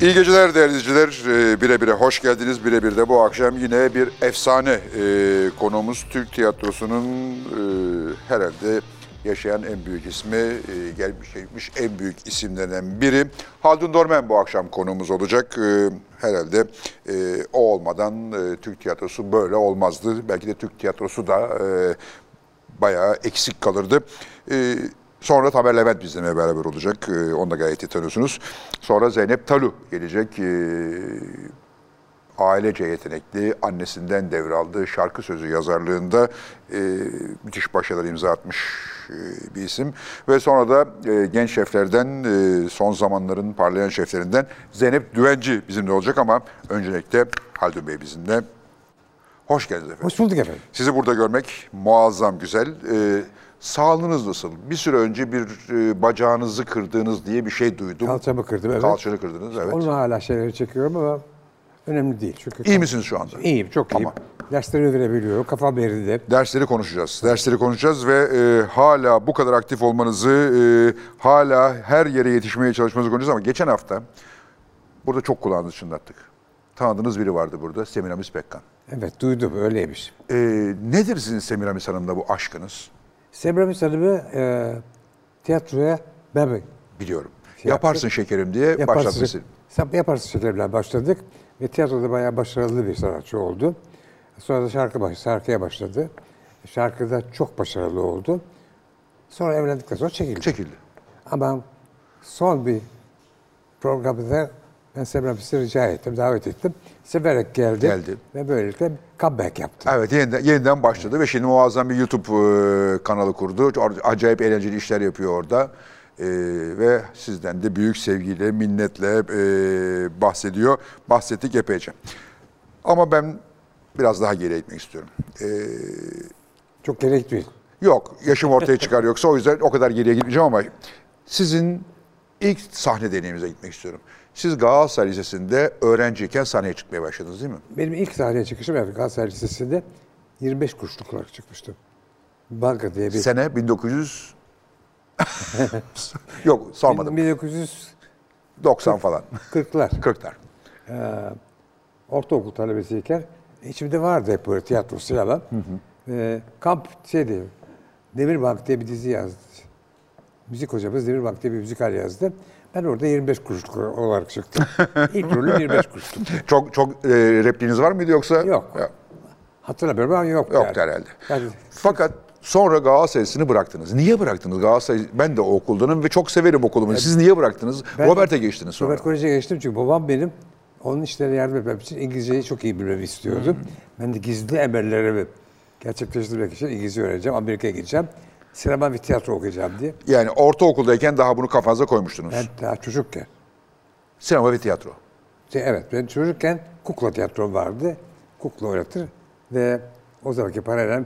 İyi geceler değerli izleyiciler. Ee, Bire bire hoş geldiniz. Bire bir de bu akşam yine bir efsane ee, konuğumuz. Türk tiyatrosunun ee, herhalde yaşayan en büyük ismi, ee, gelmiş geçmiş en büyük isimlerinden biri. Haldun Dormen bu akşam konuğumuz olacak. Ee, herhalde ee, o olmadan ee, Türk tiyatrosu böyle olmazdı. Belki de Türk tiyatrosu da ee, bayağı eksik kalırdı. Ee, sonra Tamer Levent bizimle beraber olacak. Ee, onu da gayet iyi tanıyorsunuz. Sonra Zeynep Talu gelecek. Ee, ailece yetenekli, annesinden devraldığı şarkı sözü yazarlığında e, müthiş başarılar imza atmış e, bir isim. Ve sonra da e, genç şeflerden, e, son zamanların parlayan şeflerinden Zeynep Düvenci bizimle olacak ama öncelikle Haldun Bey bizimle. Hoş geldiniz efendim. Hoş bulduk efendim. Sizi burada görmek muazzam güzel. Ee, sağlığınız nasıl? Bir süre önce bir e, bacağınızı kırdığınız diye bir şey duydum. Kalçamı kırdım evet. Kalçanı kırdınız evet. Onunla hala şeyleri çekiyorum ama önemli değil. Çünkü İyi misiniz şu anda? iyiyim, çok iyiyim. Dersleri verebiliyorum, kafam yerinde. Dersleri konuşacağız. Dersleri konuşacağız ve e, hala bu kadar aktif olmanızı, e, hala her yere yetişmeye çalışmanızı konuşacağız ama geçen hafta burada çok kulağınızı çınlattık. Tanıdığınız biri vardı burada, Semiramis Pekkan. Evet duydum öyleymiş. E, nedir sizin Semiramis Hanım'la bu aşkınız? Semiramis Hanım'ı e, tiyatroya ben Biliyorum. Şey yaparsın şekerim diye başlatmışsın. Sen Yaparsın şekerimle başladık ve tiyatroda bayağı başarılı bir sanatçı oldu. Sonra da şarkı baş, şarkıya başladı. E, Şarkıda çok başarılı oldu. Sonra evlendikten sonra çekildi. Çekildi. Ama son bir programda ben Semiramis'i rica ettim, davet ettim. Severek geldi. Geldi. Ve böylelikle comeback yaptı. Evet yeniden, yeniden başladı ve şimdi muazzam bir YouTube e, kanalı kurdu. Or- Acayip eğlenceli işler yapıyor orada. E, ve sizden de büyük sevgiyle, minnetle e, bahsediyor. Bahsettik epeyce. Ama ben biraz daha geri gitmek istiyorum. Çok gerekli. Yok, yaşım ortaya çıkar yoksa o yüzden o kadar geriye gitmeyeceğim ama sizin ilk sahne deneyimize gitmek istiyorum. Siz Galatasaray Lisesi'nde öğrenciyken sahneye çıkmaya başladınız değil mi? Benim ilk sahneye çıkışım evet Galatasaray Lisesi'nde 25 kuruşluk olarak çıkmıştım. Banka diye bir... Sene 1900... Yok, sormadım. 1940'lar. 90 falan. 40'lar. ortaokul talebesiyken içimde vardı hep böyle tiyatro, sinema. Ee, kamp şeydi, Demirbank diye bir dizi yazdı. Müzik hocamız Demirbank diye bir müzikal yazdı. Ben orada 25 kuruşluk olarak çıktım. İlk rolüm 25 kuruşluk. Çok çok e, repliğiniz var mıydı yoksa? Yok. Yok, Hatırlamıyorum ama yok. yoktu herhalde. Yani Fakat sonra Galatasaray'sını bıraktınız. Niye bıraktınız? Galatasaray ben de o okuldanım ve çok severim okulumu. Siz niye bıraktınız? Ben- Robert'e geçtiniz sonra. Robert Kolej'e geçtim çünkü babam benim onun işlerine yardım etmem için İngilizceyi çok iyi bilmemi istiyordu. Ben de gizli emellerimi gerçekleştirmek için İngilizce öğreneceğim, Amerika'ya gideceğim. Sinema ve tiyatro okuyacağım diye. Yani ortaokuldayken daha bunu kafanıza koymuştunuz. Ben daha çocukken, Sinema ve tiyatro. şey, evet ben çocukken kukla tiyatrom vardı. Kukla oynatır ve o zamanki parayla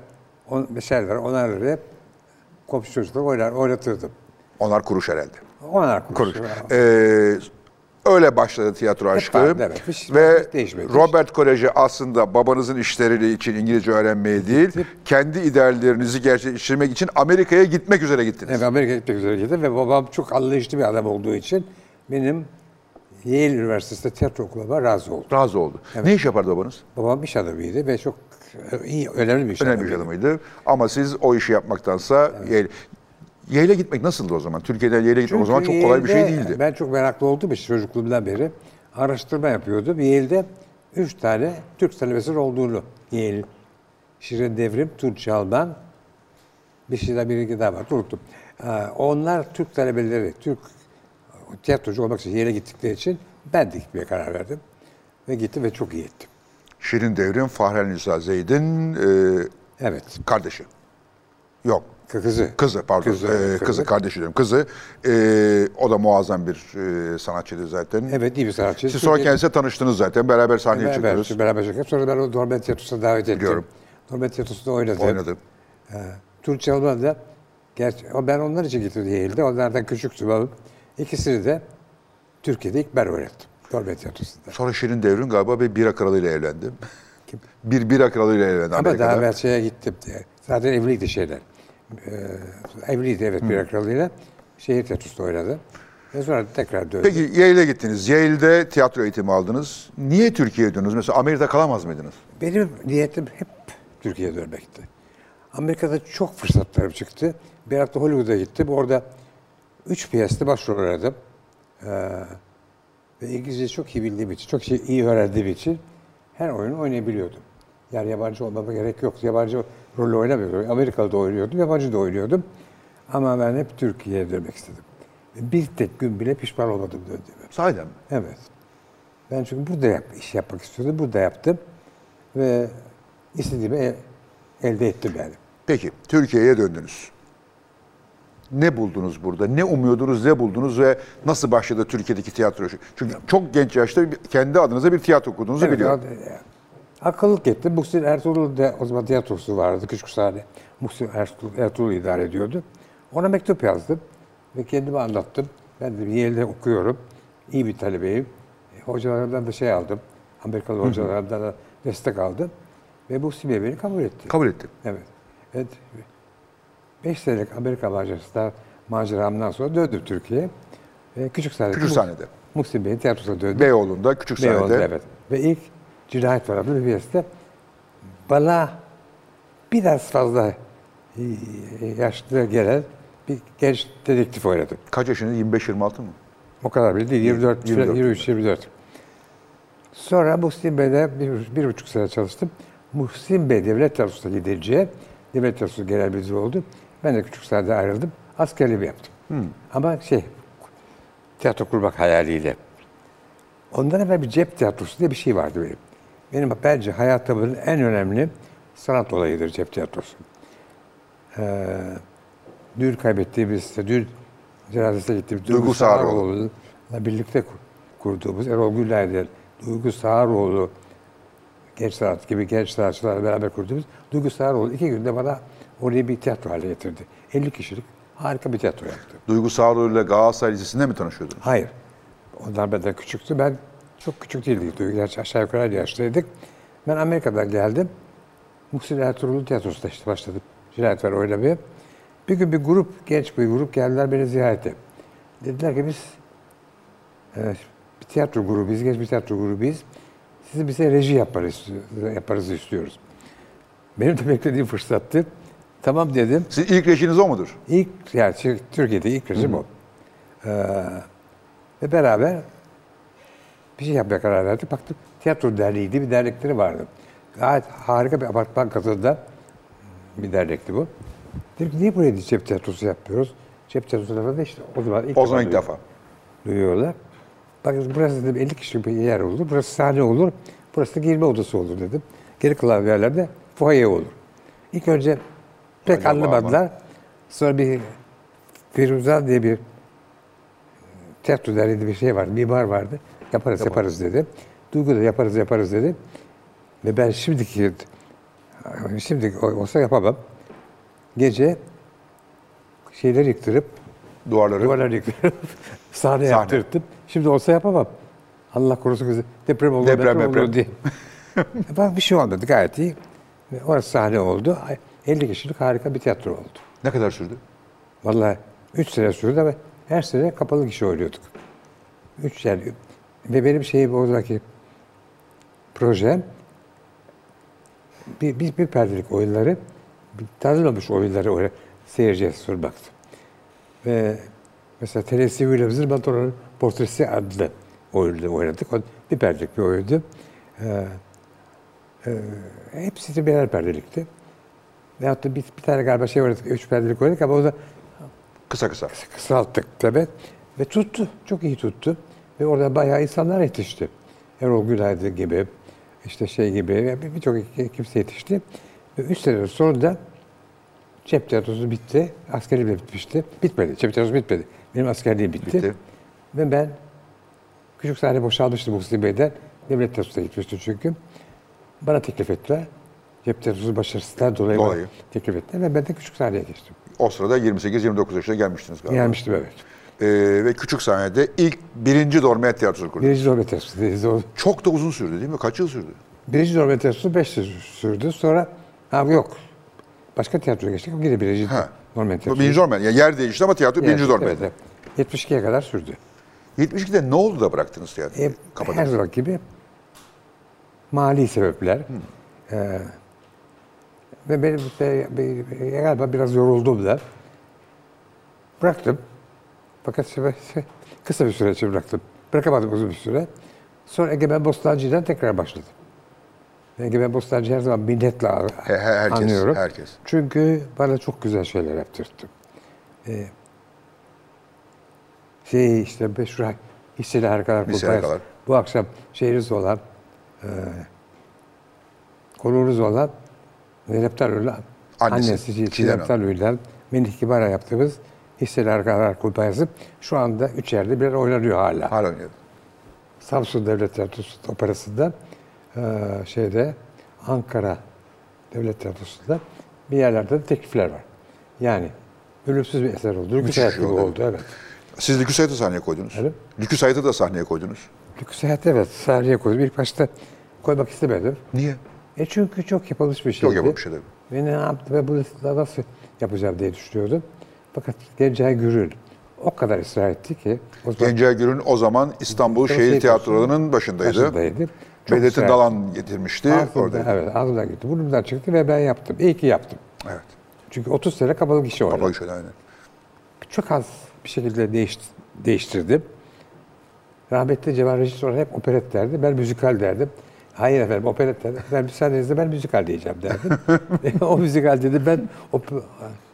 on, beşer lira, onar lira komşu çocuklar oynar, oynatırdım. Onlar kuruş herhalde. Onar kuruş. Kuruş. Ee, öyle başladı tiyatro aşkı. vardı, evet. Hiç- Ve hiç değişmedi. Robert Koleji aslında babanızın işleri için İngilizce öğrenmeye değil, kendi ideallerinizi gerçekleştirmek için Amerika'ya gitmek üzere gittiniz. Evet, Amerika'ya gitmek üzere gittim ve babam çok anlayışlı bir adam olduğu için benim Yale Üniversitesi'nde tiyatro okuluma razı oldu. Razı oldu. Ne iş yapardı babanız? Babam iş adamıydı ve çok e, iyi, önemli bir iş Önemli bir şey adamıydı. adamıydı. Ama siz o işi yapmaktansa Yale, Yale'e gitmek nasıldı o zaman? Türkiye'den Yale'e gitmek o zaman çok kolay bir şey Yale'de değildi. Ben çok meraklı olduğum için çocukluğumdan beri araştırma yapıyordum. Yale'de üç tane Türk talebesinin olduğunu. Yale, Şirin Devrim, Tunç Alman, bir şey daha bir iki daha var. Unuttum. Ee, Onlar Türk talebeleri, Türk tiyatrocu olmak için Yale'e gittikleri için ben de gitmeye karar verdim. Ve gittim ve çok iyi ettim. Şirin Devrim, Fahren Nisa Zeyd'in e, Evet. kardeşi. Yok. Kızı. Kızı pardon. Kızı, Kızı, kızı, kızı. kardeşi diyorum. Kızı. E, o da muazzam bir e, sanatçıydı zaten. Evet iyi bir sanatçı. Siz sonra Türkiye- kendisiyle tanıştınız zaten. Beraber sahneye Beraber, çıktınız. beraber çıktık. Sonra ben onu Dormen Tiyatrosu'na davet ettim. Biliyorum. Dormen Tiyatrosu'nda oynadım. Oynadı. Tuğçe Alman da, gerçi o ben onlar için getirdi Yale'de. Onlardan küçüktüm ama ikisini de Türkiye'de ilk ben öğrettim. Dormen Tiyatrosu'nda. Sonra Şirin Devrim galiba bir bira kralıyla evlendi. Bir bira kralıyla evlendi Ama daha Amerika'da. evvel şeye gittim diye. Zaten evliydi şeyler. Ee, evliydi evet bir akralıyla. Şehir tiyatrosunda oynadı. Ve sonra tekrar döndüm. Peki Yale'e gittiniz. Yale'de tiyatro eğitimi aldınız. Niye Türkiye'ye döndünüz? Mesela Amerika'da kalamaz mıydınız? Benim niyetim hep Türkiye'ye dönmekti. Amerika'da çok fırsatlarım çıktı. Bir hafta Hollywood'a gittim. Orada üç piyeste başrol oynadım. Ee, ve İngilizce çok iyi bildiğim için, çok şey- iyi öğrendiğim için her oyunu oynayabiliyordum. Yani yabancı olmama gerek yoktu. Yabancı rolü oynamıyordum. Amerikalı da oynuyordum, yabancı da oynuyordum. Ama ben hep Türkiye'ye dönmek istedim. Bir tek gün bile pişman olmadım döndüğüme. Sahiden mi? Evet. Ben çünkü burada yap, iş yapmak istiyordum. Burada yaptım. Ve istediğimi e- elde ettim yani. Peki Türkiye'ye döndünüz. Ne buldunuz burada? Ne umuyordunuz, ne buldunuz ve nasıl başladı Türkiye'deki tiyatro? işi? Çünkü çok genç yaşta bir- kendi adınıza bir tiyatro okuduğunuzu Evet, biliyorum. ad- e, Akıllık ettim. Muhsin Ertuğrul da o zaman tiyatrosu vardı. Küçük sahne. Muhsin Ertuğrul, Ertuğrul idare ediyordu. Ona mektup yazdım. Ve kendimi anlattım. Ben de Yale'de okuyorum. İyi bir talebeyim. E, Hocalarımdan da şey aldım. Amerikalı hocalarımdan da destek aldım. Ve Muhsin Bey beni kabul etti. Kabul ettim. Evet. Evet. 5 senelik Amerika macerasında maceramdan sonra döndüm Türkiye'ye. Ve küçük sahnede. Küçük sahnede. Muhsin Bey'in tiyatrosuna döndüm. Beyoğlu'nda, küçük sahnede. Beyoğlu'da, evet. Ve ilk cinayet var bir piyeste bana biraz fazla e, yaşlı gelen bir genç dedektif oynadım. Kaç yaşında? 25-26 mı? O kadar bile değil. 24, 24. 23, 24. Sonra Muhsin Bey'de bir, bir buçuk sene çalıştım. Muhsin Bey devlet tiyatrosuna gidince devlet tiyatrosu genel müdürü oldu. Ben de küçük sahnede ayrıldım. Askerliğimi yaptım. Ama şey, tiyatro kurmak hayaliyle. Ondan evvel bir cep tiyatrosu diye bir şey vardı benim. Benim bence hayatımın en önemli sanat olayıdır cep tiyatrosu. Ee, dün kaybettiğimiz, dün cenazesine gittiğimiz Duygu Duygu Sağaroğlu. Sağaroğlu'la birlikte kur- kurduğumuz Erol Gülay'den Duygu Sağaroğlu genç sanat gibi genç sanatçılarla beraber kurduğumuz Duygu Sağaroğlu iki günde bana orayı bir tiyatro haline getirdi. 50 kişilik harika bir tiyatro yaptı. Duygu Sağroğlu ile Galatasaray Lisesi'nde mi tanışıyordunuz? Hayır. Onlar benden küçüktü. Ben çok küçük değildik. Duygu Gerçi aşağı yukarı aynı yaştaydık. Ben Amerika'dan geldim. Muhsin Ertuğrul tiyatrosunda işte başladım. Cinayet var oynamaya. Bir gün bir grup, genç bir grup geldiler beni ziyarete. Dediler ki biz e, bir tiyatro grubuyuz, genç bir tiyatro grubuyuz. Sizi bize reji yaparız, yaparız istiyoruz. Benim de beklediğim fırsattı. Tamam dedim. Sizin ilk reşiniz o mudur? İlk yani Tür- Türkiye'de ilk rejim o. Ee, ve beraber bir şey yapmaya karar verdik. Baktık tiyatro derneğiydi, bir dernekleri vardı. Gayet harika bir apartman katında bir dernekti bu. Dedim ki niye buraya cep tiyatrosu yapmıyoruz? Cep tiyatrosu lafı da işte o zaman ilk O zaman ilk duydum defa. duyuyorlar. Bak dedim, burası dedim 50 kişilik bir yer olur. Burası sahne olur. Burası da giyinme odası olur dedim. Geri kalan yerlerde foyer olur. İlk önce pek Acaba anlamadılar. Sonra bir Firuzan diye bir e, tiyatro derneğinde bir şey vardı. Mimar vardı. Yaparız yaparız dedi. Duygu da yaparız yaparız dedi. Ve ben şimdiki e, şimdiki olsa yapamam. Gece şeyleri yıktırıp Duvarları. Duvarları yıktırıp sahne Sahne. yaptırttım. Şimdi olsa yapamam. Allah korusun bizi. Deprem olur, Deprem, deprem, deprem. olur diye. Bak bir şey olmadı gayet iyi. Ve Orası sahne oldu. Ay, 50 kişilik harika bir tiyatro oldu. Ne kadar sürdü? Vallahi 3 sene sürdü ama her sene kapalı kişi oynuyorduk. 3 yani. Ve benim şeyim oradaki projem bir, bir, bir perdelik oyunları bir tanınmamış oyunları oraya seyirciye sunmaktı. Ve mesela Tennessee Williams'ın Matora'nın Portresi adlı oyunu oynadık. O bir perdelik bir oyundu. Ee, e, hepsi de birer perdelikti. Veyahut da bir, bir tane galiba şey oynadık, üç perdelik oynadık ama o da Kısa kısa. kısalttık tabi. Ve tuttu. Çok iyi tuttu. Ve orada bayağı insanlar yetişti. Erol Günaydın gibi, işte şey gibi yani bir- birçok kimse yetişti. Ve üç sene sonunda cep tiyatrosu bitti. Askerliğim de bitmişti. Bitmedi. Cep tiyatrosu bitmedi. Benim askerliğim bitti. Bitti. Ve ben küçük sahne boşalmıştı Muhsin Bey'den. Devlet tiyatrosuna gitmişti çünkü. Bana teklif ettiler. Cep tiyatrosu başarısından dolayı, bana Dolayı. teklif ettiler. Ve ben de küçük sahneye geçtim. O sırada 28-29 yaşına gelmiştiniz galiba. Gelmiştim evet. Ee, ve küçük sahnede ilk birinci Dormiyat Tiyatrosu kurdunuz. Birinci zorba tiyatrosu. Çok da uzun sürdü değil mi? Kaç yıl sürdü? Birinci zorba tiyatrosu 5 yıl sürdü. Sonra ha yok. Başka tiyatroya geçtik ama yine birinci Ha. normal Bu tiyatrosu. birinci Dormiyat. Yani yer değişti ama tiyatro birinci Dormiyat. Evet, evet. 72'ye kadar sürdü. 72'de ne oldu da bıraktınız tiyatroyu? E, her zaman gibi mali sebepler. Ee, ve benim de, be- be- galiba biraz yoruldum da. Bıraktım. Fakat se- se- kısa bir süre için bıraktım. Bırakamadım uzun bir süre. Sonra Egemen Bostancı'dan tekrar başladım. Egemen Bostancı her zaman minnetle a- He- he- herkes, anıyorum. herkes. Çünkü bana çok güzel şeyler yaptırttı. Ee, şey işte meşhur hisseli harikalar Hisseli kurtarız. Harikalar. Bu akşam şeyiniz olan e, konuğunuz olan Zeynep Tarlı'yla Annesi, annesi, annesi Çiğdem Hanım. Çiğdem Tarlı'yla Melih Kibar'a yaptığımız hisseli harikalar kurtarızı şu anda üç yerde bir oynanıyor hala. Hala oynuyor. Samsun Devlet Tiyatrosu Operası'nda eee, şeyde Ankara Devlet Tiyatrosu'nda bir yerlerde de teklifler var. Yani ölümsüz bir eser oldu. Lüküs Müthiş bir hayat şey gibi oldu. oldu. Evet. Siz Lüküs Hayat'ı sahneye koydunuz. Evet. Lüküs Hayat'ı da sahneye koydunuz. Lüküs hayat evet sahneye koydum. İlk başta koymak istemedim. Niye? E çünkü çok yapılmış bir şeydi. Çok yapılmış şey tabii. Ve ne yaptı ve bunu nasıl yapacağım diye düşünüyordum. Fakat Gencay Gürül o kadar ısrar etti ki. O zaman Gencay Gür'ün o zaman İstanbul Şehir Şehir Tiyatrosu'nun Tiyatroları'nın başındaydı. şey başındaydı. Çok Bedrettin ısrar- Dalan getirmişti. Ağzımdan, Oradaydı. evet, ağzımdan gitti. Burnumdan çıktı ve ben yaptım. İyi ki yaptım. Evet. Çünkü 30 sene kapalı gişe oynadım. Kapalı şöyle aynen. Çok az bir şekilde değiş, değiştirdim. Rahmetli Cemal Reşit sonra hep operet derdi. Ben müzikal derdim. Hayır efendim operet derdim. Ben müsaadenizle ben müzikal diyeceğim derdim. E, o müzikal dedi ben op O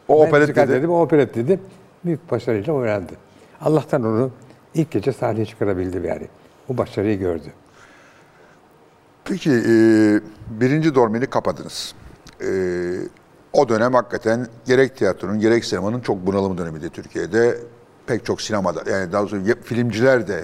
ben operet müzikal dedi. dedim. O operet dedi. Büyük başarıyla oynandı. Allah'tan onu ilk gece sahneye çıkarabildim yani. Bu başarıyı gördü. Peki e, birinci dormini kapadınız. E, o dönem hakikaten gerek tiyatronun gerek sinemanın çok bunalımı dönemiydi Türkiye'de. Pek çok sinemada yani daha doğrusu yap- filmciler de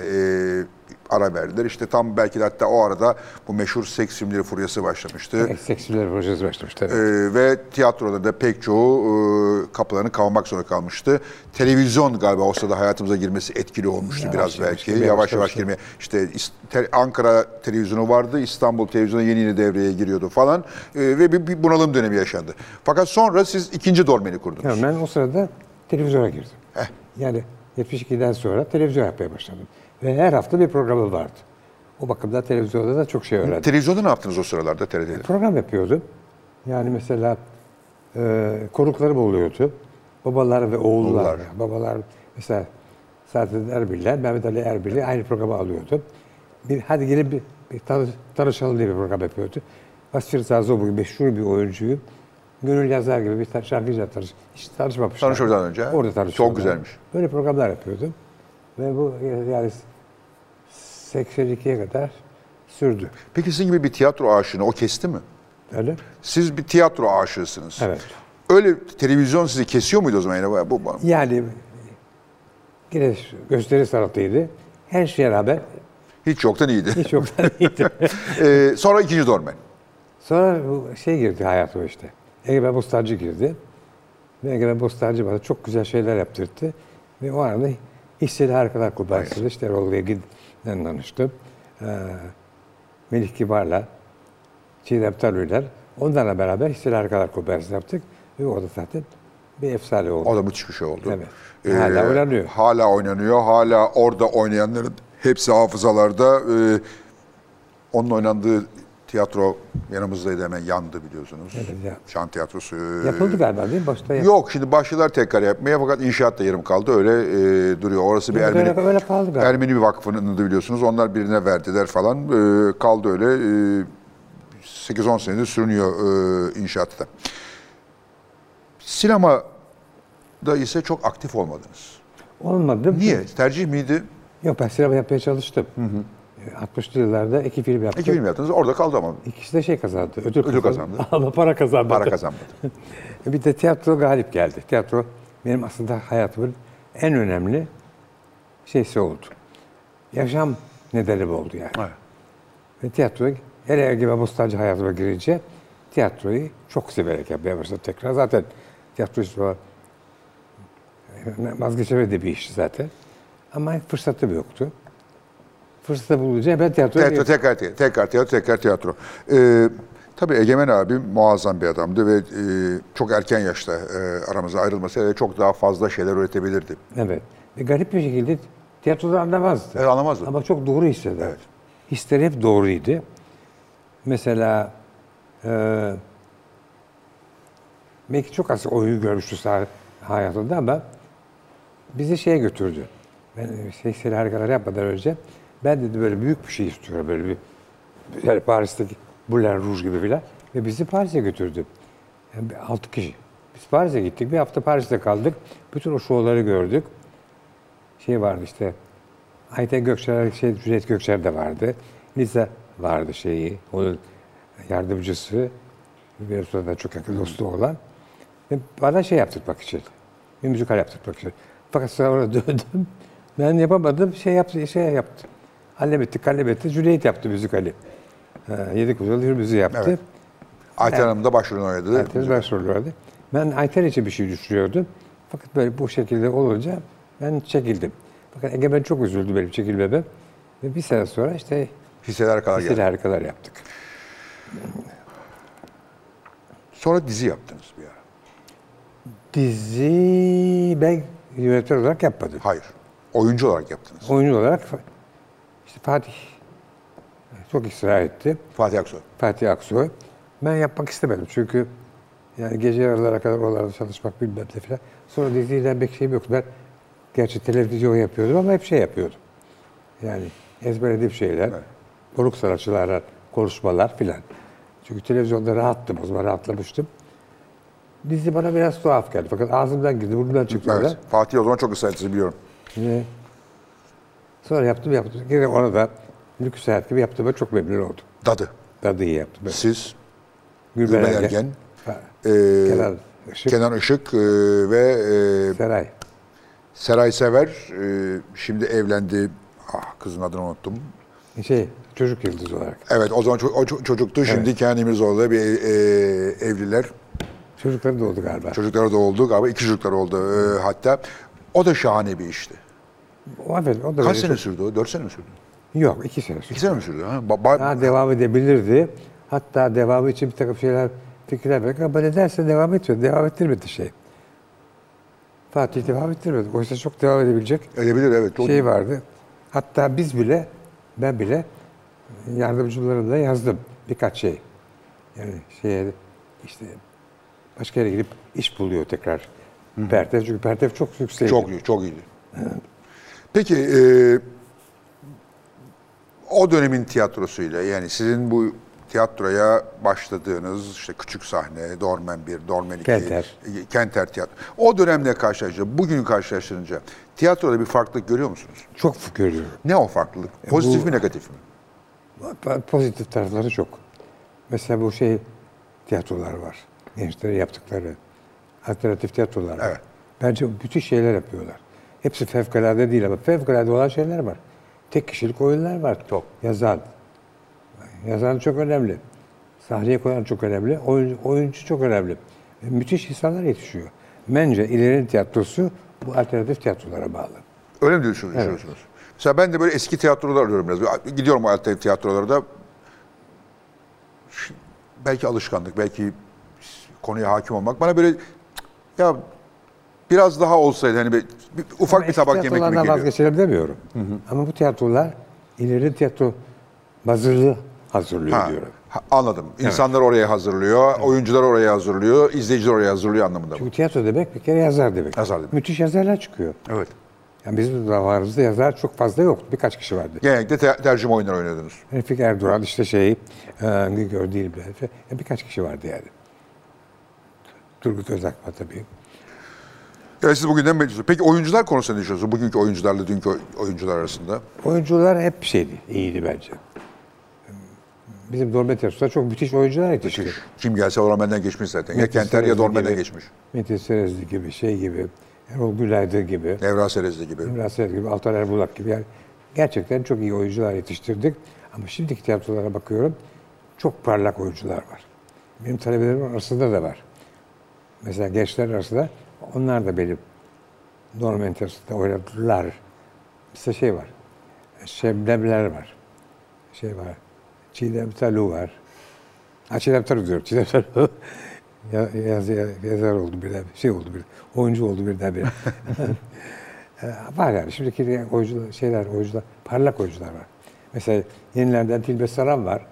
e, ara verdiler. İşte tam belki de hatta o arada bu meşhur seks filmleri furyası başlamıştı. Seksiler projesi başlamıştı. evet. Ee, ve tiyatrolarda pek çoğu e, kapılarını kavmak zorunda kalmıştı. Televizyon galiba o sırada hayatımıza girmesi etkili olmuştu Yavaş biraz yavaş belki. girmeye Yavaş yavaş başlamıştı. girmeye. İşte İs- Te- Ankara televizyonu vardı, İstanbul televizyonu yeni yeni devreye giriyordu falan Ee, ve bir, bir bunalım dönemi yaşandı. Fakat sonra siz ikinci dolmeni kurdunuz. Yani ben o sırada televizyona girdim. Yani 72'den sonra televizyon yapmaya başladım. Ve her hafta bir programım vardı. O bakımdan televizyonda da çok şey öğrendim. Televizyonda ne yaptınız o sıralarda TRT'de? Program yapıyordum. Yani mesela e, konuklarım oluyordu. Babalar ve oğullar. Oğullar. Babalar mesela Saadet Erbil'le Mehmet Ali Erbil'i aynı programa alıyordu. Bir, hadi gelin bir, bir tanış- tanışalım diye bir program yapıyordu. Vasfir Zazo bugün meşhur bir oyuncuyu Gönül yazar gibi bir tar- şarkıyla tanış, hiç tanışmamışlar. Tanışmadan önce. Orada tanışıyorlar. Çok güzelmiş. Böyle programlar yapıyordum. Ve bu e, yani 82'ye kadar sürdü. Peki sizin gibi bir tiyatro aşığını o kesti mi? Öyle. Siz bir tiyatro aşığısınız. Evet. Öyle televizyon sizi kesiyor muydu o zaman? Yani bu, bu- Yani yine gösteri sanatıydı. Her şeye rağmen hiç yoktan iyiydi. hiç yoktan iyiydi. Ee, sonra ikinci Dormen. Sonra bu şey girdi hayatıma işte. Egemen Bostancı girdi. Ve Egemen Bostancı bana çok güzel şeyler yaptırdı. Ve o arada Hisseli Harikalar Kulübesi'nde işte Erol Vegin'den tanıştım. Ee, Melih Kibar'la, Çiğdem Tanrı'yla onlarla beraber Hisseli Harikalar Kulübesi'ni yaptık. Ve orada zaten bir efsane oldu. O da müthiş bir şey oldu. Evet. Hala oynanıyor. Hala oynanıyor. Hala orada oynayanların hepsi hafızalarda. Ee, onun oynandığı tiyatro yanımızdaydı hemen yandı biliyorsunuz. Evet, ya. Şan tiyatrosu. Yapıldı galiba değil mi? Başta yapıldı. Yok şimdi başladılar tekrar yapmaya fakat inşaat da yarım kaldı. Öyle e, duruyor. Orası bir Öyle- Ermeni. Er- öyle kaldı galiba. Ermeni bir vakfının da biliyorsunuz. Onlar birine verdiler falan. Ee, kaldı öyle. Ee, 8-10 senedir sürünüyor e, inşaatı da. Sinemada ise çok aktif olmadınız. Olmadı. Niye? Tercih miydi? Yok ben sinema yapmaya çalıştım. 60'lı yıllarda iki film yaptım. İki film yaptınız. Orada kaldı ama İkisi de şey kazandı. Ödül, Ödül kazandı. Ama para kazandı. para kazanmadı. Bir de tiyatro galip geldi. Tiyatro benim aslında hayatımın en önemli şeysi oldu. Yaşam nedenim oldu yani. Evet. Ve tiyatro hele Ergüven Bostancı hayatıma girince tiyatroyu çok severek yapmaya başladım tekrar. Zaten tiyatro işi var. Vazgeçemediğim bir işti zaten. Ama fırsatım yoktu. Fırsatı bulunca ben tiyatroya Tiyatro, tekrar tiyatro, tekrar tiyatro, tekrar tiyatro. Ee, tabii Egemen abim muazzam bir adamdı ve e, çok erken yaşta e, aramıza ayrılmasaydı çok daha fazla şeyler üretebilirdi. Evet. Ve garip bir şekilde Tiyatrodan anlamazdı. Evet, anlamazdı. Ama çok doğru hissederdi. Evet. Hisleri hep doğruydu. Mesela e, belki çok az oyun görmüştü sah- hayatında ama bizi şeye götürdü. Ben sekseri harikalar yapmadan önce ben dedi böyle büyük bir şey istiyorum böyle bir yani Paris'teki Moulin Rouge gibi filan ve bizi Paris'e götürdü. Yani bir altı kişi. Biz Paris'e gittik. Bir hafta Paris'te kaldık. Bütün o şovları gördük. Şey vardı işte Ayten Gökçer, şey, Cüneyt Gökçer de vardı. Lize vardı şeyi. Onun yardımcısı. Bir sonra da çok yakın dostu olan. Ve bana şey yaptırmak için. Bir müzikal yaptırmak için. Fakat sonra döndüm. Ben yapamadım. Şey yaptı, şey yaptı. Hallem etti, kallem etti. Cüneyt yaptı müzikali. Ha, Yedi Kuzu'nun müziği yaptı. Evet. Ayten Hanım da başrolünü oynadı. Ayten ben sorulardı. Ben Ayten için bir şey düşünüyordum. Fakat böyle bu şekilde olunca ben çekildim. Fakat Egemen çok üzüldü benim çekilmeme. Ve bir sene sonra işte Hisseler kadar liseli geldi. harikalar yaptık. Sonra dizi yaptınız bir ara. Dizi ben yönetmen olarak yapmadım. Hayır. Oyuncu olarak yaptınız. Oyuncu olarak Fa- işte Fatih çok ısrar etti. Fatih Aksoy. Fatih Aksoy. Ben yapmak istemedim çünkü yani gece yarılara kadar oralarda çalışmak bilmem ne filan. Sonra diziyle bir şeyim yoktu. Ben gerçi televizyon yapıyordum ama hep şey yapıyordum. Yani ezberlediğim şeyler, Evet. konuk sanatçılarla konuşmalar filan. Çünkü televizyonda rahattım o zaman rahatlamıştım. Dizi bana biraz tuhaf geldi. Fakat ağzımdan girdi, burnumdan çıktı. Evet. filan. Fatih o zaman çok ısrar etti, biliyorum. Ve sonra yaptım yaptım. Gene ona da lüks hayat gibi yaptığıma çok memnun oldum. Dadı. Daha da iyi yaptım. Evet. Siz, Gülben Gülben Ergen, Ergen, Ha, e, Kenan Işık, Kenan Işık e, ve e, Seray. Seray Sever e, şimdi evlendi. Ah kızın adını unuttum. Şey, çocuk yıldız olarak. Evet o zaman ço- o ço- çocuktu. Şimdi kendimiz orada bir e, evliler. Çocukları doğdu galiba. Çocukları da oldu galiba. iki çocuklar oldu e, hatta. O da şahane bir işti. O, evet, o da Kaç böyle sene sürdü o? Dört sene mi sürdü? çok- Yok, iki sene sürdü. İki sene mi sürdü? Ha? Ba- ba- Daha devam edebilirdi. Hatta devamı için bir takım şeyler, fikirler verdik ama nedense devam etmiyor. Devam ettirmedi şey. Fatih devam ettirmedi. Oysa çok devam edebilecek Edebilir evet. O- şey vardı. Hatta biz bile, ben bile yardımcılarımla yazdım birkaç şey. Yani şeye işte başka yere gidip iş buluyor tekrar. Pertev çünkü Pertev çok yüksek. Çok iyi, çok iyiydi. Peki e, o dönemin tiyatrosuyla yani sizin bu tiyatroya başladığınız işte küçük sahne, Dormen 1, Dormen 2, Kenter. e, Kenter tiyatro. O dönemle karşılaşınca, bugün karşılaştırınca tiyatroda bir farklılık görüyor musunuz? çok görüyorum. Ne o farklılık? Pozitif E, bu- mi, negatif mi? Pozitif tarafları çok. Mesela bu şey tiyatrolar var. Gençlere yaptıkları. Alternatif tiyatrolar var. Evet. Bence bütün şeyler yapıyorlar. Hepsi fevkalade değil ama fevkalade olan şeyler var. Tek kişilik oyunlar var. Çok. Yazan. Yazan çok önemli. Sahneye koyan çok önemli. Oyuncu, oyuncu çok önemli. E, Müthiş insanlar yetişiyor. Bence ilerinin tiyatrosu bu alternatif tiyatrolara bağlı. Öyle mi diyorsunuz, düşünüyorsunuz? Mesela ben de böyle eski tiyatrolar arıyorum biraz. Gidiyorum o alternatif tiyatrolara da. Ş- Belki alışkanlık, belki konuya hakim olmak. Bana böyle "Cık, ya biraz daha olsaydı hani bir, bir- ufak bir Eski tabak yemek gibi tiyatrolardan geliyor. vazgeçelim demiyorum. Ama bu tiyatrolar ileri tiyatro hazırlığı hazırlıyor Ha, diyorum. ha, anladım. İnsanlar oraya hazırlıyor, oyuncular oraya hazırlıyor, izleyiciler oraya hazırlıyor anlamında. bu. Çünkü tiyatro demek bir kere yazar demek. Yazar demek. Müthiş yazarlar çıkıyor. Evet. Yani bizim zamanımızda yazar çok fazla yoktu. Birkaç kişi vardı. Genellikle te- tercüme oyunları oynadınız. Refik Erdoğan işte şey, e, Güngör değil bile. Yani E, birkaç kişi vardı yani. Turgut Özakma tabii. Ya siz bugünden beri Peki oyuncular konusunda ne düşünüyorsunuz? Bugünkü oyuncularla dünkü oy- oyuncular arasında. Oyuncular hep şeydi, iyiydi bence. Bizim Dolmet Tiyatrosu'nda çok müthiş oyuncular yetişti. Kim Şey, gelse o benden geçmiş zaten. Ya Metin Kenter ya Serezli Dormen'den gibi. geçmiş. Metin Serezli gibi, şey gibi, Erol Gülaydın gibi, Nevra Serezli gibi. Emrah Serez gibi, Altan Erbulak gibi. Yani gerçekten çok iyi oyuncular yetiştirdik. Ama şimdiki tiyatrolara bakıyorum, çok parlak oyuncular var. Benim talebelerim arasında da var. Mesela gençler arasında, onlar da benim Norman Tiyatrosu'nda oynadılar. Mesela şey var, Şebnemler var. Şey var, Çiğdem Talu var. Ha Çiğdem Talu diyorum, Çiğdem Talu. Ya, yaz- ya- yazar oldu birden, şey oldu bir, oyuncu oldu birdenbire. Ee, var yani. Şimdiki de oyuncular, şeyler, oyuncular, parlak oyuncular var. Mesela yenilerden Tilbe Saran var.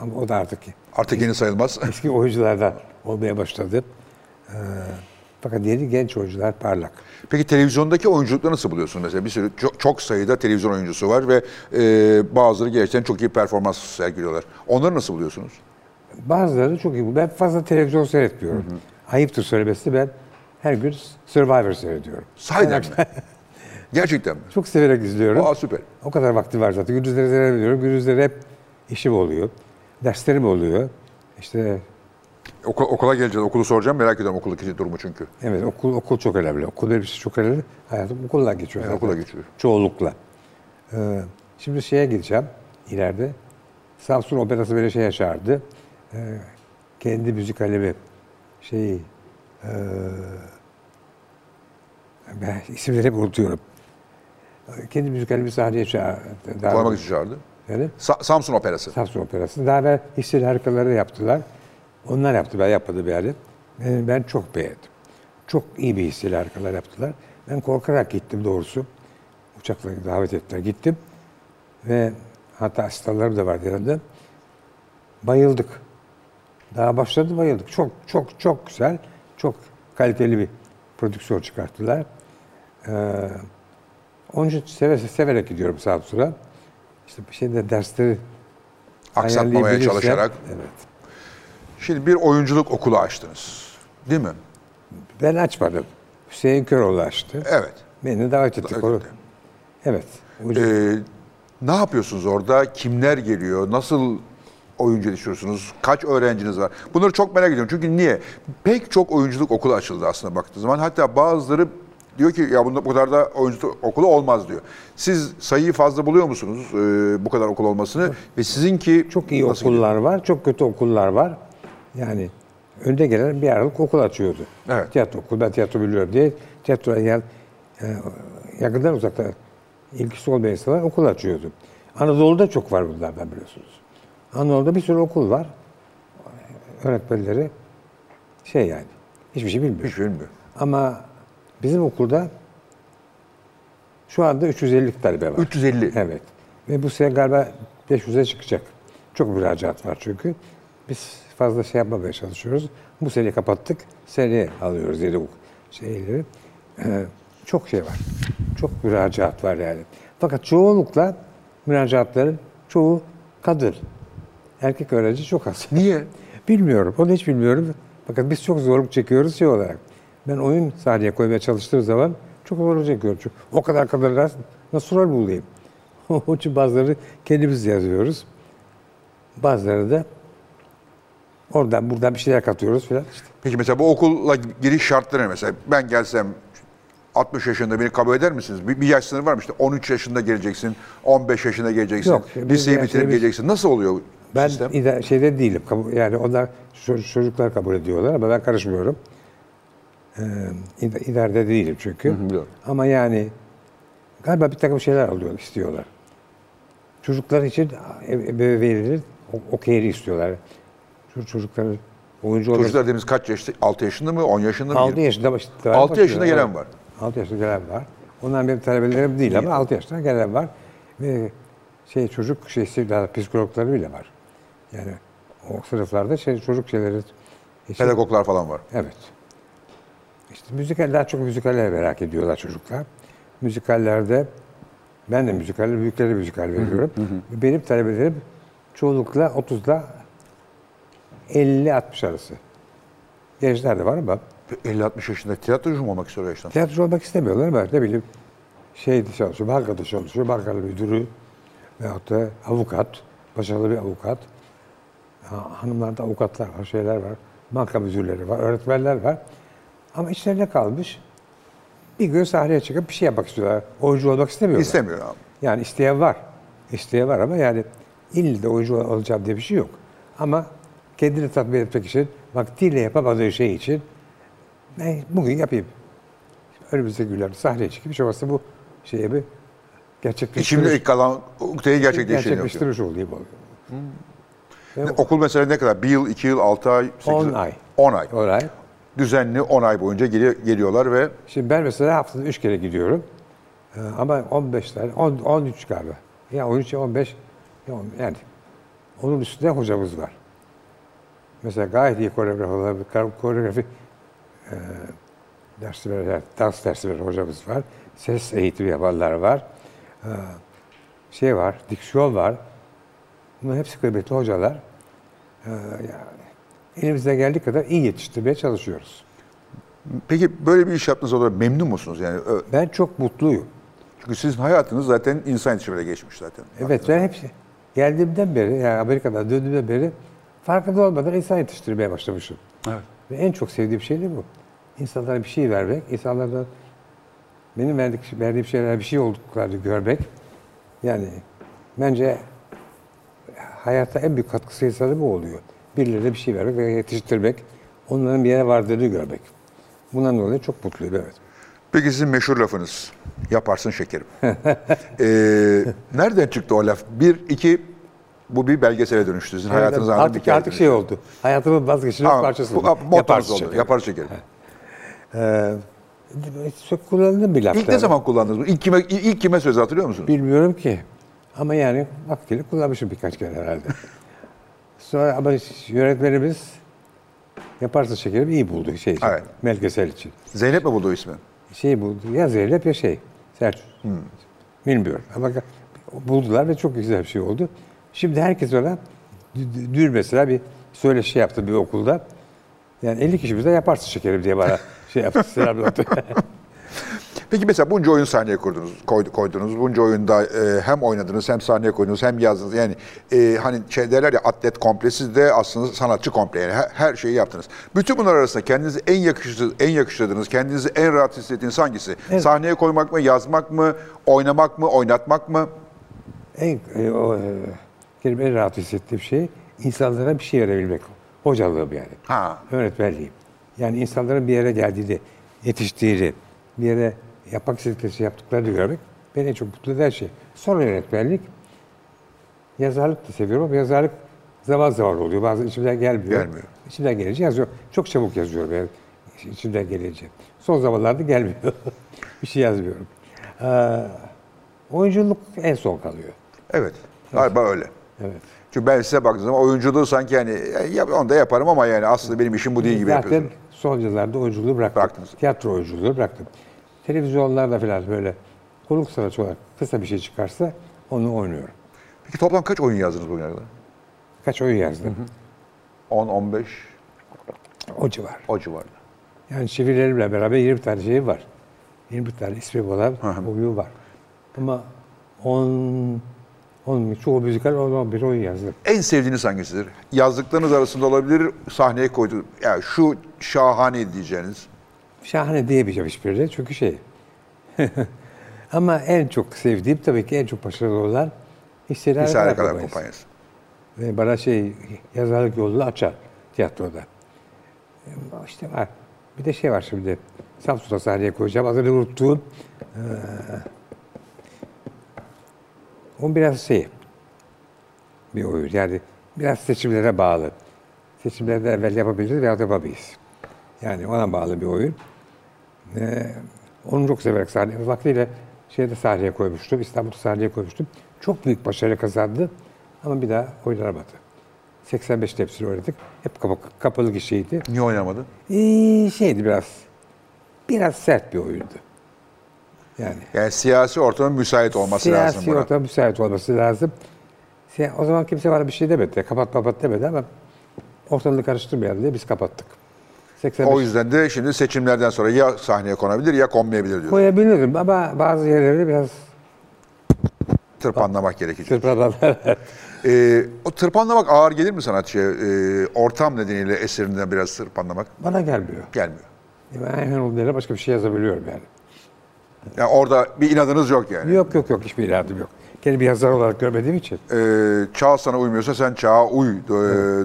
Ama o da artık Artık yeni sayılmaz. eski oyunculardan olmaya başladı. Ee, fakat yeni genç oyuncular parlak. Peki televizyondaki oyunculukları nasıl buluyorsun mesela? Bir sürü çok, çok sayıda televizyon oyuncusu var ve e, bazıları gerçekten çok iyi performans sergiliyorlar. Onları nasıl buluyorsunuz? Bazıları çok iyi. Ben fazla televizyon seyretmiyorum. Ayıptır söylemesi ben her gün Survivor seyrediyorum. Sahiden mi? gerçekten mi? Çok severek izliyorum. Aa süper. O kadar vakti var zaten. Gündüzleri seyrediyorum. Gündüzleri hep işim oluyor. Derslerim oluyor. İşte Okula, okula geleceğiz, okulu soracağım. Merak ediyorum okuldaki durumu çünkü. evet okul okul çok önemli. Okul benim için çok önemli. Hayatım okulla geçiyor. Evet, zaten. okula geçiyor. Çoğunlukla. Ee, şimdi şeye gideceğim ileride. Samsun Operası böyle şeye çağırdı. Ee, kendi müzik alemi şeyi ee, ben isimleri hep unutuyorum. Ee, Kendi müzik alemi sahneye çağırdı. Kullanmak için çağırdı. Efendim? Sa- Samsun Operası. Samsun Operası. Daha evvel İstil Harikaları yaptılar. Onlar yaptı, ben yapmadım yani. Ben, ben çok beğendim. Çok iyi bir İstil Harikalar yaptılar. Ben korkarak gittim doğrusu. Uçakla davet ettiler, gittim. Ve hatta asistanlarım da vardı yanımda. Bayıldık. Daha başladı bayıldık. Çok çok çok güzel, çok kaliteli bir prodüksiyon çıkarttılar. Ee, onun için seve, severek gidiyorum Samsun'a. İşte bir şeyde dersleri Aksatmamaya ayarlayabilirsem- çalışarak. Evet. Şimdi bir oyunculuk okulu açtınız. Değil mi? Ben açmadım. Hüseyin Köroğlu açtı. Evet. Beni davet etti. Davet Konu- etti. Evet. Hoca- Ee, ne yapıyorsunuz orada? Kimler geliyor? Nasıl oyuncu yetiştiriyorsunuz? Kaç öğrenciniz var? Bunları çok merak ediyorum. Çünkü niye? Pek çok oyunculuk okulu açıldı aslında baktığı zaman. Hatta bazıları diyor ki ya bunda bu kadar da oyunculuk okulu olmaz diyor. Siz sayıyı fazla buluyor musunuz e, bu kadar okul olmasını? Ve sizinki çok iyi nasıl gidiyor? okullar var, çok kötü okullar var. Yani önde gelen bir aralık okul açıyordu. Evet. Tiyatro okulu, ben tiyatro biliyorum diye tiyatroya gel, e, yakından uzakta ilgisi olmayan insanlar okul açıyordu. Anadolu'da çok var bunlardan biliyorsunuz. Anadolu'da bir sürü okul var. Öğretmenleri şey yani hiçbir şey bilmiyor. Hiç bilmiyorum. Ama bizim okulda şu anda 350 talebe var. 350. Evet. Ve bu sene galiba 500'e çıkacak. Çok müracaat var çünkü. Biz fazla şey yapmamaya çalışıyoruz. Bu seneyi kapattık. Seneye alıyoruz yeni ok- şeyleri. Ee, çok şey var. Çok müracaat var yani. Fakat çoğunlukla müracaatların çoğu kadın. Erkek öğrenci çok az. Niye? Bilmiyorum. Onu hiç bilmiyorum. Fakat biz çok zorluk çekiyoruz şey olarak. Ben oyun sahneye koymaya çalıştığım zaman çok zorluk çekiyorum. Çünkü o kadar kadar nasıl, nasıl rol bulayım? Onun için bazıları kendimiz yazıyoruz. Bazıları da oradan buradan bir şeyler katıyoruz filan. İşte Peki mesela bu okulla giriş şartları ne mesela? Ben gelsem 60 yaşında beni kabul eder misiniz? Bir, bir yaş sınırı var mı? İşte 13 yaşında geleceksin, 15 yaşında geleceksin, Yok, bizim liseyi bitirip yaşlarımız- geleceksin. Nasıl oluyor ben sistem? ide- şeyde değilim. Kabul- Yani onlar ço- çocuklar kabul ediyorlar ama ben karışmıyorum. Ee, id- idarede değilim çünkü. biliyorum. Ama yani galiba bir takım şeyler alıyor, istiyorlar. Çocuklar için ebeveynlerin o- okeyini istiyorlar. Ço- Çocukların oyuncu olması... Çocuklar dediğimiz kaç yaşta? 6 yaşında mı? 10 yaşında mı? 6 yaşında baş- daha Altı bakıyor, yaşında gelen evet. var. 6 yaşında gelen var. Onlar benim talebelerim değil ama 6 yaşında gelen var. Ve şey çocuk şeysi daha psikologları bile var. Yani o sınıflarda şey çocuk şeyleri için- Pedagoglar falan var. Evet. İşte müzikal, daha çok müzikaller merak ediyorlar çocuklar. Müzikallerde ben de müzikal, büyüklere müzikal veriyorum. Benim talebelerim çoğunlukla 30'la 50-60 arası. Gençler de var ama 50-60 yaşında tiyatrocu mu olmak istiyor o yaştan? Tiyatro olmak istemiyorlar ama ne bileyim şeyde çalışıyor, bankada çalışıyor, bankanın müdürü veyahut da avukat, başarılı bir avukat. Ha, Hanımlarda avukatlar var, şeyler var, banka müdürleri var, öğretmenler var. Ama içlerine kalmış bir gün sahneye çıkıp bir şey yapmak istiyorlar. Oyuncu olmak istemiyorlar. İstemiyor abi. Yani isteyen var. İsteyen var ama yani ille de oyuncu ol- olacağım diye bir şey yok. Ama kendini tatmin etmek için, vaktiyle yapamadığı şey için ben bugün yapayım. Önümüzdeki günlerde sahneye çıkıp hiç olmazsa bu şeyi bir İçimde şey gerçekleştirmiş, ilk kalan ukdeyi gerçekleştirmiyor. gerçekleştirmiş olayım. Ne- Okul mesela ne kadar? 1 yıl, 2 yıl, 6 ay, 8 10 ay. 10 ay. Olay. Düzenli 10 ay boyunca geliyor- geliyorlar ve Şimdi ben mesela haftada üç kere gidiyorum. Ee, Ama 15 tane, 10, 13 galiba. Ya 13 ya 15, ya on- yani. Onun üstünde hocamız var. Mesela gayet iyi koreografi olan bir kar- koreografi e, dersi veren, yani dans dersi veren hocamız var. Ses eğitimi yapanlar var. Ee, şey var, diksiyon var. Bunların hepsi kıymetli hocalar. Ee, yani elimizden geldiği kadar iyi yetiştirmeye çalışıyoruz. Peki böyle bir iş yaptığınız olarak memnun musunuz? Yani ö- Ben çok mutluyum. çünkü sizin hayatınız zaten insan iletişimine geçmiş zaten. Evet ben hepsi geldiğimden beri yani Amerika'dan döndüğümden beri farkında olmadan insan yetiştirmeye başlamışım. Evet. Ve en çok sevdiğim şey de bu. İnsanlara bir şey vermek, insanlardan benim verdik, verdiğim şeyler bir şey olduklarını görmek. Yani bence hayata en büyük katkısı insanı bu oluyor. Birilerine bir şey vermek ve yetiştirmek, onların bir yere vardığını görmek. Bundan dolayı çok mutluyum evet. Peki sizin meşhur lafınız. Yaparsın şekerim. Ee, nereden çıktı o laf? Bir, iki, bu bir belgesele dönüştü. Sizin hayatınızı anlatan bir artık, hikaye artık şey oldu. Hayatımın vazgeçilmez Ama parçası bu- oldu. bu- Motto'nuz Yaparsın oldu. şekerim. Yapar şekerim. Ee, Çok kullanıldı bir laf. İlk ne yani. zaman kullandınız bunu? İlk kime, ilk kime söz hatırlıyor musunuz? Bilmiyorum ki. Ama yani vaktiyle kullanmışım birkaç kere herhalde. Sonra ama yönetmenimiz yaparsın şekerim iyi buldu şey için. Evet. Melkesel için. Zeynep mi buldu o ismi? Şey buldu. Ya Zeynep ya şey. Selçuk. Hmm. Bilmiyorum. Ama ga- buldular ve çok güzel bir şey oldu. Şimdi herkes ona dü- dü- dün mesela bir söyleşi yaptı bir okulda. Yani 50 kişi bize yaparsın şekerim diye bana şey yaptı. Selam yaptı. Peki mesela bunca oyun sahneye kurdunuz, koydu- koydunuz. Bunca oyunda e, hem oynadınız hem sahneye koydunuz hem yazdınız. Yani e, hani şey derler ya atlet komple siz de aslında sanatçı komple yani her, her şeyi yaptınız. Bütün bunlar arasında kendinizi en yakıştı, en yakıştırdığınız, kendinizi en rahat hissettiğiniz hangisi? Sahneye koymak mı, yazmak mı, oynamak mı, oynatmak mı? En, e, o, e, benim en rahat hissettiğim şey insanlara bir şey verebilmek. Hocalığım yani. Ha. Öğretmenliğim. Yani insanların bir yere geldiğini, yetiştiğini, bir yere yapmak istedikleri şey yaptıklarını görmek beni en çok mutlu eden şey. Sonra yönetmenlik. Yazarlık da seviyorum ama yazarlık zaman zaman oluyor. Bazen içimden gelmiyor. Gelmiyor. İçimden gelince yazıyorum. Çok çabuk yazıyorum yani iç- içimden gelince. Son zamanlarda gelmiyor. bir şey yazmıyorum. Ee, oyunculuk en son kalıyor. Evet. Galiba öyle. Evet. Çünkü ben size baktığım zaman oyunculuğu sanki hani e, yap, onu da yaparım ama yani aslında benim işim bu değil Şey gibi Zaten yapıyorsunuz. son yıllarda oyunculuğu bıraktım. Bıraktınız. Tiyatro oyunculuğu bıraktım. Televizyonlarda falan böyle konuk sanatçı olarak kısa bir şey çıkarsa onu oynuyorum. Peki toplam kaç oyun yazdınız bugüne kadar? Kaç oyun yazdım? 10-15 O civar. o civarında. Yani çevirilerimle beraber 20 tane şeyim var. 20 tane ismi olan hı. oyun var. Ama 10 10 çoğu müzikal 10 11 oyun yazdım. En sevdiğiniz hangisidir? Yazdıklarınız arasında olabilir, sahneye koyduğunuz, yani şu şahane diyeceğiniz. Şahane diyemeyeceğim hiçbirine çünkü şey. Ama en çok sevdiğim tabii ki en çok başarılı olan Hisseler Hisare kadar Kompanyası. kompanyası. Ve bana şey yazarlık yolunu açar tiyatroda. E, İşte var. Bir de şey var şimdi. Samsun'a sahneye koyacağım. Adını unuttuğum. e, o biraz şey. Bir oyun. Yani biraz seçimlere bağlı. Seçimleri de evvel yapabiliriz veya da yapamayız. Yani ona bağlı bir oyun. E, onu çok severek sahneye, vaktiyle şeyde sahneye koymuştum, İstanbul'da sahneye koymuştum. Çok büyük başarı kazandı ama bir daha oynanamadı. 85 hepsini oynadık. Hep kapalı, kapalı gişeydi. Niye oynamadın? Ee, şeydi biraz, biraz sert bir oyundu. Yani Yani siyasi ortamın müsait olması lazım siyasi buna. ortam müsait olması lazım. Siya- O zaman kimse bana bir şey demedi. Kapat kapat demedi ama ortalığı karıştırmayalım diye biz kapattık. 85 O yüzden de şimdi seçimlerden sonra ya sahneye konabilir ya konmayabilir diyor. koyabilirim ama bazı yerlerde biraz Tırpanlamak gerekecek. çırpınan Ee, o tırpanlamak ağır gelir mi sanatçıya? Ee, ortam nedeniyle eserinden biraz tırpanlamak Bana gelmiyor. gelmiyor. Ben hemen onun yerine başka bir şey yazabiliyorum yani. Yani orada bir inadınız yok yani. Yok yok yok hiçbir iradım yok. Kendi bir yazar olarak görmediğim için. Ee, çağ sana uymuyorsa sen çağa uy e,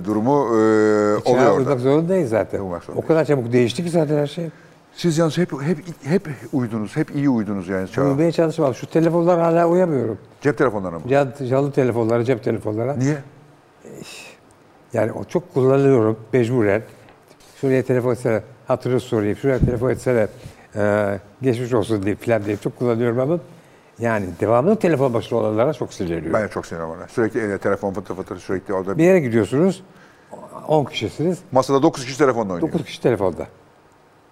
durumu e, oluyor Çağa orada. uymak zorundayız zaten. Uymak zorundayız. O kadar çabuk değişti ki zaten her şey. Siz yalnız hep hep hep uydunuz, hep iyi uydunuz yani. çağa. Uymaya çalışmam. Şu telefonlara hala uyamıyorum. Cep telefonlarına mı? Can, canlı telefonlara, cep telefonlara. Niye? Yani o çok kullanıyorum mecburen. Şuraya telefon etsene hatırı sorayım, şuraya telefon etsene Ee, geçmiş olsun diye falan diye çok kullanıyorum ama yani devamlı telefon başında olanlara çok sinirleniyorum. Ben de çok sinirim ona. Sürekli eline telefon fıtır fıtır sürekli orada. Bir yere gidiyorsunuz 10 kişisiniz Masada 9 kişi telefonla oynuyor. 9 kişi telefonda.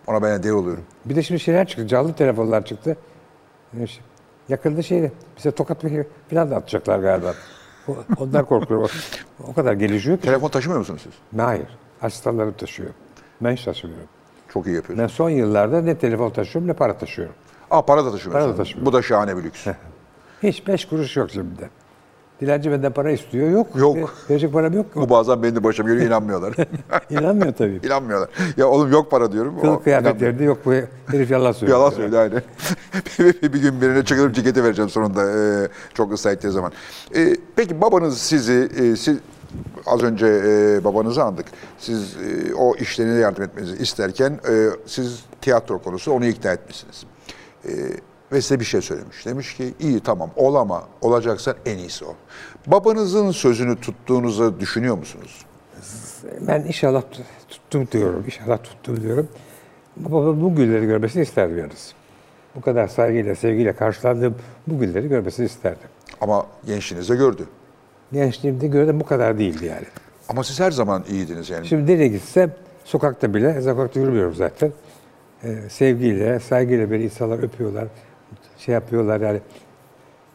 Ona ben de deli oluyorum. Bir de şimdi şeyler çıktı canlı telefonlar çıktı. Ee, şi- Yakında şeyde bize tokat bir falan da atacaklar galiba. O- Onlar korkuyor. O- O kadar gelişiyor ki. Telefon taşımıyor musunuz siz? Hayır. Asistanlarım taşıyor. Ben hiç taşımıyorum. Çok iyi yapıyorsunuz. Ben son yıllarda ne telefon taşıyorum ne para taşıyorum. Aa para da taşımıyorsunuz. Para da taşımıyorum. Bu da şahane bir lüks. Hiç beş kuruş yok cebimde. Dilenci benden para istiyor. Yok. Yok. Ve- Verecek param yok. Bu bazen benim de başıma geliyor inanmıyorlar. İnanmıyor tabii. inanmıyorlar. Ya oğlum yok para diyorum. Kıl O inanmıyor. kıyafetleri de yok. Bu herif yalan söylüyor. Yalan söyledi aynen. bir, bir- bir gün birine çıkarıp ceketi vereceğim sonunda. ee, çok ısrar ettiği zaman. Ee, peki babanız sizi, e, siz az önce e, babanızı andık. Siz e, o işlerine yardım etmenizi isterken e, siz tiyatro konusu onu ikna etmişsiniz. Ee, ve size bir şey söylemiş. Demiş ki iyi tamam ol ama olacaksa en iyisi o. Babanızın sözünü tuttuğunuzu düşünüyor musunuz? Ben inşallah tut- tuttum diyorum. İnşallah tuttum diyorum. Babamın bu günleri görmesini isterdim yalnız. Bu kadar saygıyla, sevgiyle karşılandığım bu günleri görmesini isterdim. Ama gençliğinizde gördü. Gençliğimde gördüm bu kadar değildi yani. Ama siz her zaman iyiydiniz yani. Şimdi nereye gitsem sokakta bile, sokakta yürümüyorum zaten. Ee, sevgiyle, saygıyla beni insanlar öpüyorlar, şey yapıyorlar yani.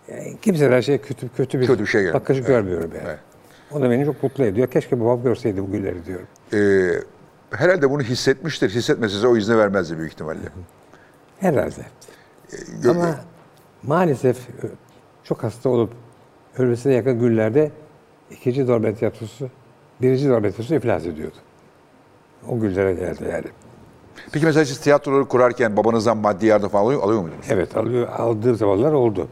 yani kimseden şey kötü kötü bir, Kötü bir şey görmüyor. bakış Evet. görmüyorum yani. Evet. O da beni çok mutlu ediyor. Keşke babam görseydi bu günleri diyorum. Ee, herhalde bunu hissetmiştir. Hissetmese size o izni vermezdi büyük ihtimalle. Ee, Herhalde. Gö- e, Ama maalesef ö, çok hasta olup ölmesine yakın günlerde ikinci Dolmen Tiyatrosu, birinci Dolmen Tiyatrosu iflas ediyordu. O günlere geldi yani. Peki mesela siz tiyatroları kurarken babanızdan maddi yardım falan alıyor, alıyor muydunuz? Evet alıyor, aldığım zamanlar oldu.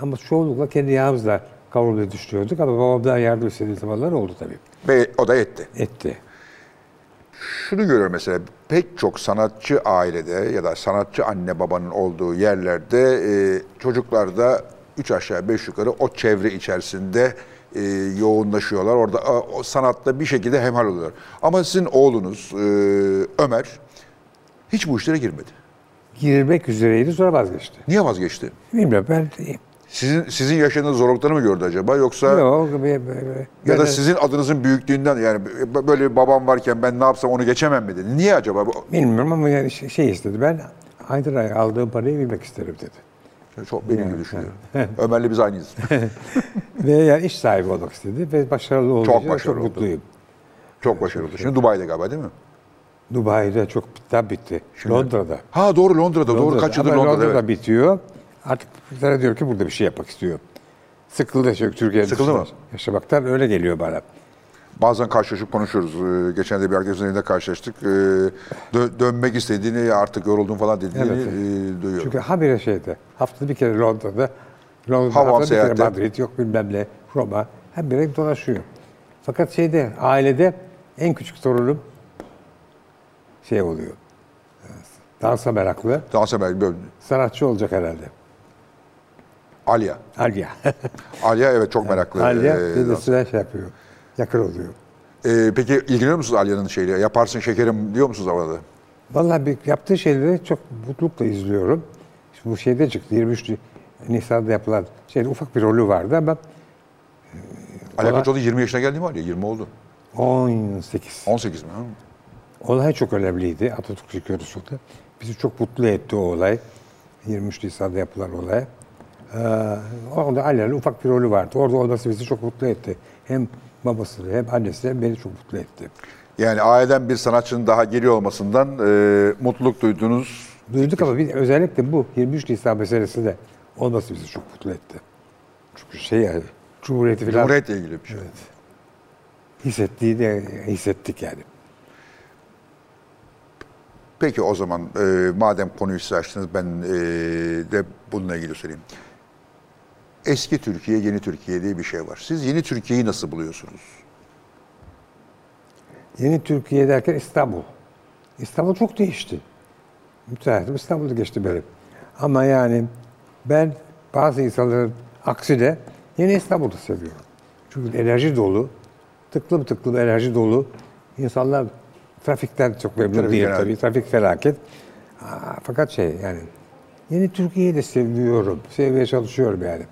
Ama çoğunlukla kendi yağımızla kavrulmaya düşünüyorduk ama babamdan yardım istediği zamanlar oldu tabii. Ve o da etti. Etti. Şunu görüyorum mesela pek çok sanatçı ailede ya da sanatçı anne babanın olduğu yerlerde e, çocuklar da üç aşağı beş yukarı o çevre içerisinde e, yoğunlaşıyorlar. Orada a, o sanatla bir şekilde hemhal oluyorlar. Ama sizin oğlunuz e, Ömer hiç bu işlere girmedi. Girmek üzereydi sonra vazgeçti. Niye vazgeçti? Bilmiyorum ben... Sizin sizin yaşadığınız zorlukları mı gördü acaba yoksa Yok, Ya da sizin adınızın büyüklüğünden yani b- böyle bir babam varken ben ne yapsam onu geçemem mi dedi. Niye acaba? Bu- Bilmiyorum ama yani şey şey istedi. Ben aydır ay aldığım parayı bilmek isterim dedi. Çok benim gibi düşünüyorum. Ömer'le biz aynıyız. Ve yani iş sahibi olmak istedi ve başarılı olduğu Çok için de başarılı oldu. çok mutluyum. Çok başarılı. Şimdi Dubai'de galiba değil mi? Dubai'de çok bitti, bitti. Londra'da. Ha doğru Londra'da. Doğru kaç yıldır Ama Londra'da. evet. bitiyor. Artık sana diyor ki burada bir şey yapmak istiyor. Sıkıldı çünkü Türkiye'de. Sıkıldı mı? Yaşamaktan öyle geliyor bana. Bazen karşılaşıp konuşuyoruz. Ee, geçen de bir arkadaşımın evinde karşılaştık. Ee, dö- dönmek istediğini ya artık yoruldum falan dediğini Evet. e, duyuyorum. Çünkü habire şeyde. Haftada bir kere Londra'da. Londra'da Hava haftada bir seyahati. kere Madrid yok bilmem ne. Roma. Habire dolaşıyor. Fakat şeyde ailede en küçük torunum şey oluyor. Dansa meraklı. Daha sonra böyle Sanatçı olacak herhalde. Alya. Alya. Alya evet çok meraklı. Alya Ee, dedesine şey yapıyor. Yakın oluyor. e, peki ilgileniyor musunuz Alya'nın şeyle? Yaparsın şekerim diyor musunuz arada? Vallahi bir, yaptığı şeyleri çok mutlulukla izliyorum. Şimdi bu şeyde çıktı 23 Nisan'da yapılan şeyde ufak bir rolü vardı ama Alya Valla- kaç oldu? 20 yaşına geldi mi Alya? 20 oldu. 18. 18 mi? Ha? Olay çok önemliydi Atatürk Kürsüsü'nde. Bizi çok mutlu etti o olay. 23 Nisan'da yapılan olay. Ee, orada Alya'nın ufak bir rolü vardı. Orada olması bizi çok mutlu etti. Hem babasını hem annesini hem beni çok mutlu etti. Yani aileden bir sanatçının daha geliyor olmasından e, mutluluk duyduğunuz Duyduk ama bir, özellikle bu 23 Nisan meselesi de olması bizi çok mutlu etti. Çünkü şey yani Cumhuriyeti falan Cumhuriyet'le ilgili bir şey. hissettiği de hissettik yani. Peki o zaman e, madem konuyu siz açtınız ben e, de bununla ilgili söyleyeyim. Eski Türkiye, yeni Türkiye diye bir şey var. Siz yeni Türkiye'yi nasıl buluyorsunuz? Yeni Türkiye derken İstanbul. İstanbul çok değişti. Müteahhitim İstanbul'da geçti benim. Ama yani ben bazı insanların aksine yeni İstanbul'u seviyorum. Çünkü enerji dolu, tıklım tıklım enerji dolu. İnsanlar trafikten çok memnun Trafik değil felaket. tabii. Trafik felaket. Aa, fakat şey yani yeni Türkiye'yi de seviyorum. Sevmeye çalışıyorum yani.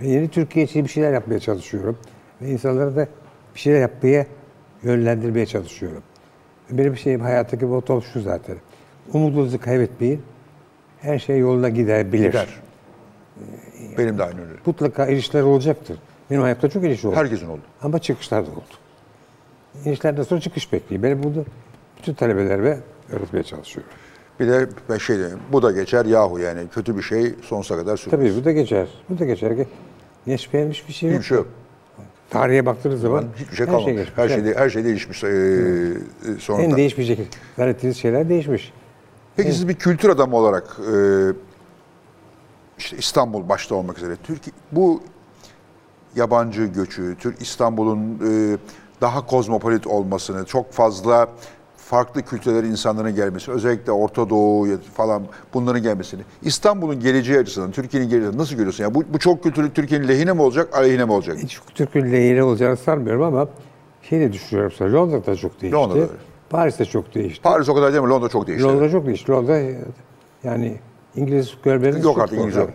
Ve yeni Türkiye için bir şeyler yapmaya çalışıyorum. Ve insanları da bir şeyler yapmaya yönlendirmeye çalışıyorum. Benim şeyim hayattaki motom şu zaten. Umudunuzu kaybetmeyin. Her şey yoluna gidebilir. Gider. Benim de aynı öyle. Mutlaka ilişkiler olacaktır. Benim hayatta çok ilişki oldu. Herkesin oldu. Ama çıkışlar da oldu. İnişlerden sonra çıkış bekliyor. Beni bunu bütün talebelerime öğretmeye çalışıyorum. Bir de ben şey diyeyim, bu da geçer yahu yani kötü bir şey sonsuza kadar sürmez. Tabii bu da geçer. Bu da geçer. Ge- Geç beğenmiş bir şey yok. Hiçbir şey yok. Tarihe baktığınız zaman Hiçbir şey kalmamış. Her şey, geçmiş. her Yani şey, değişmiş ee, sonunda. En değişmeyecek zannettiğiniz şeyler değişmiş. Peki siz bir kültür adamı olarak e, işte İstanbul başta olmak üzere Türkiye bu yabancı göçü, Türk İstanbul'un e, daha kozmopolit olmasını, çok fazla farklı kültürlerin insanların gelmesi, özellikle Orta Doğu ya- falan bunların gelmesini. İstanbul'un geleceği açısından, Türkiye'nin geleceği açısından nasıl görüyorsun? Yani bu, bu çok kültürlü Türkiye'nin lehine mi olacak, aleyhine mi olacak? Hiç Türk'ün lehine olacağını sanmıyorum ama şey de düşünüyorum sana. Londra'da çok değişti. Londra'da öyle. Paris'te çok değişti. Paris o kadar değil mi? Londra çok değişti. Londra çok değişti. Londra e, yani İngiliz görmeniz Yok çok artık İngiliz zor. yok.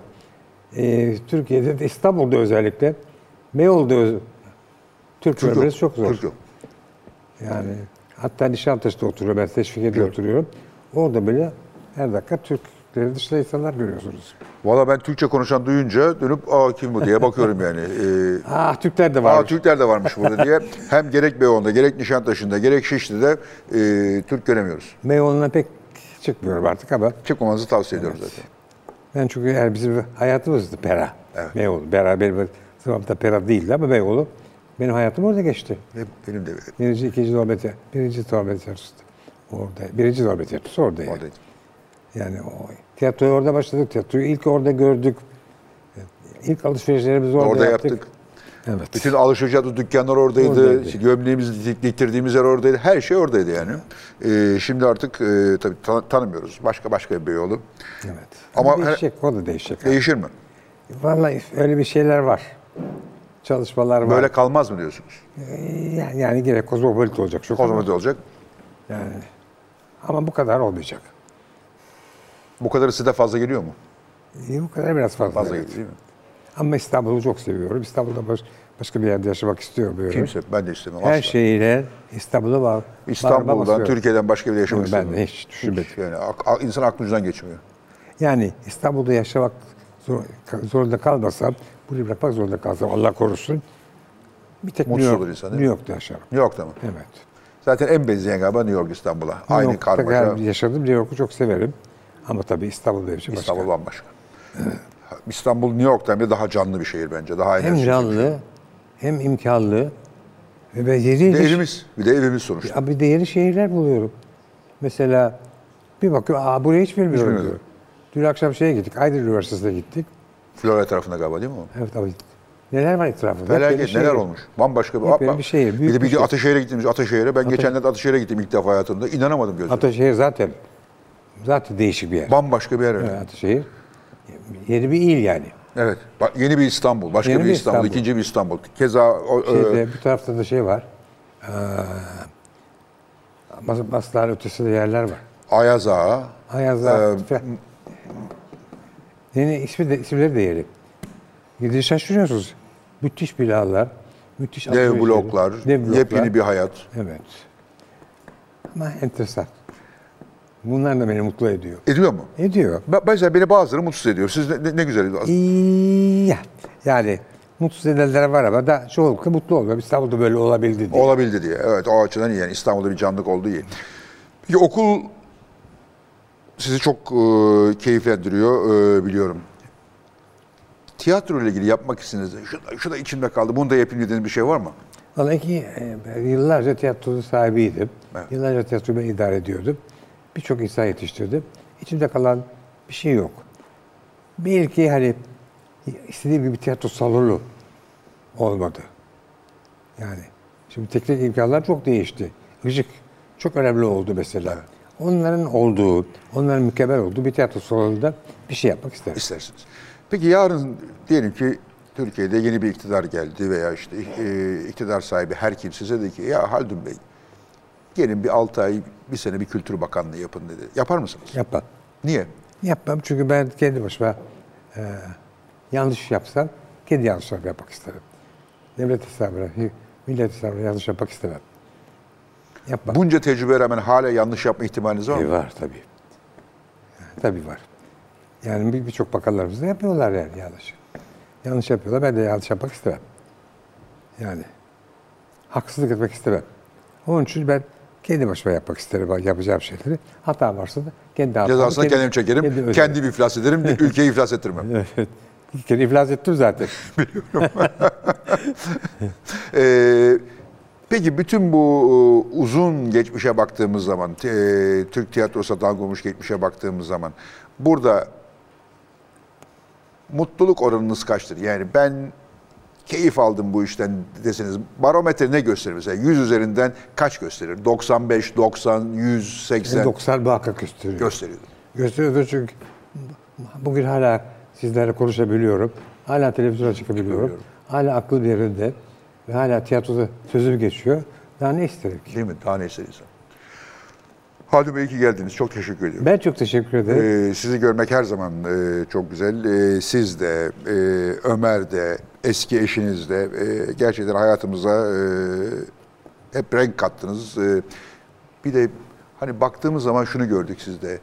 E, Türkiye'de de İstanbul'da özellikle Beyoğlu'da öz- Türk Türk görmeniz yok. çok zor. Türk yok. Yani hatta Nişantaşı'da oturuyorum ben Teşvikiye'de Yok. oturuyorum. Orada bile her dakika Türklerin dışında insanlar görüyorsunuz. Valla ben Türkçe konuşan duyunca dönüp aa kim bu diye bakıyorum yani. Ee, Ah Türkler de Aa, var. Türkler de varmış burada diye. Hem gerek Beyoğlu'nda, gerek Nişantaşı'nda, gerek Şişli'de e, Türk göremiyoruz. Beyoğlu'na pek çıkmıyorum artık ama Çıkmamanızı tavsiye ediyorum zaten. ben çünkü yani bizim hayatımızdı Pera. Beyoğlu. Pera benim sınavımda Pera değildi ama Beyoğlu benim hayatım orada geçti. Hep benim de öyle. Birinci, ikinci Zorbet Birinci Zorbet Tiyatrosu orada. Birinci Zorbet Tiyatrosu orada. yani. oradaydım. Yani o tiyatroya orada başladık. Tiyatroyu ilk orada gördük. İlk alışverişlerimizi orada, Orada yaptık. yaptık. Evet. Bütün alışveriş dükkanlar oradaydı. Oradaydı. İşte Gömleğimizi dik- diktirdiğimiz yer oradaydı. Her şey oradaydı yani. E, şimdi artık e, tabii tan- tanımıyoruz. Başka başka bir Beyoğlu. Evet. Ama Ama her- değişecek, o da değişecek. Değişir mi? Vallahi öyle bir şeyler var. Çalışmalar var. Böyle kalmaz mı diyorsunuz? Yani, yani gerek kozmopolit olacak. Çok Kozmopolit olacak. Yani. Ama bu kadar olmayacak. Bu kadarı size fazla geliyor mu? E, bu kadar biraz fazla. Fazla evet. geliyor değil mi? Ama İstanbul'u çok seviyorum. İstanbul'da baş- başka bir yerde yaşamak istiyorum. Böyle. Kimse. Ben de istemem. Her asla. şeyle İstanbul'a var. bağrıma İstanbul'dan, basıyorum. Türkiye'den başka bir yere yaşamak Yok, ben istemiyorum. de hiç düşünmedim. Yani ak- ak- insan aklın ucundan geçmiyor. Yani İstanbul'da yaşamak zor- zorunda kalmasam, burayı bırakmak zorunda kalsam Allah korusun. Bir tek Mutsuz New, York, olur insan, değil New York'ta yaşarım. New York'ta mı? Evet. Zaten en benzeyen galiba New York İstanbul'a. New Aynı York'ta karmaşa. gel- yaşadım. New York'u çok severim. Ama tabii İstanbul benim için başka. İstanbul bambaşka. İstanbul New York'tan bile daha canlı bir şehir bence. Daha şey. Hem enerjik. canlı, hem imkanlı. Ve ben yeni, Bir de yeni, evimiz. Bir de evimiz sonuçta. Ya bir de yeni şehirler buluyorum. Mesela bir bakıyorum, aa burayı hiç bilmiyorum bilmiyordum. diyorum. Dün akşam şeye gittik, Aydın Üniversitesi'ne gittik. Florya tarafında galiba değil mi o? Evet abi. Neler var etrafında? Hep yeni Felaket şehir. neler olmuş. Bambaşka Hep böyle bir şehir, büyük bir de bir bir şehir. Ataşehir'e gittiğimiz Ataşehir'e. Ben geçenlerde Ataşehir'e gittim ilk defa hayatımda. İnanamadım gözlerime. Ataşehir zaten zaten değişik bir yer. Bambaşka bir yer. Evet, Ataşehir yeni bir il yani. Evet. Ba- Yeni bir İstanbul. Başka Yeni bir bir İstanbul, İstanbul. ikinci bir İstanbul. Keza o, e, Şeyde, bir tarafta da şey var. Eee Bas- Basların ötesinde yerler var. Ayaz Ağa, Ayaz Ee, Ağa, Fe- Yeni ismi de, isimleri de yeri. Gidince şaşırıyorsunuz. Müthiş binalar, müthiş dev alışveriş yeri, bloklar, dev bloklar. yepyeni bir hayat. Evet. Ama enteresan. Bunlar da beni mutlu ediyor. Ediyor mu? Ediyor. Ben- Mesela beni bazıları mutsuz ediyor. Siz ne, ne- ne güzel ediyorsunuz. İyi. ya. Yani mutsuz edenler var ama da çoğunlukla mutlu oluyor. İstanbul'da böyle olabildi diye. Olabildi diye. Evet o açıdan iyi. Yani İstanbul'da bir canlılık olduğu iyi. Peki okul sizi çok e, keyiflendiriyor e, biliyorum. Tiyatro ile ilgili yapmak istediğiniz, şu, da- şu da içimde kaldı, bunu da yapayım dediğiniz bir şey var mı? Vallahi ki e, ben yıllarca tiyatronun sahibiydim. Evet. Yıllarca tiyatroyu ben idare ediyordum. Birçok insan yetiştirdim. İçimde kalan bir şey yok. Belki hani istediğim gibi tiyatro salonu olmadı. Yani şimdi teknik imkanlar çok değişti. Işık çok önemli oldu mesela. Onların olduğu, onların mükemmel olduğu bir tiyatro salonunda bir şey yapmak isterim. İstersiniz. Peki yarın diyelim ki Türkiye'de yeni bir iktidar geldi veya işte e, iktidar sahibi her kim size dedi ki ya Haldun Bey Gelin bir 6 ay, bir sene bir kültür bakanlığı yapın dedi. Yapar mısınız? Yapmam. Niye? Yapmam çünkü ben kendi başıma e, yanlış yapsam kendi yanlışlarımı yapmak isterim. Devlet hesabına, hi- millet hesabına yanlış yapmak istemem. Yapmam. Bunca tecrübeye rağmen hala yanlış yapma ihtimaliniz şey var mı? E, var tabii. Tabii var. Yani bir- birçok bakanlarımız da yapıyorlar yani yanlış. Yanlış yapıyorlar. Ben de yanlış yapmak istemem. Yani haksızlık etmek istemem. Onun için ben kendi başıma yapmak isterim yapacağım şeyleri. Hata varsa da kendi hatamı Cezasını kendim çekerim, öderim. kendim iflas ederim, ülkeyi iflas ettirmem. Evet. İlk kere iflas ettim zaten. Ee, peki bütün bu e, uzun geçmişe baktığımız zaman, te- e, Türk tiyatrosu dalgılmış geçmişe baktığımız zaman burada mutluluk oranınız kaçtır? Yani ben keyif aldım bu işten deseniz barometre ne gösterir mesela? 100 üzerinden kaç gösterir? 95, 90, 180 90 muhakkak gösteriyor. gösteriyor. Gösteriyordu çünkü bugün hala sizlerle konuşabiliyorum. Hala televizyona çıkabiliyorum. Hala aklım yerinde. Ve hala tiyatroda sözüm geçiyor. Daha ne isterim ki? Değil mi? Daha ne istediysen. Hadi Bey iyi ki geldiniz. Çok teşekkür ediyorum. Ben çok teşekkür ederim. Ee, sizi görmek her zaman e, çok güzel. Ee, siz de, e, Ömer de, eski eşiniz de e, gerçekten hayatımıza e, hep renk kattınız. E, bir de hani baktığımız zaman şunu gördük sizde.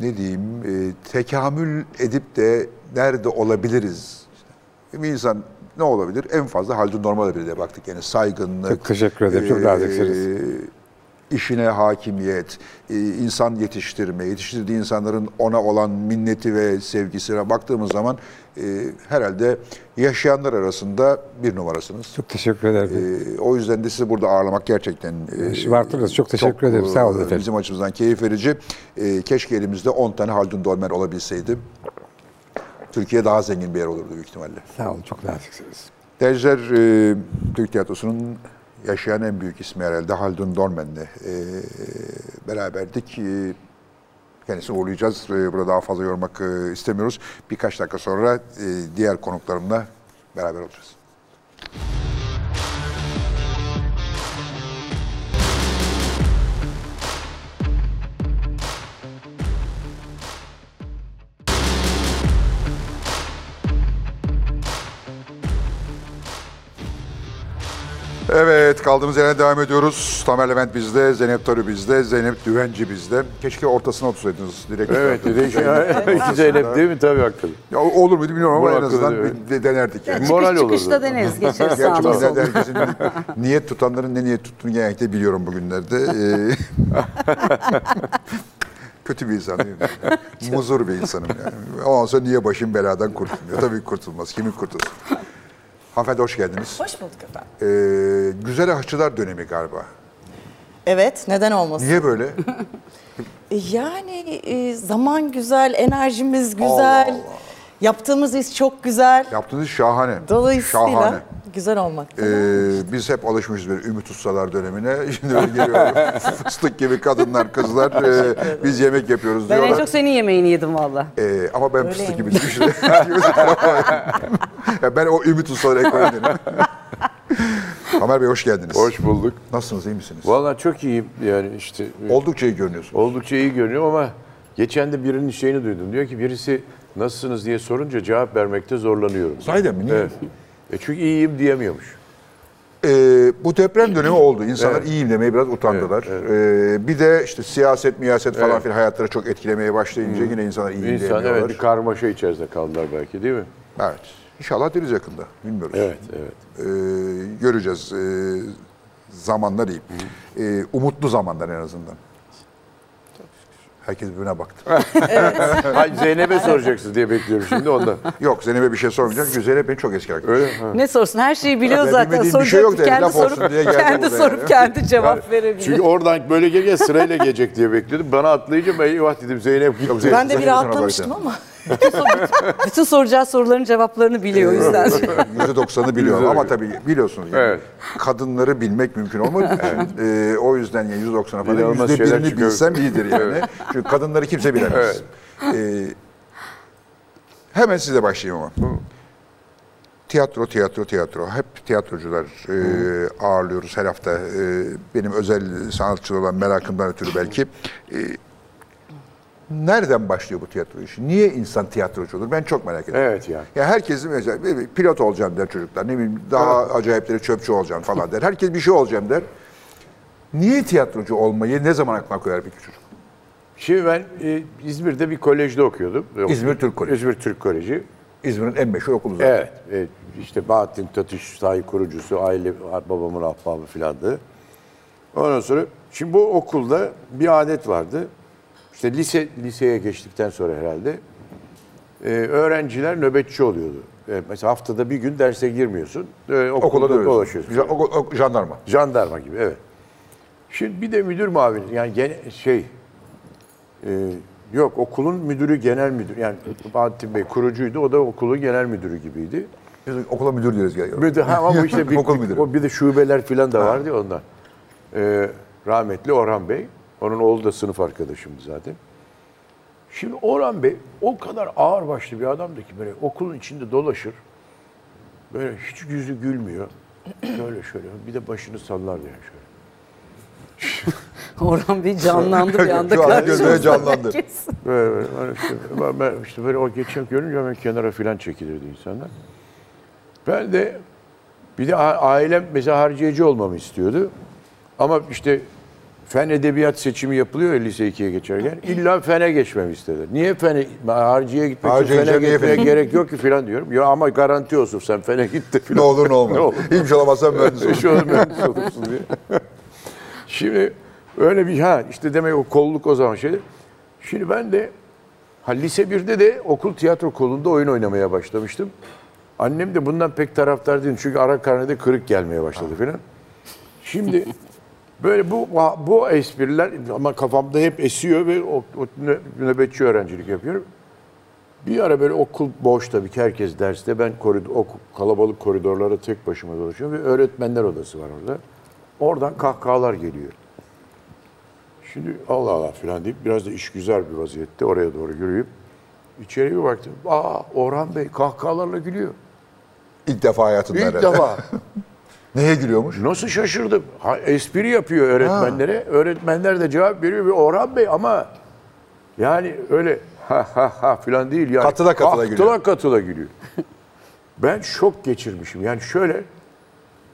Ne diyeyim, e, tekamül edip de nerede olabiliriz? Bir insan ne olabilir? En fazla Haldun Normal olabilir diye baktık. Yani saygınlık. e, Çok teşekkür ederim. Çok naziksiniz. işine hakimiyet, e, insan yetiştirme, yetiştirdiği insanların ona olan minneti ve sevgisine baktığımız zaman e, herhalde yaşayanlar arasında bir numarasınız. Çok teşekkür ederim. E, O yüzden de sizi burada ağırlamak gerçekten... e, Eşi Bartınız, çok teşekkür ederim. Sağ olun e, efendim. Bizim açımızdan keyif verici. E, Keşke elimizde 10 tane Haldun Dolmer olabilseydi. Türkiye daha zengin bir yer olurdu büyük ihtimalle. Sağ olun. Çok naziksiniz. Derciler e, Türk tiyatrosunun yaşayan en büyük ismi herhalde Haldun Dormen'le e, beraberdik. E, kendisini uğurlayacağız. E, burada daha fazla yormak e, istemiyoruz. Birkaç dakika sonra e, diğer konuklarımla beraber olacağız. Evet kaldığımız yerden devam ediyoruz. Tamer Levent bizde, Zeynep Tarı bizde, Zeynep Düvenci bizde. Keşke ortasına otursaydınız direkt. Evet Ortasına. direkt iki Zeynep değil mi? Tabii hakikaten. Ya, olur muydu bilmiyorum ama Bu en hakkında azından değil mi? bir de- denerdik. Yani. Moral Çıkış olurdu. çıkışta deneriz geçeriz sağda Gerçekten solda. herkesin niyet tutanların ne niyet tuttuğunu genellikle biliyorum bugünlerde. Ee, Kötü bir insan değil mi? Muzur bir insanım yani. Ondan sonra niye başım beladan kurtulmuyor? Tabii kurtulmaz. Kimin kurtulsun? Hanımefendi hoş geldiniz. Hoş bulduk efendim. Ee, güzel aşçılar dönemi galiba. Evet, neden olmasın? Niye böyle? Yani e, zaman güzel, enerjimiz güzel, yaptığımız iş çok güzel. Yaptığınız şahane. Dolayısıyla Şahane. güzel olmak. Ee, biz hep alışmışız böyle ümit ustalar dönemine. Şimdi böyle geliyor fıstık gibi kadınlar, kızlar. ee, biz yemek yapıyoruz Ben en diyorlar. çok senin yemeğini yedim valla. Ee, ama ben fıstık gibi Öyleymiş. düşünüyorum. Ya ben o ümit ustaları ekonomiyim. Tamer Bey hoş geldiniz. Hoş bulduk. Nasılsınız, iyi misiniz? Vallahi çok iyiyim yani işte. e, Oldukça iyi görünüyorsunuz. Oldukça iyi görünüyorum ama geçen de birinin şeyini duydum. Diyor ki birisi nasılsınız diye sorunca cevap vermekte zorlanıyorum. Sahiden mi? Niye? Evet. E çünkü iyiyim diyemiyormuş. Ee, bu deprem dönemi oldu. İnsanlar Evet. iyiyim demeye biraz utandılar. Ee, bir de işte siyaset, miyaset falan Evet. filan hayatları çok etkilemeye başlayınca yine insanlar iyiyim İnsan diyemiyorlar. evet bir karmaşa içerisinde kaldılar belki değil mi? Evet. İnşallah deriz yakında. Bilmiyoruz. Evet, evet. Ee, göreceğiz. Ee, zamanlar iyi. Ee, umutlu zamanlar en azından. Herkes birbirine baktı. Hayır Zeynep'e soracaksın diye bekliyorum şimdi ondan. yok Zeynep'e bir şey sormayacağım. Güzel ben çok eski arkadaşım. Öyle Ne sorsun her şeyi biliyor Ben zaten. bilmediğim bir şey yok Soracak, dedi, kendi laf olsun diye sorup, geldi kendi buraya yani. sorup kendi cevap verebilir. Çünkü oradan böyle gel gel sırayla gelecek diye bekliyordum. Bana atlayınca ben eyvah dedim Zeynep gitti. Zeynep- Ben de bir Zeynep'e rahatlamıştım bakacağım. ama Bütün soracağı soruların cevaplarını biliyor o yüzden. %90'ı biliyorum ama tabii biliyorsunuz yani Evet. kadınları bilmek mümkün olmadı. Ee, o yüzden yani %90'a falan İnanılmaz şeyler %1'ini çıkıyor. bilsem iyidir yani. Çünkü kadınları kimse bilemez. Evet. Ee, hemen size başlayayım ama. Tiyatro, tiyatro, tiyatro. Hep tiyatrocular e, ağırlıyoruz her hafta. E, benim özel sanatçı olan merakımdan ötürü belki. E, nereden başlıyor bu tiyatro işi? Niye insan tiyatrocu olur? Ben çok merak ediyorum. Evet ya. Ya herkesin mesela pilot olacağım der çocuklar. Ne bileyim daha acayipleri çöpçü olacağım falan der. Herkes bir şey olacağım der. Niye tiyatrocu olmayı ne zaman aklına koyar bir çocuk? Şimdi ben e, İzmir'de bir kolejde okuyordum. İzmir Türk Koleji. İzmir Türk Koleji. İzmir'in en meşhur okulu zaten. Evet. e, işte Bahattin Tatış sahi kurucusu, aile babamın ahbabı filandı. Ondan sonra şimdi bu okulda bir adet vardı. İşte lise liseye geçtikten sonra herhalde e, öğrenciler nöbetçi oluyordu. E, mesela haftada bir gün derse girmiyorsun. E, Okula okulda dönüyorsun. dolaşıyorsun. Güzel, okul- ok- jandarma. Jandarma gibi evet. Şimdi bir de müdür muavini yani gene, şey e, yok okulun müdürü genel müdür yani Bahattin Bey kurucuydu o da okulun genel müdürü gibiydi. Biz okula müdür diyoruz galiba. Bir de, ha, ama bu işte bir, Okul bir- müdürü. o bir de şubeler filan da vardı ya ondan. E, rahmetli Orhan Bey. Onun oğlu da sınıf arkadaşımdı zaten. Şimdi Orhan Bey o kadar ağır başlı bir adamdı ki böyle okulun içinde dolaşır. Böyle hiç yüzü gülmüyor. Şöyle şöyle bir de başını sallar yani şöyle. Orhan Bey canlandı bir anda Şu an karşımızda. gözleri canlandı. Kesin. Böyle, böyle, böyle işte, ben- ben işte böyle o geçen görünce hemen kenara filan çekilirdi insanlar. Ben de bir de a- ailem mesela harcayıcı olmamı istiyordu. Ama işte fen edebiyat seçimi yapılıyor ya lise 2'ye geçerken. İlla fene geçmemi istedi. Niye fene, harcıya gitmek için Harcayınca fene niye gitmeye fene? gerek yok ki filan diyorum. Ya ama garanti olsun sen fene git de filan. ne olur ne olmaz. Ne olur. Hiçbir şey olamazsan mühendis olur. Hiç olur, mühendis olursun diye. Şimdi öyle bir ha işte demek o kolluk o zaman şey. Şimdi ben de ha lise 1'de de okul tiyatro kolunda oyun oynamaya başlamıştım. Annem de bundan pek taraftar değil çünkü ara karnede kırık gelmeye başladı filan. Şimdi böyle bu bu espriler ama kafamda hep esiyor ve o, o nö- nöbetçi öğrencilik yapıyorum. Bir ara böyle okul boş tabii ki herkes derste. Ben koridor, ok, kalabalık koridorlara tek başıma dolaşıyorum. Bir öğretmenler odası var orada. Oradan kahkahalar geliyor. Şimdi Allah Allah filan deyip biraz da işgüzar bir vaziyette oraya doğru yürüyüp içeriye bir baktım. Aa Orhan Bey kahkahalarla gülüyor. İlk defa hayatında İlk herhalde. defa. Neye gülüyormuş? Nasıl şaşırdım. Ha, espri yapıyor öğretmenlere. Öğretmenler de cevap veriyor. Bir Orhan Bey ama yani öyle ha ha ha filan değil. Yani. Katıla katıla katıla gülüyor. katıla gülüyor. ben şok geçirmişim. Yani şöyle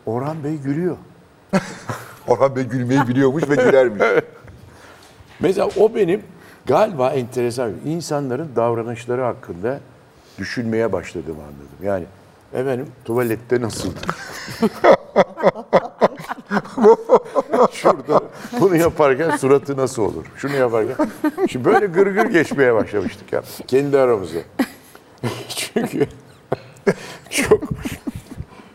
Orhan Bey gülüyor. Orhan Bey gülmeyi biliyormuş ve gülermiş. Mesela o benim galiba enteresan. insanların davranışları hakkında düşünmeye başladığımı anladım. Yani efendim tuvalette nasıldı? Şurada bunu yaparken suratı nasıl olur? Şunu yaparken. Şimdi böyle gırgır geçmeye başlamıştık ya. Kendi aramızda. Çünkü çok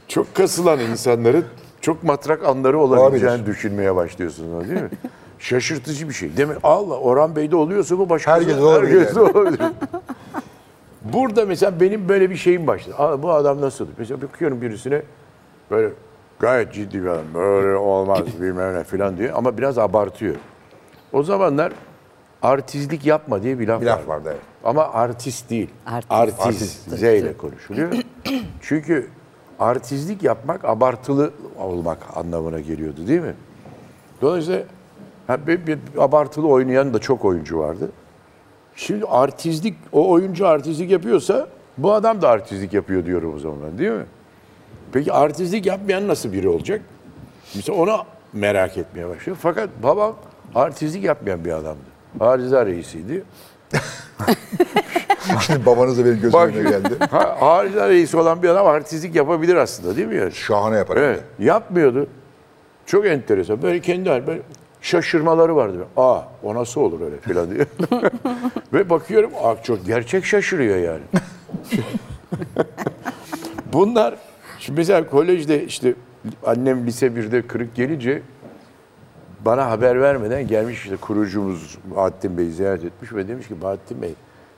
çok kasılan insanların çok matrak anları olabileceğini düşünmeye başlıyorsunuz ama değil mi? Şaşırtıcı bir şey. Demek Allah Orhan Bey'de oluyorsa bu başka Herkes olabilir herkes olabilir. Burada mesela benim böyle bir şeyim başladı. Aa, bu adam nasıl? Mesela bakıyorum birisine böyle gayet ciddi bir adam. Böyle olmaz bilmem ne falan diyor ama biraz abartıyor. O zamanlar artistlik yapma diye bir laf, Bir laf vardı, evet. Ama artist değil. Artist. Artist. Artist. Z ile konuşuluyor. Çünkü artistlik yapmak abartılı olmak anlamına geliyordu değil mi? Dolayısıyla ha, bir, bir abartılı oynayan da çok oyuncu vardı. Şimdi artistlik, o oyuncu artistlik yapıyorsa bu adam da artistlik yapıyor diyorum o zaman ben, değil mi? Peki artistlik yapmayan nasıl biri olacak? Mesela ona merak etmeye başlıyor. Fakat babam artistlik yapmayan bir adamdı. Hariza reisiydi. Şimdi babanız da benim gözümün Bak- önüne geldi. Ha, hariza reisi olan bir adam artistlik yapabilir aslında değil mi? Yani? Şahane yapar. Evet, yapmıyordu. Çok enteresan. Böyle kendi hal- böyle şaşırmaları vardı. Aa o nasıl olur öyle filan diye. Ve bakıyorum aa, çok gerçek şaşırıyor yani. Bunlar şimdi mesela kolejde işte annem lise 1'de kırık gelince bana haber vermeden gelmiş işte kurucumuz Bahattin Bey'i ziyaret etmiş ve demiş ki Bahattin Bey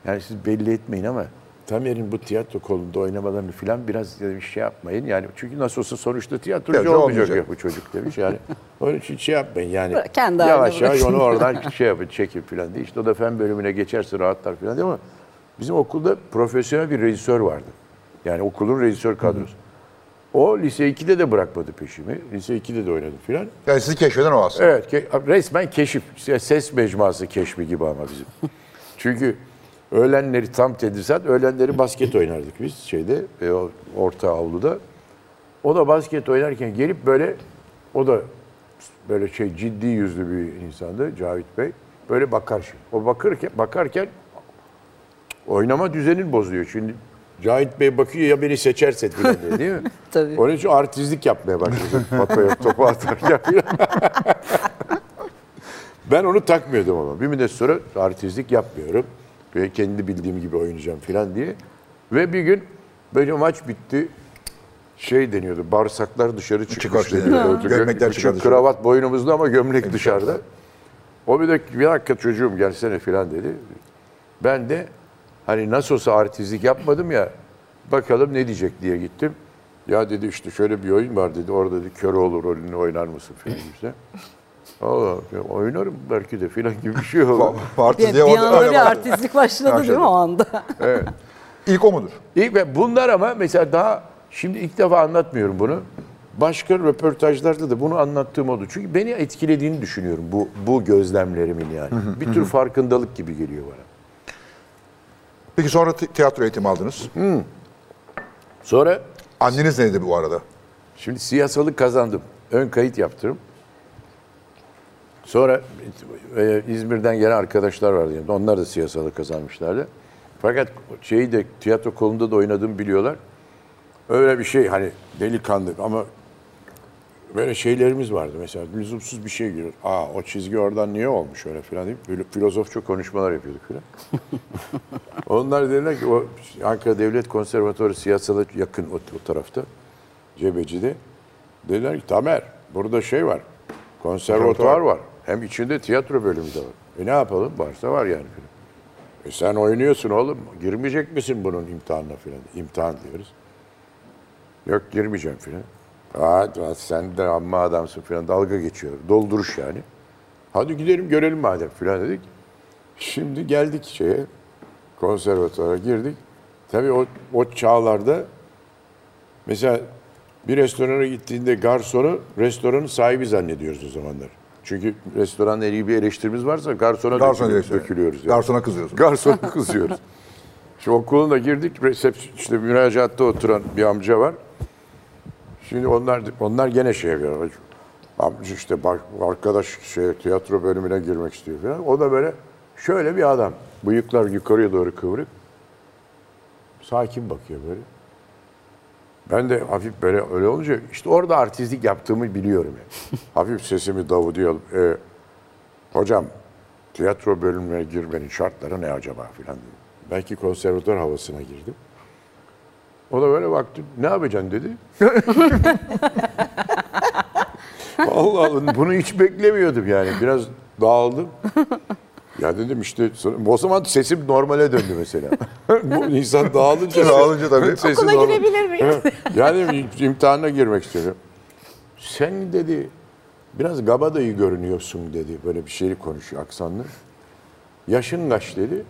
yani siz belli etmeyin ama Tamer'in bu tiyatro kolunda oynamalarını filan biraz demiş şey yapmayın. Yani çünkü nasıl olsa sonuçta tiyatrocu Tiyatrocu olmayacak, olmayacak. ya bu çocuk demiş yani. Onun için şey yapmayın yani. Bırak, kendi haline yavaş yavaş bırakın. onu oradan şey yapın çekin filan diye. İşte o da fen bölümüne geçerse rahatlar filan diye ama bizim okulda profesyonel bir rejisör vardı. Yani okulun rejisör kadrosu. O lise 2'de de bırakmadı peşimi. Lise 2'de de oynadım filan. Yani sizi keşfeden o aslında. Evet ke- resmen keşif. İşte Ses mecmuası keşfi gibi ama bizim. Çünkü öğlenleri tam tedrisat, öğlenleri basket oynardık biz şeyde e, o orta avluda. O da basket oynarken gelip böyle o da böyle şey ciddi yüzlü bir insandı Cavit Bey. Böyle bakar şimdi. O bakırken bakarken oynama düzenin bozuyor. Şimdi Cahit Bey bakıyor ya beni seçerse filan diye, değil mi? Tabii. Onun için artistlik yapmaya başladı. Patoya topu atarken filan. ben onu takmıyordum ama. Bir müddet sonra artistlik yapmıyorum. Ve kendi bildiğim gibi oynayacağım filan diye. Ve bir gün böyle maç bitti. Şey deniyordu, bağırsaklar dışarı çıkmış Çıkmış deniyor. deniyordu. Ha. Gömlekler Çünkü çıkar dışarı. Kravat boynumuzda ama gömlek dışarıda. O bir de bir dakika çocuğum gelsene filan dedi. Ben de hani nasıl olsa artistlik yapmadım ya bakalım ne diyecek diye gittim. Ya dedi işte şöyle bir oyun var dedi. Orada dedi Köroğlu rolünü oynar mısın filan işte. Allah oynarım belki de filan gibi bir şey oldu. Parti Bir, diye bir orada anda bir öyle var. artistlik başladı değil mi Başladı. o anda? İlk o mudur? İlk ve bunlar ama mesela daha şimdi ilk defa anlatmıyorum bunu. Başka röportajlarda da bunu anlattığım oldu. Çünkü beni etkilediğini düşünüyorum bu bu gözlemlerimin yani. bir tür farkındalık gibi geliyor bana. Peki sonra ti- tiyatro eğitimi aldınız. Sonra Anneniz neydi bu arada? şimdi siyasalık kazandım. Ön kayıt yaptırım. Sonra e, İzmir'den gelen arkadaşlar vardı. yanımda. Onlar da siyasalık kazanmışlardı. Fakat şeyi de tiyatro kolunda da oynadığımı biliyorlar. Öyle bir şey hani delikanlı ama böyle şeylerimiz vardı. Mesela lüzumsuz bir şey giriyor. Aa o çizgi oradan niye olmuş öyle filan deyip böyle filozofça konuşmalar yapıyorduk filan. Onlar dediler ki o Ankara Devlet Konservatuarı siyasala yakın o, o tarafta. Cebeci'de. Dediler ki Tamer burada şey var. Konservatuar var. Hem içinde tiyatro bölümü de var. E ne yapalım? Varsa var yani filan. E sen oynuyorsun oğlum. Girmeyecek misin bunun imtihanına filan? İmtihan diyoruz. Yok girmeyeceğim filan. Aa, da sen de amma adamsın filan dalga geçiyor. Dolduruş yani. Hadi gidelim görelim madem filan dedik. Şimdi geldik şeye. Konservatuara girdik. Tabii o, o çağlarda mesela bir restorana gittiğinde garsonu restoranın sahibi zannediyoruz o zamanlar. Çünkü restoranla ilgili bir eleştirimiz varsa garsona, Garsona dökülüyor- direktörü. dökülüyoruz. yani. Garsona kızıyorsun. Garsona kızıyoruz. Şimdi okuluna girdik. Resepsiyon, işte müracaatta oturan bir amca var. Şimdi onlar onlar gene şey yapıyor. Amca işte bak, arkadaş şey, tiyatro bölümüne girmek istiyor falan. O da böyle şöyle bir adam. Bıyıklar yukarıya doğru kıvrık. Sakin bakıyor böyle. Ben de hafif böyle öyle olunca işte orada artistlik yaptığımı biliyorum. Yani. hafif sesimi davudi alıp "E, hocam tiyatro bölümüne girmenin şartları ne acaba filan dedim. Belki konservatuar havasına girdim. O da böyle baktı. Ne yapacaksın dedi. Allah Allah bunu hiç beklemiyordum yani. Biraz dağıldım. Ya dedim işte sonra- o zaman sesim normale döndü mesela. Bu insan dağılınca Dağılınca tabii. sesi Okula normal. girebilir miyim? yani imtihana girmek istiyorum. Sen dedi biraz gabadayı görünüyorsun dedi. Böyle bir şeyi konuşuyor aksanlı. Yaşın kaç dedi.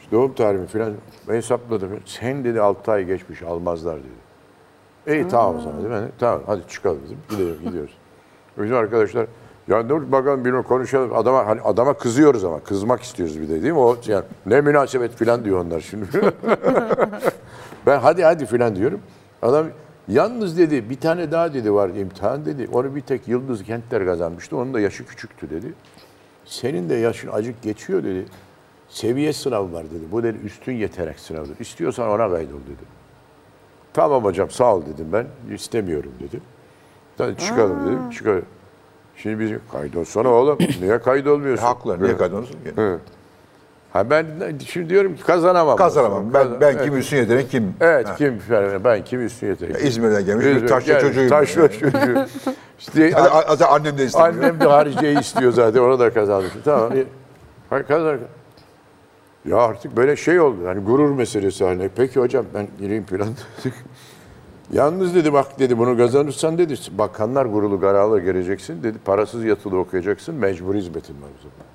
İşte doğum tarihimi falan hesapladım. Sen dedi 6 ay geçmiş almazlar dedi. İyi tamam o zaman dedim. Ben de, tamam hadi çıkalım dedim. Gidelim gidiyoruz. Bizim arkadaşlar ya dur bakalım bir konuşalım. Adama hani adama kızıyoruz ama kızmak istiyoruz bir de değil mi? O yani ne münasebet falan diyor onlar şimdi. Ben hadi hadi filan diyorum. Adam yalnız dedi bir tane daha dedi var imtihan dedi. Onu bir tek Yıldız Kentler kazanmıştı. Onun da yaşı küçüktü dedi. Senin de yaşın acık geçiyor dedi. Seviye sınavı var dedi. Bu dedi üstün yetenek sınavıdır. İstiyorsan ona kaydol dedi. Tamam hocam sağ ol dedim ben. İstemiyorum dedim. Hadi çıkalım dedim. Çıkalım. Şimdi biz kaydolsana oğlum. Niye kaydolmuyorsun? Haklı. Niye kaydınız? Ha ben şimdi diyorum ki kazanamam. Kazanamam. Ben, ben kim Evet, Hüsnü Yeter'in kim? evet kim? Ben kim üstün yetenek? İzmir'den gelmiş bir taşla Yani çocuğuyum. Taşra Yani. çocuğu. İşte hani Hadi, a- hadi annem de istemiyor. annem de hariciye istiyor zaten. Ona da kazanmış. Tamam. Hayır, Kazan. Ya artık böyle şey oldu. Hani gurur meselesi haline. Peki hocam ben gireyim falan dedik. Yalnız dedi bak dedi bunu kazanırsan dedi bakanlar gurulu kararla geleceksin dedi. Parasız yatılı okuyacaksın mecbur hizmetin var o zaman.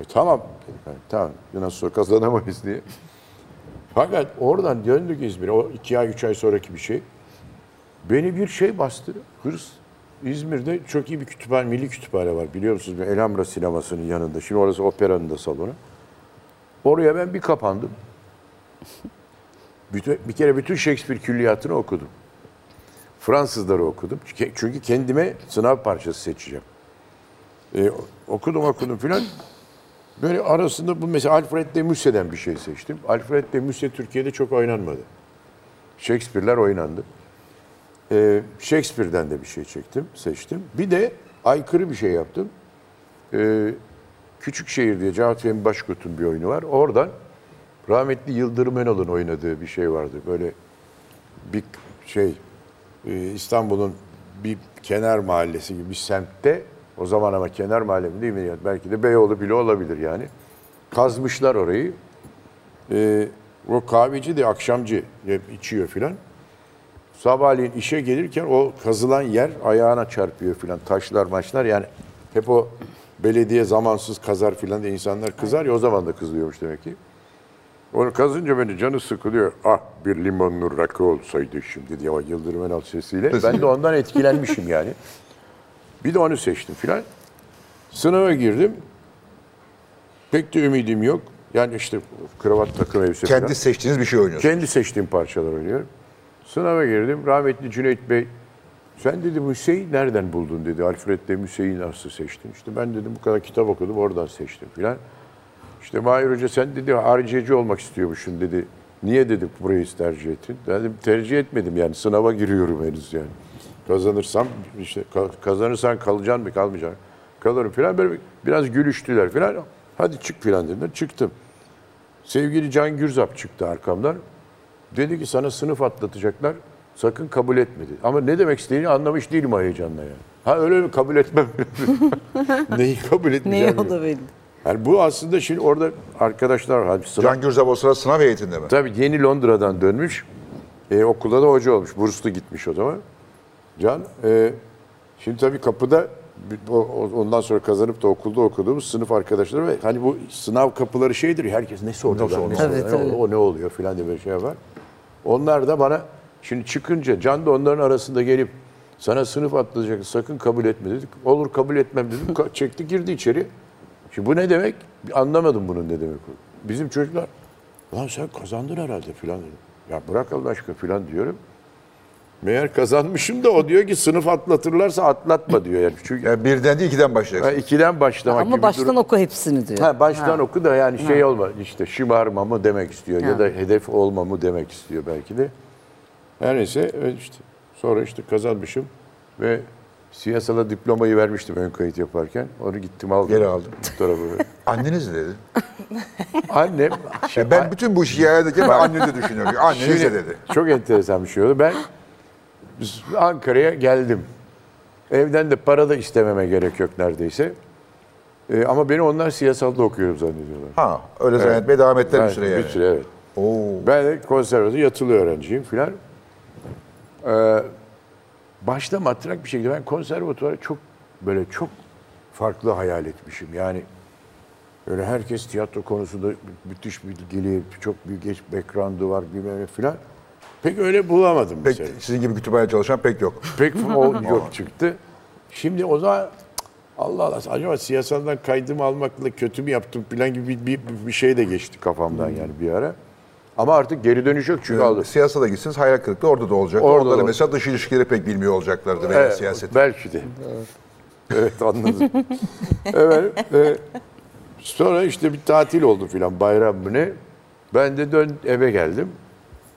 E tamam dedik. Hani, tamam nasıl olsa kazanamayız diye. Fakat oradan döndük İzmir'e. O iki ay, üç ay sonraki bir şey. Beni bir şey bastı. Hırs. İzmir'de çok iyi bir kütüphane, milli kütüphane var. Biliyor musunuz? Elhamra sinemasının yanında. Şimdi orası operanın da salonu. Oraya ben bir kapandım. Bütün, bir kere bütün Shakespeare külliyatını okudum. Fransızları okudum. Çünkü- Çünkü kendime sınav parçası seçeceğim. Ee, okudum okudum filan. Böyle arasında bu mesela Alfred de Musset'den bir şey seçtim. Alfred de Musset Türkiye'de çok oynanmadı. Shakespeare'ler oynandı. Ee, Shakespeare'den de bir şey çektim, seçtim. Bir de aykırı bir şey yaptım. Ee, Küçükşehir diye Cavit Bey'in Başkurt'un bir oyunu var. Oradan rahmetli Yıldırım Önal'ın oynadığı bir şey vardı. Böyle bir şey e, İstanbul'un bir kenar mahallesi gibi bir semtte o zaman ama kenar mahalle mi değil mi? Yani Belki de Beyoğlu bile olabilir yani. Kazmışlar orayı. E, o kahveci de akşamcı hep içiyor filan. Sabahleyin işe gelirken o kazılan yer ayağına çarpıyor filan. Taşlar maçlar yani hep o belediye zamansız kazar filan diye insanlar kızar ya o zaman da kızıyormuş demek ki. Onu kazınca beni canı sıkılıyor. Ah bir limonlu rakı olsaydı şimdi diye o Yıldırım Önal sesiyle. Ben de ondan etkilenmişim yani. Bir de onu seçtim filan. Sınava girdim. Pek de ümidim yok. Yani işte kravat takım elbise filan. Kendi seçtiğiniz bir şey oynuyorsunuz. Kendi seçtiğim parçalar oynuyorum. Sınava girdim. Rahmetli Cüneyt Bey sen dedi Müseyi nereden buldun dedi. Alfred de Müseyi nasıl seçtin? İşte ben dedim bu kadar kitap okudum oradan seçtim filan. İşte Mahir Hoca sen dedi hariciyeci olmak istiyormuşsun dedi. Niye dedi burayı tercih ettin? Ben Dedim tercih etmedim yani sınava giriyorum henüz yani. Kazanırsam işte ka- kazanırsan kalacaksın mı kalmayacaksın. Kalırım filan böyle biraz gülüştüler filan. Hadi çık filan dediler çıktım. Sevgili Can Gürzap çıktı arkamdan. Dedi ki sana sınıf atlatacaklar. Sakın kabul etme dedi. Ama ne demek istediğini anlamış değilim o heyecanla yani. Ha öyle mi kabul etmem. Neyi kabul Neyi etmeyeceğim. o da bilmiyorum. belli. Yani bu aslında şimdi orada arkadaşlar var. Hani sınav- Can Gürzap o sıra sınav heyetinde mi? Tabii yeni Londra'dan dönmüş. E, okulda da hoca olmuş. Burslu gitmiş o zaman. Can, e, şimdi tabii kapıda bir- o- o- ondan sonra kazanıp da okulda okuduğumuz sınıf arkadaşları ve hani bu sınav kapıları şeydir ya, herkes ne sordu lan, ne Tabii, sordu lan, tabii. o, o ne oluyor filan diye bir şey var. Onlar da bana şimdi çıkınca Can da onların arasında gelip sana sınıf atlayacak sakın kabul etme dedik. Olur kabul etmem dedim. Ka- Çekti girdi içeri. Şimdi bu ne demek? Anlamadım bunun ne demek. olduğunu. Bizim çocuklar lan sen kazandın herhalde filan dedi. Ya bırak Allah aşkına filan diyorum. Meğer kazanmışım da o diyor ki sınıf atlatırlarsa atlatma diyor yani. Çünkü Yani birden değil ikiden başlayacaksın. ha, ikiden başlamak gibi Ama baştan durum. oku hepsini diyor. Ha, baştan oku da yani şey olma işte şımarmamı demek istiyor ya Ha. da hedef olmamı demek istiyor belki de. Her neyse evet işte sonra işte kazanmışım ve siyasala diplomayı vermiştim ön kayıt yaparken. Onu gittim aldım. Geri aldım. Bu tarafa böyle. Anneniz ne dedi? Annem Ya Şey, ben bütün bu işi yayarken ben annenizi düşünüyorum. Anneniz Şimdi ne dedi? Çok enteresan bir şey oldu. Ben biz Ankara'ya geldim. Evden de para da istememe gerek yok neredeyse. Ee, ama beni onlar siyasalda okuyorum zannediyorlar. Ha öyle zannetmeye devam ettiler bir süre Ben- yani. Bir süre evet. Oo. Ben de konservatuvarda yatılı öğrenciyim filan. Ee, başta matrak bir şekilde ben konservatuvara çok böyle çok farklı hayal etmişim. Yani öyle herkes tiyatro konusunda müthiş bilgili, çok büyük geç background'u var bilmem ne filan. Pek öyle bulamadım Pek, mesela. sizin gibi kütüphane çalışan pek yok. Pek o yok çıktı. Şimdi o zaman Allah Allah acaba siyasaldan kaydımı almakla kötü mü yaptım falan gibi bir, bir, bir şey de geçti kafamdan yani bir ara. Ama artık geri dönüş yok çünkü aldım. Siyasete da gitsiniz hayal kırıklığı orada da olacak. Orada Orada, da da olacak. mesela dış ilişkileri pek bilmiyor olacaklardı veya Evet, siyaset. Belki de. Evet anladım. evet. e, sonra işte bir tatil oldu filan bayram mı ne. Ben de dön eve geldim.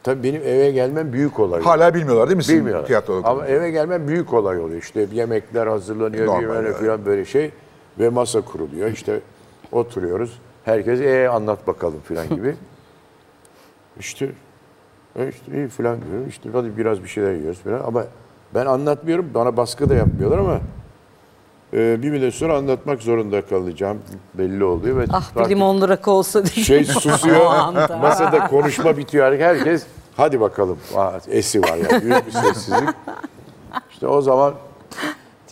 Tabii benim eve gelmem büyük olay. Hala bilmiyorlar değil mi sizin Bilmiyorum. tiyatro Ama okulunu? eve gelmen büyük olay oluyor. İşte yemekler hazırlanıyor, Normal, bir böyle evet. falan böyle şey. Ve masa kuruluyor. İşte oturuyoruz. Herkes ee anlat bakalım falan gibi. işte, e işte iyi falan diyorum. İşte hadi biraz bir şeyler yiyoruz falan. Ama ben anlatmıyorum. Bana baskı da yapmıyorlar ama e, bir müddet sonra anlatmak zorunda kalacağım belli oluyor. Ve Ah bir artık limonlu rakı olsa diye. şey susuyor. O anda. masada konuşma bitiyor. Hani Herkes hadi bakalım. Aa, esi var yani. Büyük bir sessizlik. İşte o zaman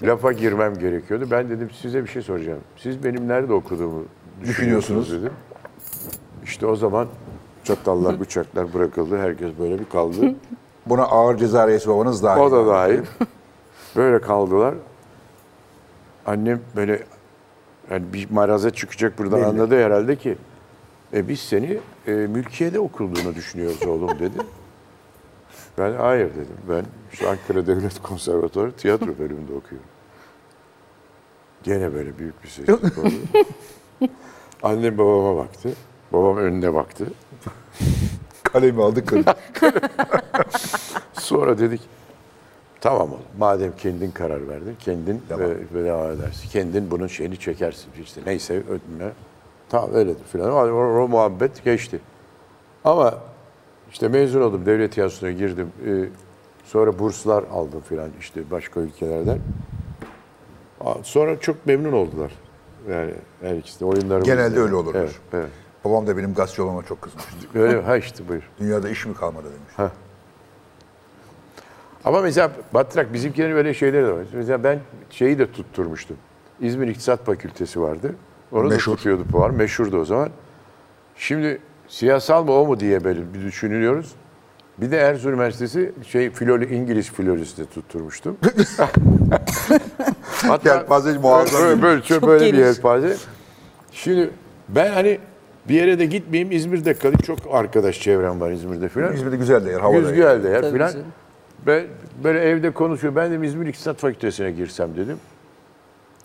lafa girmem gerekiyordu. Ben dedim size bir şey soracağım. Siz benim nerede okuduğumu düşünüyorsunuz, Düşünüyorsunuz. dedim. İşte o zaman Çatallar, bıçaklar bırakıldı. Herkes böyle bir kaldı. Buna ağır ceza reis babanız dahil. O da dahil. Böyle kaldılar. Annem böyle yani bir maraza çıkacak buradan anladı herhalde ki e biz seni e, mülkiyede okulduğunu düşünüyoruz oğlum dedi. Ben hayır dedim. Ben şu Ankara Devlet Konservatuarı tiyatro bölümünde okuyorum. Gene böyle büyük bir ses oldu. Annem babama baktı. Babam önüne baktı. Kalemi aldı kalemi. Sonra dedik tamam oğlum madem kendin karar verdin kendin Devam. e, e, devam edersin. Kendin bunun şeyini çekersin işte neyse ödünle. Tamam öyledir filan. O, o- o muhabbet geçti. Ama işte mezun oldum devlet tiyatrosuna girdim. E, sonra burslar aldım filan işte başka ülkelerden. Aa, Sonra çok memnun oldular. Yani her ikisi de oyunlarımız. Genelde öyle olurlar. Evet, evet. Babam da benim gazeteci olmama çok kızmıştı. Öyle mi? ha işte buyur. Dünyada iş mi kalmadı demiş. Ama mesela Batrak bizimkilerin böyle şeyleri de var. Mesela ben şeyi de tutturmuştum. İzmir İktisat Fakültesi vardı. Onu Meşhur. da tutuyordu puan. Meşhurdu o zaman. Şimdi siyasal mı o mu diye böyle bir düşünüyoruz. Bir de Erzurum Üniversitesi şey filolo İngiliz filolojisi de tutturmuştum. Hatta Yelpaze muazzam Böyle, gibi. böyle, böyle bir geniş. yelpaze. Şimdi ben hani bir yere de gitmeyeyim İzmir'de kalayım. Çok arkadaş çevrem var İzmir'de falan. İzmir'de güzel de yer, havada. Güzgü elde ya Tabii filan. canım. Ben böyle evde konuşuyor. Ben de İzmir İktisat Fakültesine girsem dedim.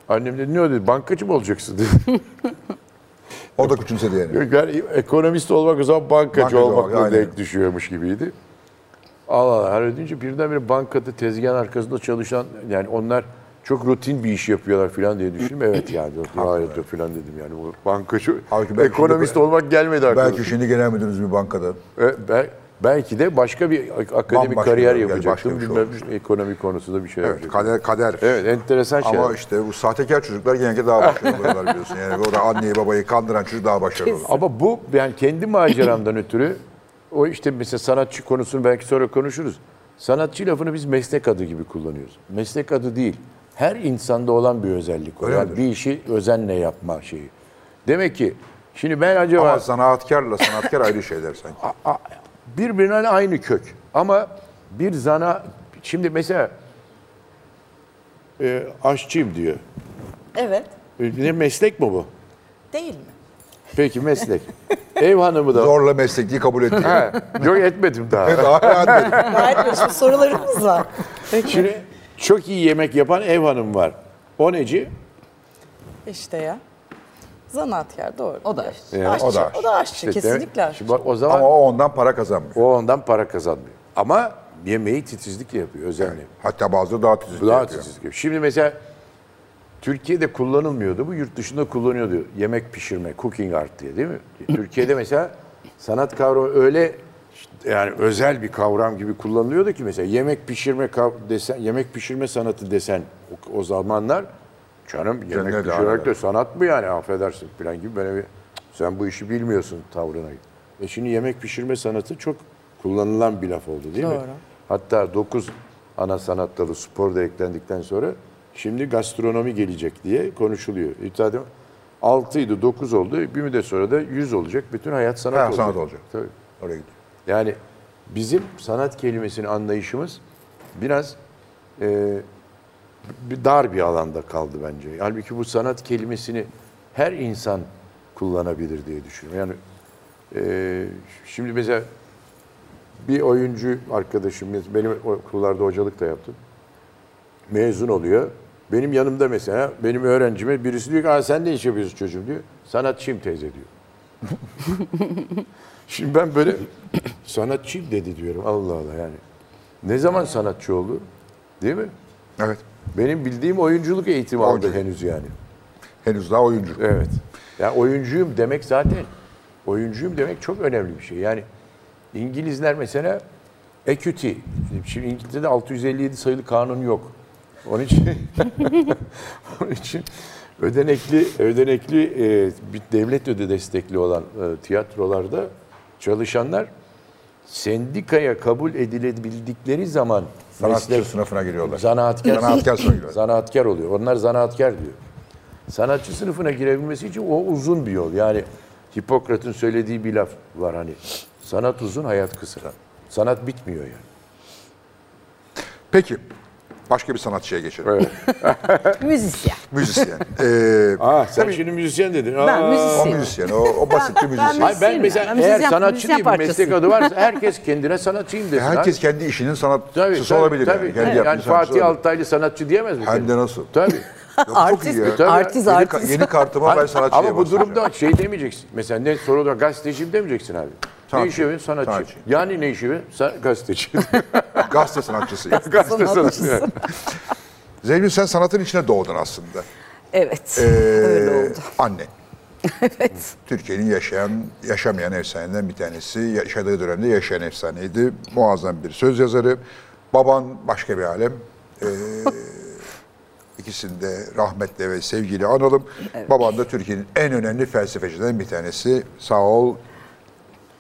Annem dedi ne o dedi bankacı mı olacaksın dedi. O da küçümsedi yani. yani ekonomist olmak o zaman bankacı, Bankacı olmak, olmakla aynen. denk düşüyormuş gibiydi. Allah Allah her ödünce birdenbire bankada tezgahın arkasında çalışan yani onlar çok rutin bir iş yapıyorlar filan diye düşündüm. Evet yani yok, hayır yok filan dedim yani bu bankacı Halbuki belki ekonomist de- olmak gelmedi aklıma. Belki şimdi genel müdürünüz bir bankada. E, bel- belki de başka bir ak- akademik Bambaşka kariyer bir- yani yapacaktım. başlamış Bilmem ekonomi konusunda bir şey Evet, yapacaktım. kader. kader. Evet, enteresan şey. Ama Ama, işte bu sahtekar çocuklar genellikle daha başarılı oluyorlar biliyorsun. Yani orada anneyi babayı kandıran çocuk daha başarılı olur. bu yani kendi maceramdan ötürü o işte mesela sanatçı konusunu belki sonra konuşuruz. Sanatçı lafını biz meslek adı gibi kullanıyoruz. Meslek adı değil. Her insanda olan bir özellik o. Öyle yani midir? bir işi özenle yapma şeyi. Demek ki şimdi ben acaba Ama sanatkarla sanatkar ayrı şeyler sanki. A- birbirine aynı kök ama bir zana şimdi mesela e, aşçıyım diyor. Evet. E, Ne meslek mi bu? Değil mi? Peki meslek. Ev hanımı da. Zorla meslekliği kabul etti. He, yok etmedim daha. Hala dedim. Gayet başka sorularımız var. Peki. Şimdi çok iyi yemek yapan ev hanımı var. O neci? İşte ya. Zanaatkar doğru. O da aşçı. aşçı. o O da aşçı. da aşçı. İşte demek- E, Kesinlikle aşçı. Şimdi bak o zaman Ama o ondan para kazanmıyor. o ondan para kazanmıyor. Ama yemeği titizlikle yapıyor özenle. Hatta bazıları daha titizlik Daha yapıyor. titiz gibi. Şimdi mesela Türkiye'de kullanılmıyordu. Bu yurt dışında kullanıyordu. Yemek pişirme, cooking art diye değil mi? Türkiye'de mesela sanat kavramı öyle işte yani özel bir kavram gibi kullanılıyordu ki mesela yemek pişirme kav- desen yemek pişirme sanatı desen o, o zamanlar canım yemek Cennet pişirmek de alemi. sanat mı yani affedersin falan gibi böyle bir sen bu işi bilmiyorsun tavrına. E şimdi yemek pişirme sanatı çok kullanılan bir laf oldu değil mi? Doğru. Hatta 9 ana sanat dalı spor da eklendikten sonra şimdi gastronomi gelecek diye konuşuluyor. İtihadim 6'ydı 9 oldu. Bir müddet sonra da 100 olacak. Bütün hayat sanat Ha, olacak. sanat olacak. Tabii. Oraya gidiyor. Yani bizim sanat kelimesini anlayışımız biraz e, bir dar bir alanda kaldı bence. Halbuki bu sanat kelimesini her insan kullanabilir diye düşünüyorum. Yani e, şimdi mesela bir oyuncu arkadaşım, benim okullarda hocalık da yaptım. Mezun oluyor. Benim yanımda mesela benim öğrencime birisi diyor ki Aa, sen ne iş yapıyorsun çocuğum diyor. Sanatçıyım teyze diyor. Şimdi ben böyle sanatçıyım dedi diyorum Allah Allah yani. Ne zaman sanatçı oldu? Değil mi? Evet. Benim bildiğim oyunculuk eğitimi aldı Oyunculuk. henüz yani. Henüz daha oyuncu. Evet. Ya oyuncuyum demek zaten oyuncuyum demek çok önemli bir şey. Yani İngilizler mesela equity. Şimdi İngiltere'de 657 sayılı kanun yok. Onun için onun için ödenekli ödenekli e, bir devlet öde destekli olan e, tiyatrolarda çalışanlar sendikaya kabul edilebildikleri zaman Sanatçı meslek- sınıfına giriyorlar. Zanaatkar. Zanaatkar söylüyor. Zanaatkar oluyor. Onlar zanaatkar diyor. Sanatçı sınıfına girebilmesi için o uzun bir yol. Yani Hipokrat'ın söylediği bir laf var hani. Sanat uzun, hayat kısa. Sanat bitmiyor yani. Peki. Başka bir sanatçıya geçelim. Müzisyen. Müzisyen. Ee, Aa, sen şimdi müzisyen dedin. Ben o müzisyenim. müzisyen. O, o basit bir müzisyen. Hayır, ben Müzisyenim mesela yani. eğer Müzisyen- sanatçı müzisyen diye bir meslek parçası. adı varsa herkes kendine sanatçıyım desin. Herkes abi. kendi işinin sanatçısı Tabii, tabii, olabilir tabii. yani. Kendi Yani yaptığı sanatçısı Fatih olabilir. Altaylı sanatçı diyemez mi? Hem de nasıl? Tabii. Yok, çok iyi Artist, ya. Tabii. artist, Yeni, artist. ka- yeni kartıma ben sanatçı Ama diye bu basacağım. durumda şey demeyeceksin. Mesela ne soru olarak gazeteciyim demeyeceksin abi. Ne Sanatçı. işi yapıyorsun? Sanatçı. Sanatçı. Yani ne işi yapıyorsun? Sa- gazeteci. Gazete sanatçısıyım. Gazete sanatçısı. Zengin sen sanatın içine doğdun aslında. Evet. Ee, Öyle oldu. Anne. Evet. Türkiye'nin yaşayan, yaşamayan efsanelerinden bir tanesi. Yaşadığı dönemde yaşayan efsaneydi. Muazzam bir söz yazarı. Baban başka bir alem. Ee, ikisini de rahmetle ve sevgiyle analım. Baban da Türkiye'nin en önemli felsefecilerinden bir tanesi. Sağ ol.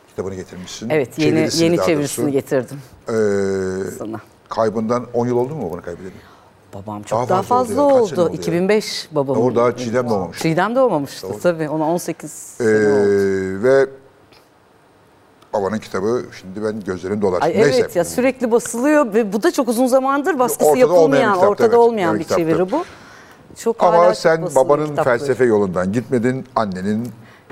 Kitabını getirmişsin. Evet yeni Çevirisini yeni daha çevirisini doğrusu. getirdim Ee, sana. kaybından 10 yıl oldu mu bunu kaybedeli? Babam çok Daha daha, fazla fazla, oldu ya. Kaç sene oldu. oldu ya? 2005 babam. Doğru daha Çiğdem doğmamış. Çiğdem doğmamıştı tabii. Ona 18 Ee, sene oldu. ve babanın kitabı şimdi ben gözlerim dolaştı. Ay Neyse. evet ya sürekli basılıyor ve bu da çok uzun zamandır baskısı Ortada olmayan yapılmayan, bir kitaptı, ortada evet. olmayan Evet, bir kitaptı. çeviri bu. Çok hala Ama çok sen basılıyor babanın kitapları. felsefe yolundan gitmedin, annenin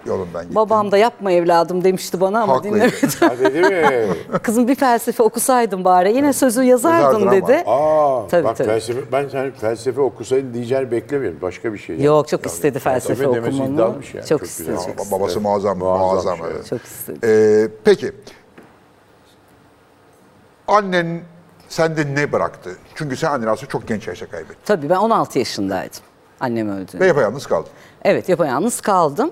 yolundan gittin. Babam da yapma evladım demişti bana ama Haklıydı. dinlemedi. Hadi değil mi? Kızım bir felsefe okusaydın bari yine sözü yazardın Yazardın ama. dedi. Aa, Tabii, bak tabii. felsefe, ben sen felsefe okusaydın diyeceğini beklemiyorum. Başka bir şey. yani. Yok çok istedi felsefe Felsefe demesi okumamı. iddialmış yani, Çok çok istedi. güzel. Çok, Ba- Babası muazzam, Muazzam muazzam. şey. evet. çok istedi. Ee, peki. Annen sende ne bıraktı? Çünkü sen anneni aslında çok genç yaşta kaybettin. Tabii ben 16 yaşındaydım. Annem öldü. Ve yapayalnız kaldın. Evet yapayalnız kaldım.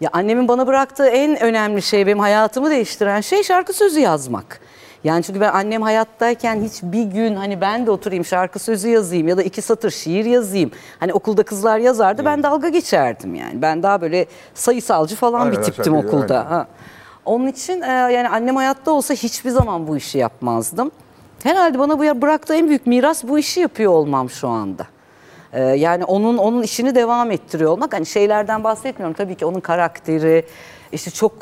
Ya annemin bana bıraktığı en önemli şey benim hayatımı değiştiren şey şarkı sözü yazmak. Yani çünkü ben annem hayattayken hiçbir gün hani ben de oturayım şarkı sözü yazayım ya da iki satır şiir yazayım. Hani okulda kızlar yazardı ben dalga geçerdim yani. Ben daha böyle sayısalcı falan Aynen, bir tiptim aynen. okulda. Ha. Onun için e, yani annem hayatta olsa hiçbir zaman bu işi yapmazdım. Herhalde bana bu ya- bıraktığı en büyük miras bu işi yapıyor olmam şu anda. E, yani onun onun işini devam ettiriyor olmak. Hani şeylerden bahsetmiyorum tabii ki onun karakteri işte çok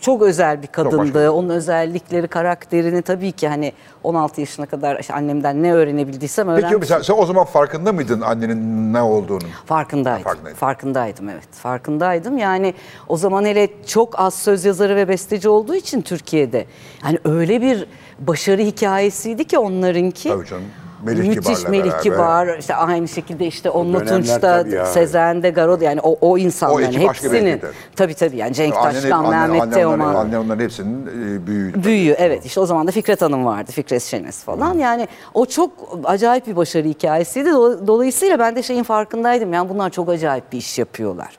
çok özel bir kadındı. başka. onun özellikleri, karakterini tabii ki hani 16 yaşına kadar işte annemden ne öğrenebildiysem Peki öğrenmiştim. mesela sen o zaman farkında mıydın annenin ne olduğunu? Farkındaydım. Farkındaydın. Farkındaydım evet. Farkındaydım. Yani o zaman hele çok az söz yazarı ve besteci olduğu için Türkiye'de yani öyle bir başarı hikayesiydi ki onlarınki. Tabii canım. Melih Müthiş Kibar'la Melih beraber. Kibar, işte aynı şekilde işte Onlu dönemler tabii ya. Tunç'ta, Sezen'de, Garo'da yani o, o insanların O ekip başka bir hepsinin. ekipti. Tabii tabii yani Cenk Annen, Taşkan, annen, Mehmet annen, Teoman. onların, annen onların hepsinin e, büyüğüydü. Büyüyor evet işte o zaman da Fikret Hanım vardı Fikret Şenes falan Hmm. yani o çok acayip bir başarı hikayesiydi Do- dolayısıyla ben de şeyin farkındaydım yani bunlar çok acayip bir iş yapıyorlar.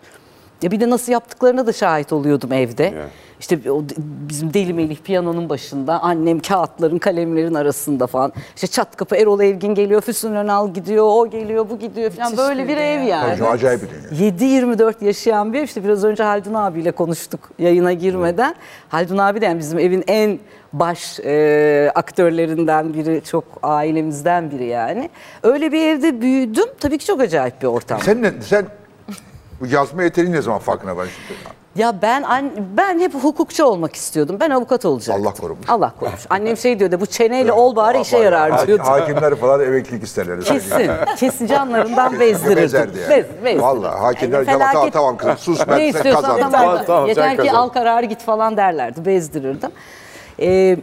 Ya bir de nasıl yaptıklarına da şahit oluyordum evde. İşte o de- bizim Deli Melih piyanonun başında annem kağıtların kalemlerin arasında falan. İşte çat kapı Erol Evgin geliyor Füsun Önal gidiyor o geliyor bu gidiyor falan Müthiş böyle bir bir dünya. ev yani. Hocam acayip bir dünya. 7-24 yaşayan bir ev. işte biraz önce Haldun abiyle konuştuk yayına girmeden. Haldun abi de yani bizim evin en baş e, aktörlerinden biri, çok ailemizden biri yani. Öyle bir evde büyüdüm. Tabii ki çok acayip bir ortam. Sen ne, sen bu yazma yeteneğin ne zaman farkına varmıştın? Ya ben an- ben hep hukukçu olmak istiyordum. Ben avukat olacaktım. Allah korumuş. Allah korumuş. Annem şey diyordu bu çeneyle ol bari işe yarar diyordu. Hakimler falan emeklilik isterler. Kesin. Kesin canlarından bezdirirdim. Bezerdi yani. Bez- bezdirirdim. Vallahi hakimler Yani "Tamam, felaket- tamam, tamam kızım, sus, ben sen ne istiyorsan kazandın." tamam. Tamam, tamam, sen Yeter ki kazandın. al kararı git falan derlerdi. Bezdirirdim. Ee,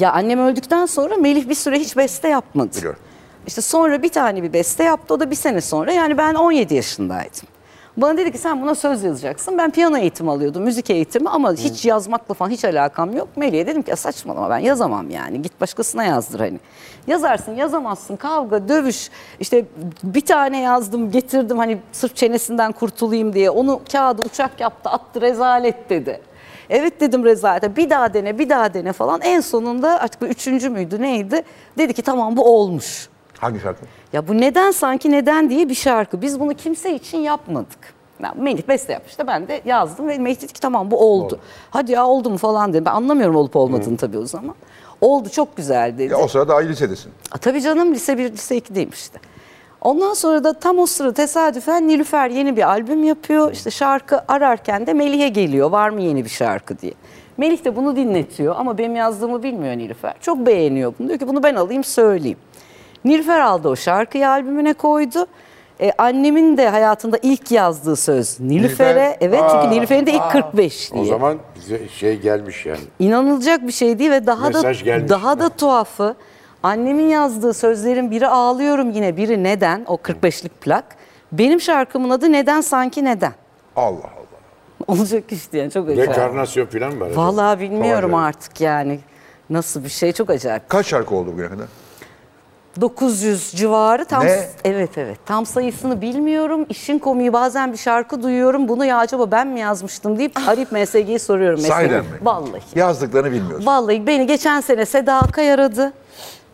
ya annem öldükten sonra Melih bir süre hiç beste yapmadı. Biliyorum. İşte sonra bir tane bir beste yaptı. O da bir sene sonra. Yani ben 17 yaşındaydım. Bana dedi ki sen buna söz yazacaksın. Ben piyano eğitimi alıyordum, müzik eğitimi ama hiç yazmakla falan hiç alakam yok. Melih'e dedim ki "Ya saçmalama ben yazamam yani. Git başkasına yazdır hani. Yazarsın, yazamazsın. Kavga, dövüş. İşte bir tane yazdım, getirdim hani sırf çenesinden kurtulayım diye. Onu kağıdı uçak yaptı, attı rezalet dedi. Evet dedim rezalete bir daha dene bir daha dene falan. En sonunda artık bu üçüncü müydü neydi? Dedi ki tamam bu olmuş. Hangi şarkı? Ya bu neden sanki neden diye bir şarkı. Biz bunu kimse için yapmadık. Ya Melih beste yapmıştı ben de yazdım ve Melih dedi ki tamam bu oldu. Hadi ya oldu mu falan dedim. Ben anlamıyorum olup olmadığını tabii o zaman. Oldu çok güzel dedi. Ya o sırada aile lisedesin. A, tabii canım lise 1, lise 2'deyim işte. Ondan sonra da tam o sırada tesadüfen Nilüfer yeni bir albüm yapıyor. İşte şarkı ararken de Melih'e geliyor var mı yeni bir şarkı diye. Melih de bunu dinletiyor ama benim yazdığımı bilmiyor Nilüfer. Çok beğeniyor bunu. Diyor ki bunu ben alayım söyleyeyim. Nilüfer aldı o şarkıyı albümüne koydu. E, annemin de hayatında ilk yazdığı söz Nilüfer'e. Nilüfer. Evet Aa, çünkü Nilüfer'in de ilk aa. 45 diye. O zaman bize şey gelmiş yani. İnanılacak bir şey değil ve daha Mesaj da gelmiş. daha da tuhafı annemin yazdığı sözlerin biri ağlıyorum yine biri neden o 45'lik plak. Benim şarkımın adı neden sanki neden. Allah Allah. Olacak iş diye çok acayip. Rekarnasyon falan var. Vallahi bilmiyorum Tamam, artık yani nasıl bir şey çok acayip. Kaç şarkı oldu bugüne kadar? 900 civarı tam Ne? evet evet tam sayısını bilmiyorum. İşin komiği bazen bir şarkı duyuyorum. Bunu ya acaba ben mi yazmıştım deyip arayıp MSG'yi soruyorum mesela. Sahiden mi? Vallahi. Yazdıklarını bilmiyorsun. Vallahi beni geçen sene Seda Akay aradı.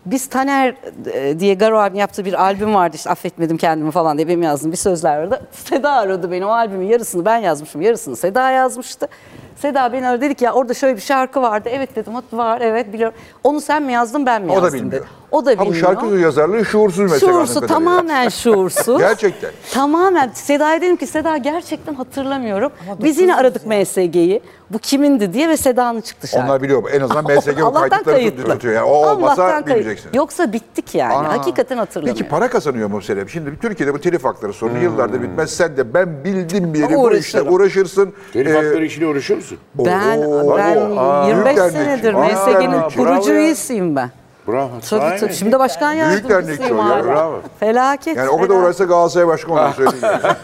Biz Taner e, diye Garo abinin yaptığı bir albüm vardı işte affetmedim kendimi falan diye benim yazdığım bir sözler vardı. Seda aradı beni o albümün yarısını ben yazmışım yarısını Seda yazmıştı. Seda beni aradı dedi ki ya orada şöyle bir şarkı vardı. Evet dedim "Hat- var evet biliyorum. Onu sen mi yazdın ben mi o da yazdım bilmiyor. dedi. O da Ha, bilmiyor. Bu şarkı yazarlığı şuursuz mesela. Şuursuz, anladığım kadarıyla. tamamen şuursuz. Gerçekten. Tamamen. Seda'ya dedim ki Seda gerçekten hatırlamıyorum. Biz yine aradık MSG'yi. Bu kimindi diye ve Seda'nın çıktı şarkı. Onlar biliyor. En azından MSG bu Allah'tan kayıtları tut- kayıtlı. tutuyor. Yani o olmasa Allah'tan kayıt- bilmeyeceksin. Yoksa bittik yani. Aa. Hakikaten hatırlamıyorum. Peki para kazanıyor mu Serap? Şimdi Türkiye'de bu telif hakları sorunu yıllardır bitmez. Sen de ben bildim bir yeri bu işte Uğraşırım. uğraşırsın. Telif Ee, hakları işiyle uğraşıyor musun? ben Oo, ben aa, 25 büyük senedir dernekçi. Aa, MSG'nin bravo kurucu ya. üyesiyim ben. Bravo. Tabii tabii. Şimdi de başkan Büyük dernekçi o yardımcısıyım ya, hala. bravo. Felaket. Yani o kadar felaket. uğraşsa Galatasaray başkanı Ah. olur söyleyeyim. yani.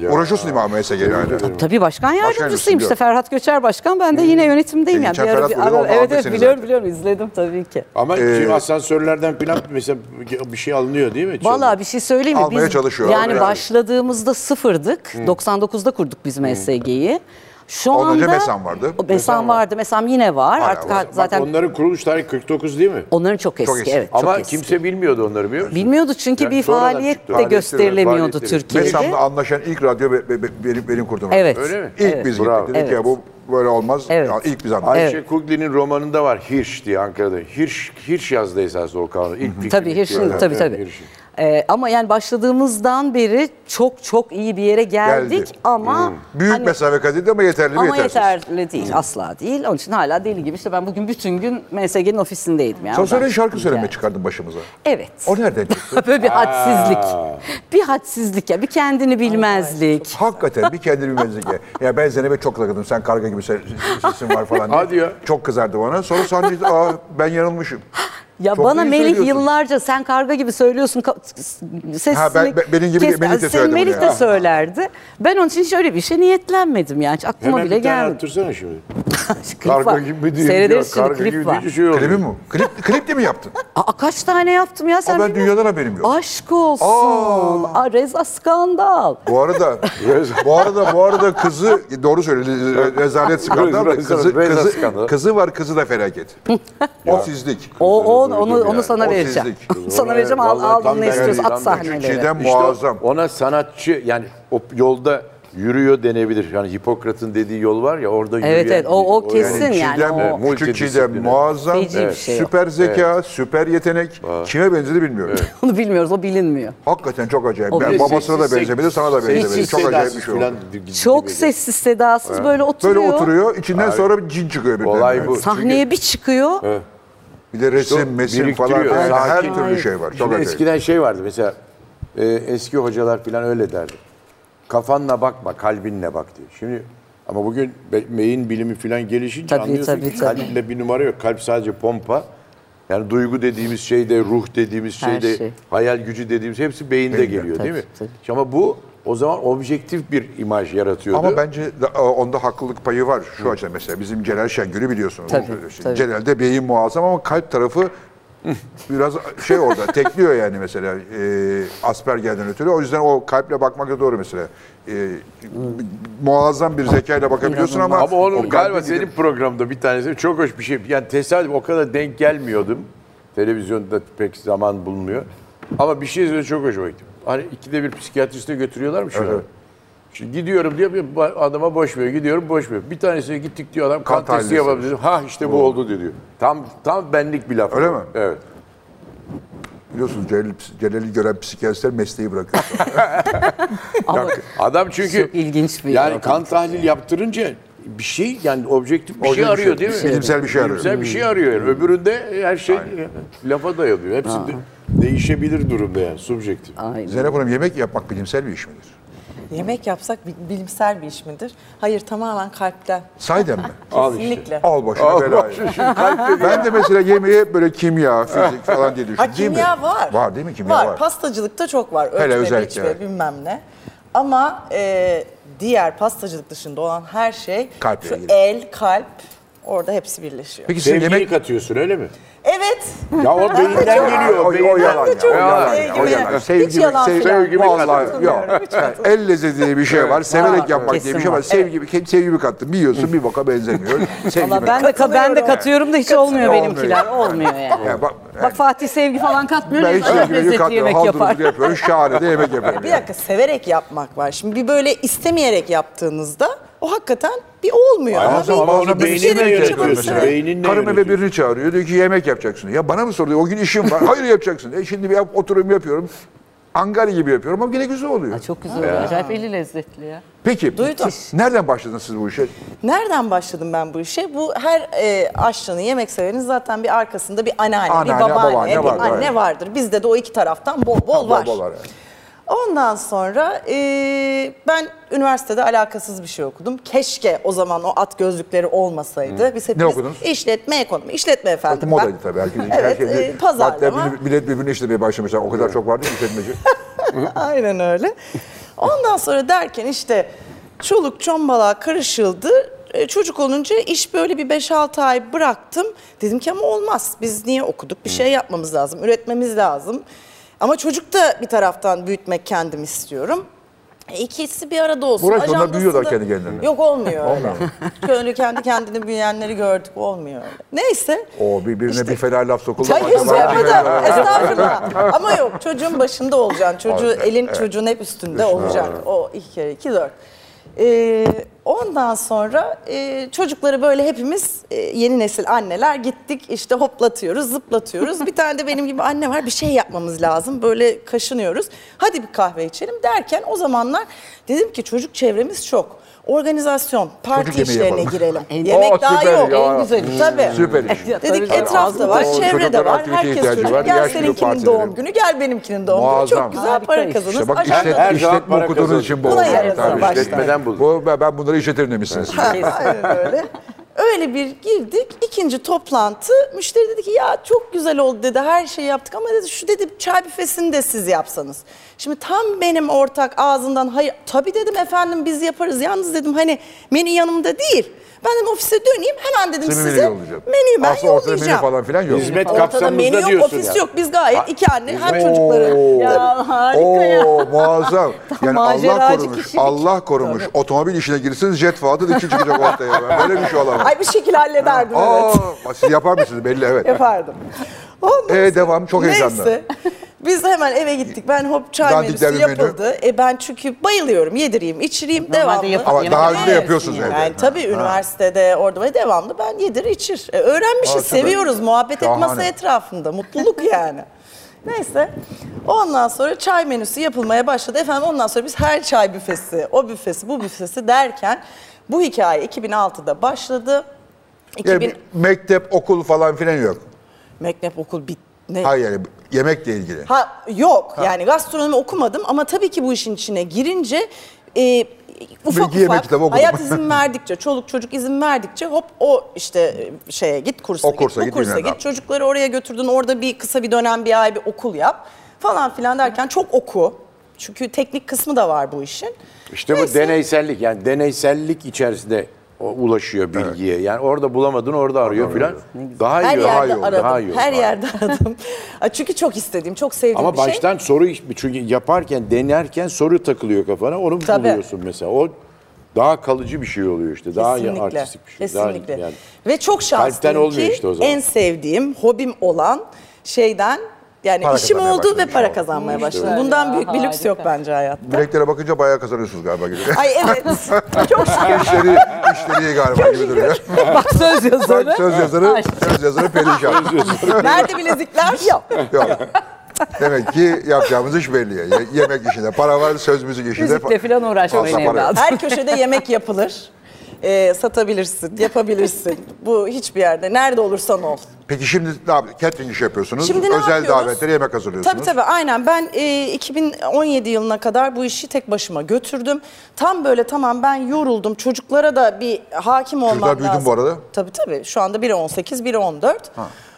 Ya. Uğraşıyorsun İmam MSG yani. Tabii başkan yardımcısıyım işte biliyorum. Ferhat Göçer başkan. Ben de yine yönetimdeyim. Yani. geçen Bir Hmm. ara- Ferhat Buyur'un bir ara- oldu, evet, evet affetsiniz biliyorum zaten. biliyorum izledim tabii ki. Ama E, şimdi asansörlerden falan mesela bir şey alınıyor değil mi? Vallahi bir şey söyleyeyim mi? Almaya çalışıyorlar. Yani Yani. başladığımızda sıfırdık. 99'da kurduk biz MSG'yi. Şu Ondan önce anda Mesan vardı. O Mesan vardı. Mesan yine var. Hala Artık var. Bak, zaten onların kuruluş tarihi 49 değil mi? onların çok eski. eski. Evet, Ama çok eski. kimse bilmiyordu onları biliyor musun? bilmiyordu çünkü Yani bir sonradan faaliyet çıktı. de Faaliyetleri, gösterilemiyordu faaliyetleri. Türkiye'de. Mesam'la anlaşan ilk radyo be- be- be- benim, benim kurduğum. Evet. radyo. Öyle mi? İlk biz gittik. Bravo. Dedik Evet. ya bu böyle olmaz. Evet. Yani ilk biz anlaştık. Ayşe Kugli'nin romanında var Hirsch diye Ankara'da. Hirsch, Hirsch yazdı esasında o kavramı. İlk fikri Tabii Hirsch'in, Hirsch'in tabii evet, tabii. Hirsch'in. Ee, ama yani başladığımızdan beri çok çok iyi bir yere geldik Geldi. Hmm. ama Büyük hani- mesafe kat edildi ama yeterli mi Ama yetersiz? Hmm. yeterli değil asla değil. Onun için hala deli gibi işte ben bugün bütün gün MSG'nin ofisindeydim. Yani Sen söyle şarkı söylemeye Yani. çıkardın başımıza. Evet. O nereden çıktı? Böyle bir hadsizlik. Bir hadsizlik ya bir kendini bilmezlik. Hakikaten bir kendini bilmenize gel. Ya ben Zeynep'e çok takıldım. Sen karga gibi ses- sesin var falan. diye. Hadi ya. Çok kızardı bana. Sonra sahnede aa ben yanılmışım. Ya Çok bana iyi Melih söylüyorsun. yıllarca sen karga gibi söylüyorsun sesini. Ha, ben- ben- benim gibi de Melih de söyledi bunu Melih ya. de söylerdi. Ben onun için şöyle bir şey niyetlenmedim yani. Hiç Aklıma Hemen bile bir tane gelmedi. arttırsana şimdi. Klip Karga var. gibi değil. Seyrederiz şimdi Karga gibi klip var. deyince şey oluyor. Klibi mi? Klip, klip de mi yaptın? Aa, kaç tane yaptım ya sen Aa, ben bilmiyorsun. dünyadan haberim yok. Aşk olsun. Aa, Reza Skandal. Bu arada bu arada bu arada kızı doğru söyledi rezalet skandal da kızı, Rezalet kızı, skandal. kızı var kızı da felaket. o sizlik. O, o onu onu, yani. sana O vereceğim. sizlik. sana Ona- vereceğim al, vallahi al tam ne ben- istiyorsun tam at ben- sahneleri. Çiğdem İşte o- muazzam. ona sanatçı yani o yolda yürüyor denebilir. Yani Hipokrat'ın dediği yol var ya orada yürüyen. evet, o- o kesin yani. yani Çiğdem, o- evet, küçük Çiğdem Multidisipliner. muazzam, Feci bir Evet. şey o. süper zeka, süper yetenek. Kime benzedi bilmiyorum. Onu bilmiyoruz o bilinmiyor. Hakikaten çok acayip. O Ben bir- babasına da benzemedi, sana da benzemedi. Sessiz Çok acayip bir sedasız şey oldu. falan gibi Çok geliyor. sessiz sedasız böyle oturuyor. Böyle oturuyor, içinden sonra bir cin çıkıyor birbirinden. Olay bu. Sahneye bir çıkıyor. Bir de resim, mesim biriktiriyor. falan. Evet. Her Sakin. türlü şey var. Çok Şimdi acayip. eskiden şey vardı mesela e, eski hocalar falan öyle derdi. Kafanla bakma, kalbinle bak diye. Şimdi ama bugün be- beyin bilimi falan gelişince Tabii, anlıyorsun tabii, ki tabii. kalple bir numara yok. Kalp sadece pompa. Yani duygu dediğimiz şey de, ruh dediğimiz Her şey de, şey. hayal gücü dediğimiz hepsi beyinde geliyor değil mi? Tabii, Ama bu o zaman objektif bir imaj yaratıyordu. Ama bence da- e, onda haklılık payı var şu açıdan mesela bizim Celal Şengül'ü biliyorsunuz. Tabii, tabii. Celal'de beyin muazzam ama kalp tarafı biraz şey orada tekliyor yani mesela e, Asperger'den ötürü. O yüzden o kalple bakmak da doğru mesela. E, muazzam bir zekayla bakabiliyorsun ama, Ama o onun kalbi galiba gidip- senin programda bir tanesi çok hoş bir şey. Yani tesadüf o kadar denk gelmiyordum. Televizyonda pek zaman bulmuyor. Ama bir şey söyledi, çok hoşuma gitti. Hani ikide bir psikiyatriste götürüyorlarmış şunu. Şimdi gidiyorum diyor bir ba- adama boş veriyor. Gidiyorum boş veriyor. Bir tanesine gittik diyor adam kan, Kan testi tahlili yapalım dedim. Ha işte bu oldu diyor. Tam tam benlik bir laf. Öyle mi? Evet. Biliyorsunuz Celal, Celal'i gören psikiyatristler mesleği bırakıyor. Ama Adam çünkü Çok ilginç bir yani rakam. kan tahlil yaptırınca bir şey yani objektif bir şey Objektif bir arıyor şey, değil mi? bilimsel bir şey arıyor. Bilimsel bir şey arıyor. yani. Öbüründe her şey lafa dayanıyor. Hepsi de- değişebilir durumda yani subjektif. Aynen. Zeynep Hanım yemek yapmak bilimsel bir iş midir? Yemek yapsak bi- bilimsel bir iş midir? Hayır tamamen kalpten. Sahiden mi? Al işte. Kesinlikle. Al başına belayı. ben de mesela yemeğe böyle kimya, fizik falan diye düşündüm. Ha kimya değil mi? var. Var değil mi? Kimya var. Pastacılıkta çok var. Ölçme, Hele özellikle, biçme, evet. bilmem ne. Ama e, diğer pastacılık dışında olan her şey Kalple şu ilgili. el, kalp orada hepsi birleşiyor. Peki sen Sevgiyi şey yemek... katıyorsun öyle mi? Evet. Ya o beyinden geliyor. o, o beyinden. yalan ya. çok O yalan ya. sevgimi- O yalan. hiç yalan sevgi, filan. sevgi vallahi yok. Hiç katılmıyorum. El lezzeti diye bir şey var. Severek Var, yapmak diye kesin bir şey var. var. Sevgi, evet. sevgimi kattım. Yiyorsun bir boka benzemiyor. Sevgimi Valla ben de, ka- ben de katıyorum da hiç olmuyor Olmuyor. benimkiler. Olmuyor yani. Ya bak, Bak Fatih sevgi falan katmıyor. ben hiç neyse, sevgimi lezzetli katmıyorum. yemek yapar. Haldırımcı yapıyorum. Şahane de yemek yapıyorum. Bir yani. dakika severek yapmak var. Şimdi bir böyle istemeyerek yaptığınızda o hakikaten bir olmuyor. Ama Ama Bazen- sen- bir- ama onu bazen bir şey beyninle de yönetiyorsun. kaçırmasın. Beyninle Karım eve yönetiyorsun. birini çağırıyor. Diyor ki yemek yapacaksın. Ya bana mı sordu? O gün işim var. Hayır yapacaksın. E şimdi bir yap, oturum yapıyorum. Angarya gibi yapıyorum ama yine güzel oluyor. Ha, Çok güzel oluyor. Acayip eli lezzetli ya. Peki. Duydum. Nereden başladınız siz bu işe? Nereden başladım ben bu işe? Bu her e, aşçının, yemek severinin zaten bir arkasında bir anneanne, Anneanne, bir babaanne, babaanne bir vardır, anne evet. vardır. Bizde de o iki taraftan bol bol var. Bol bol var, evet. Ondan sonra e, ben üniversitede alakasız bir şey okudum. Keşke o zaman o at gözlükleri olmasaydı. Biz hepimiz okudunuz? işletme ekonomi, işletme efendim Modaydı ben. tabii. Herkesin evet, her şeyde. e, pazarlama. Hatta bir- millet birbirini işlemeye başlamışlar. O kadar çok vardı ki işletmeci. Aynen öyle. Ondan sonra derken işte çoluk çombala karışıldı. E, Çocuk olunca iş böyle bir 5-6 ay bıraktım. Dedim ki ama olmaz. Biz niye okuduk? Bir şey yapmamız lazım. Üretmemiz lazım. Ama çocuk da bir taraftan büyütmek kendim istiyorum. E, ikisi bir arada olsun. Uğraş, onlar Ajandasında- büyüyorlar kendi kendilerine. Yok olmuyor öyle. Olmuyor. Köylü kendi kendini büyüyenleri gördük. Olmuyor öyle. Neyse. O birbirine bir fena laf sokuldu. Hayır Acaba- sormadım. Estağfurullah. Ama yok çocuğun başında olacaksın. Çocuğu elin çocuğun hep üstünde olacak. O iki kere iki dört. Ee, ondan sonra e, çocukları böyle hepimiz e, yeni nesil anneler gittik işte hoplatıyoruz zıplatıyoruz. bir tane de benim gibi anne var bir şey yapmamız lazım böyle kaşınıyoruz. Hadi bir kahve içelim derken o zamanlar dedim ki çocuk çevremiz çok. Organizasyon, parti yemeği işlerine yapalım. girelim. En- Yemek Aa, daha süper yok. ya. Hmm, En güzeli. Tabii. Süper iş. Dedik Tabii. etrafta var, Ağzında çevrede çocukların var. aktivite Herkes ihtiyacı çocuk. var. Gel Yaş grubu seninkinin partileri. doğum günü, gel benimkinin doğum günü. Muazzam. Çok güzel Harika para iş. kazanırız. İşte bak Ajanda- işlet, Her zaman işletme para okudunuz kazanır. için bu Buna oldu. yaradı Tabii başta. işletmeden buldum. Bu, ben, ben bunları işletirim demişsiniz. şey. Aynen öyle. Öyle bir girdik. İkinci toplantı. Müşteri dedi ki ya çok güzel oldu dedi. Her şeyi yaptık ama dedi şu dedi çay büfesini de siz yapsanız. Şimdi tam benim ortak ağzından hayır. Tabii dedim efendim biz yaparız. Yalnız dedim hani menü yanımda değil. Ben dedim ofise döneyim hemen dedim Size menü size. yollayacağım. menüyü ben Aslında ortada menü yollayacağım. falan filan yok. Hizmet Ortada kapsamında menü yok, diyorsun ofis yani. yok. Biz gayet iki anne hem Oo. çocukları. Ya harika ya. Oo muazzam. Yani Allah maceracı korumuş. kişilik. Allah korumuş. Otomobil işine girsiniz jet fadı da iki çıkacak ortaya. Böyle bir şey olamaz. Ay bir şekil hallederdim evet. Aa, siz yapar mısınız belli evet. Yapardım. Ondan Ee, devam çok heyecanlı. Neyse. Biz hemen eve gittik. Ben hop çay Dandik menüsü bir menü. yapıldı. E ben çünkü bayılıyorum. Yedireyim, içireyim Normalde devamlı. yapıp Ama yemek daha yapamıyorsun önce yapıyorsunuz yani. evde. Yani tabii üniversitede orada ve devamlı ben yedir içir. E, öğrenmişiz, Aa, süper. seviyoruz. Muhabbet Şahane. et masa etrafında. Mutluluk yani. Neyse. Ondan sonra çay menüsü yapılmaya başladı. Efendim ondan sonra biz her çay büfesi, o büfesi, bu büfesi derken bu hikaye 2006'da başladı. 2000 Yani mektep, okul falan filan yok. Mektep okul bit ne? Hayır yani yemekle ilgili. Ha yok yani gastronomi okumadım ama tabii ki bu işin içine girince e, ufak Bilgi yemek ufak kitabı okudum. hayat izin verdikçe çoluk çocuk izin verdikçe hop o işte e, şeye git kursa O git kursa bu git, bilmem kursa ne git yap. çocukları oraya götürdün orada bir kısa bir dönem bir ay bir okul yap falan filan derken çok oku çünkü teknik kısmı da var bu işin. İşte bu Neyse. deneysellik yani deneysellik içerisinde o- ulaşıyor bilgiye. Yani orada bulamadın orada arıyor filan. Daha iyi, daha Her iyi yerde oldu, aradım. daha iyi oldu. her yerde aradım. Ay, Çünkü çok istediğim, çok sevdiğim Ama bir şey. baştan soru iş- çünkü yaparken denerken soru takılıyor kafana. Onu Tabii. buluyorsun mesela. O daha kalıcı bir şey oluyor işte. Daha kesinlikle. artistik bir şey. Kesinlikle. Daha, yani Ve çok Kalpten şanslıyım olmuyor ki işte o zaman. en sevdiğim hobim olan şeyden yani Para işim kazanmaya oldu ve başlamış para oldum. kazanmaya başladım. Bundan ya, büyük bir lüks yok harika. bence hayatta. Bileklere bakınca bayağı kazanıyorsunuz galiba gibi. Ay evet. çok şükür. işleri, işleri iyi galiba gibi duruyor. Bak söz yazarı. Bak söz yazarı, söz yazarı perişan. Nerede bilezikler? Yok. Yok. Demek ki yapacağımız iş belli. ya. Ye- Yemek işinde para var, söz müzik işinde. Müzikle falan uğraşmayın Fazla para yok. evladım. Her köşede yemek yapılır. Ee, satabilirsin, yapabilirsin. Bu hiçbir yerde. Nerede olursan ol. Peki şimdi ne yap- catering iş yapıyorsunuz. Şimdi ne Özel yapıyoruz? davetlere yemek hazırlıyorsunuz. Tabii tabii aynen ben e, 2017 yılına kadar bu işi tek başıma götürdüm. Tam böyle tamam ben yoruldum çocuklara da bir hakim olmam Çocuklar lazım. büyüdü mü bu arada? Tabii tabii şu anda biri 18 biri 14.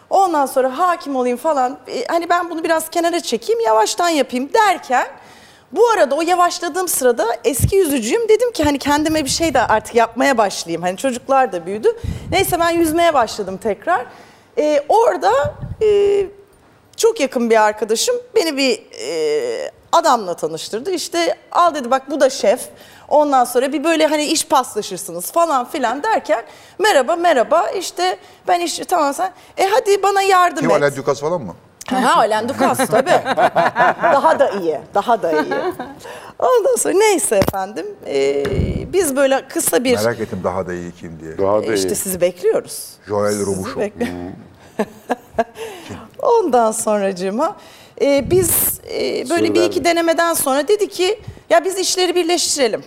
Ondan sonra hakim olayım falan E, hani ben bunu biraz kenara çekeyim yavaştan yapayım derken bu arada o yavaşladığım sırada eski yüzücüyüm dedim ki hani kendime bir şey de artık yapmaya başlayayım. Hani çocuklar da büyüdü. Neyse ben yüzmeye başladım tekrar. E, orada e, çok yakın bir arkadaşım beni bir e, adamla tanıştırdı. İşte al dedi bak bu da şef. Ondan sonra bir böyle hani iş paslaşırsınız falan filan derken merhaba merhaba işte ben işte tamam sen e hadi bana yardım Kim et. Alain Dukas falan mı? Ha halen Dukas tabii. daha da iyi, daha da iyi. Ondan sonra neyse efendim e, biz böyle kısa bir Merak ettim daha da iyi kim diye. Daha da iyi. E, işte sizi bekliyoruz. Joel Sizi Rubuşov. bekle- Ondan sonracığıma e, biz e, böyle Soru bir verdim. iki denemeden sonra dedi ki ya biz işleri birleştirelim.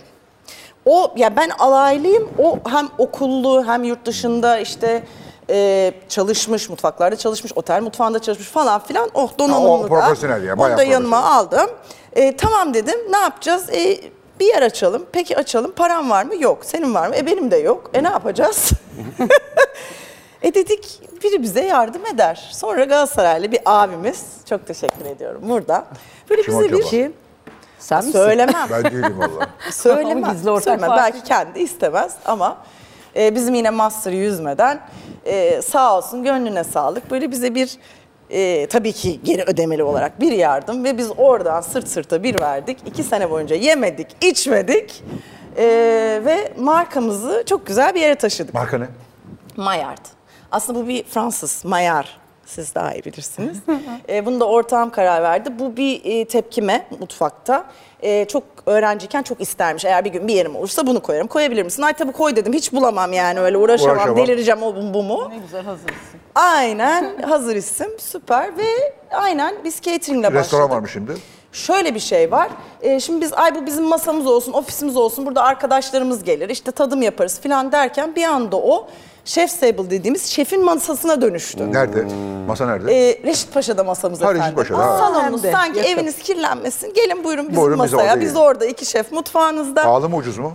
O ya ben alaylıyım. O hem okullu hem yurt dışında işte e, çalışmış mutfaklarda çalışmış, otel mutfağında çalışmış falan filan. Oh donanımlı Ha, o profesyonel ya, da. bayağı Onu da yanıma profesyonel. aldım. E, tamam dedim. Ne yapacağız? E, bir yer açalım. Peki açalım. Param var mı? Yok. Senin var mı? E benim de yok. E ne yapacağız? E dedik biri bize yardım eder. Sonra Galatasaraylı bir abimiz, çok teşekkür ediyorum burada. Böyle Kim bize acaba? bir şey Sen misin? söylemem. Ben değilim valla. söylemem. Gizli ortak söylemem. var. Belki kendi istemez ama e, bizim yine master yüzmeden e, sağ olsun gönlüne sağlık. Böyle bize bir e, tabii ki geri ödemeli olarak bir yardım ve biz oradan sırt sırta bir verdik. İki sene boyunca yemedik, içmedik E, ve markamızı çok güzel bir yere taşıdık. Marka ne? Maillard. Aslında bu bir Fransız Maillard. Siz daha iyi bilirsiniz. e, bunu da ortağım karar verdi. Bu bir e, tepkime mutfakta. E, çok öğrenciyken çok istermiş. Eğer bir gün bir yerim olursa bunu koyarım. Koyabilir misin? Ay tabii koy dedim. Hiç bulamam yani öyle uğraşamam. Uğraşamam. Delireceğim o bu, bu mu? Ne güzel hazırsın. Aynen hazır isim süper ve aynen biz cateringle Restoran başladık. var mı şimdi? Şöyle bir şey var. Ee, şimdi biz ay bu bizim masamız olsun, ofisimiz olsun, burada arkadaşlarımız gelir, işte tadım yaparız filan derken bir anda o chef table dediğimiz şefin masasına dönüştü. Nerede? Masa nerede? Ee, Reşit Paşa'da masamız Hmm. Ha, Reşit efendim. Paşa'da, ha. Salonumuz Hem de sanki yakın. eviniz kirlenmesin. Gelin buyurun bizim Buyurun, biz masaya. Biz orada orada, yiyelim. iki şef mutfağınızda. Pahalı mı ucuz mu?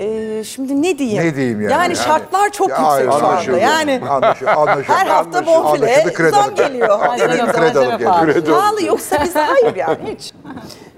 Ee, şimdi ne diyeyim? Ne diyeyim yani? Yani şartlar çok Ya, hayır, yüksek şu anda. anlaşıldı. Yani anlaşıldı, anlaşıldı. her hafta Anlaşıldı, anlaşıldı, bonfile kredi zam alacak. geliyor. Aynen Kredi- öyle, kredi alıp malzeme geliyor. pahalı. Pahalı yoksa biz hayır yani hiç.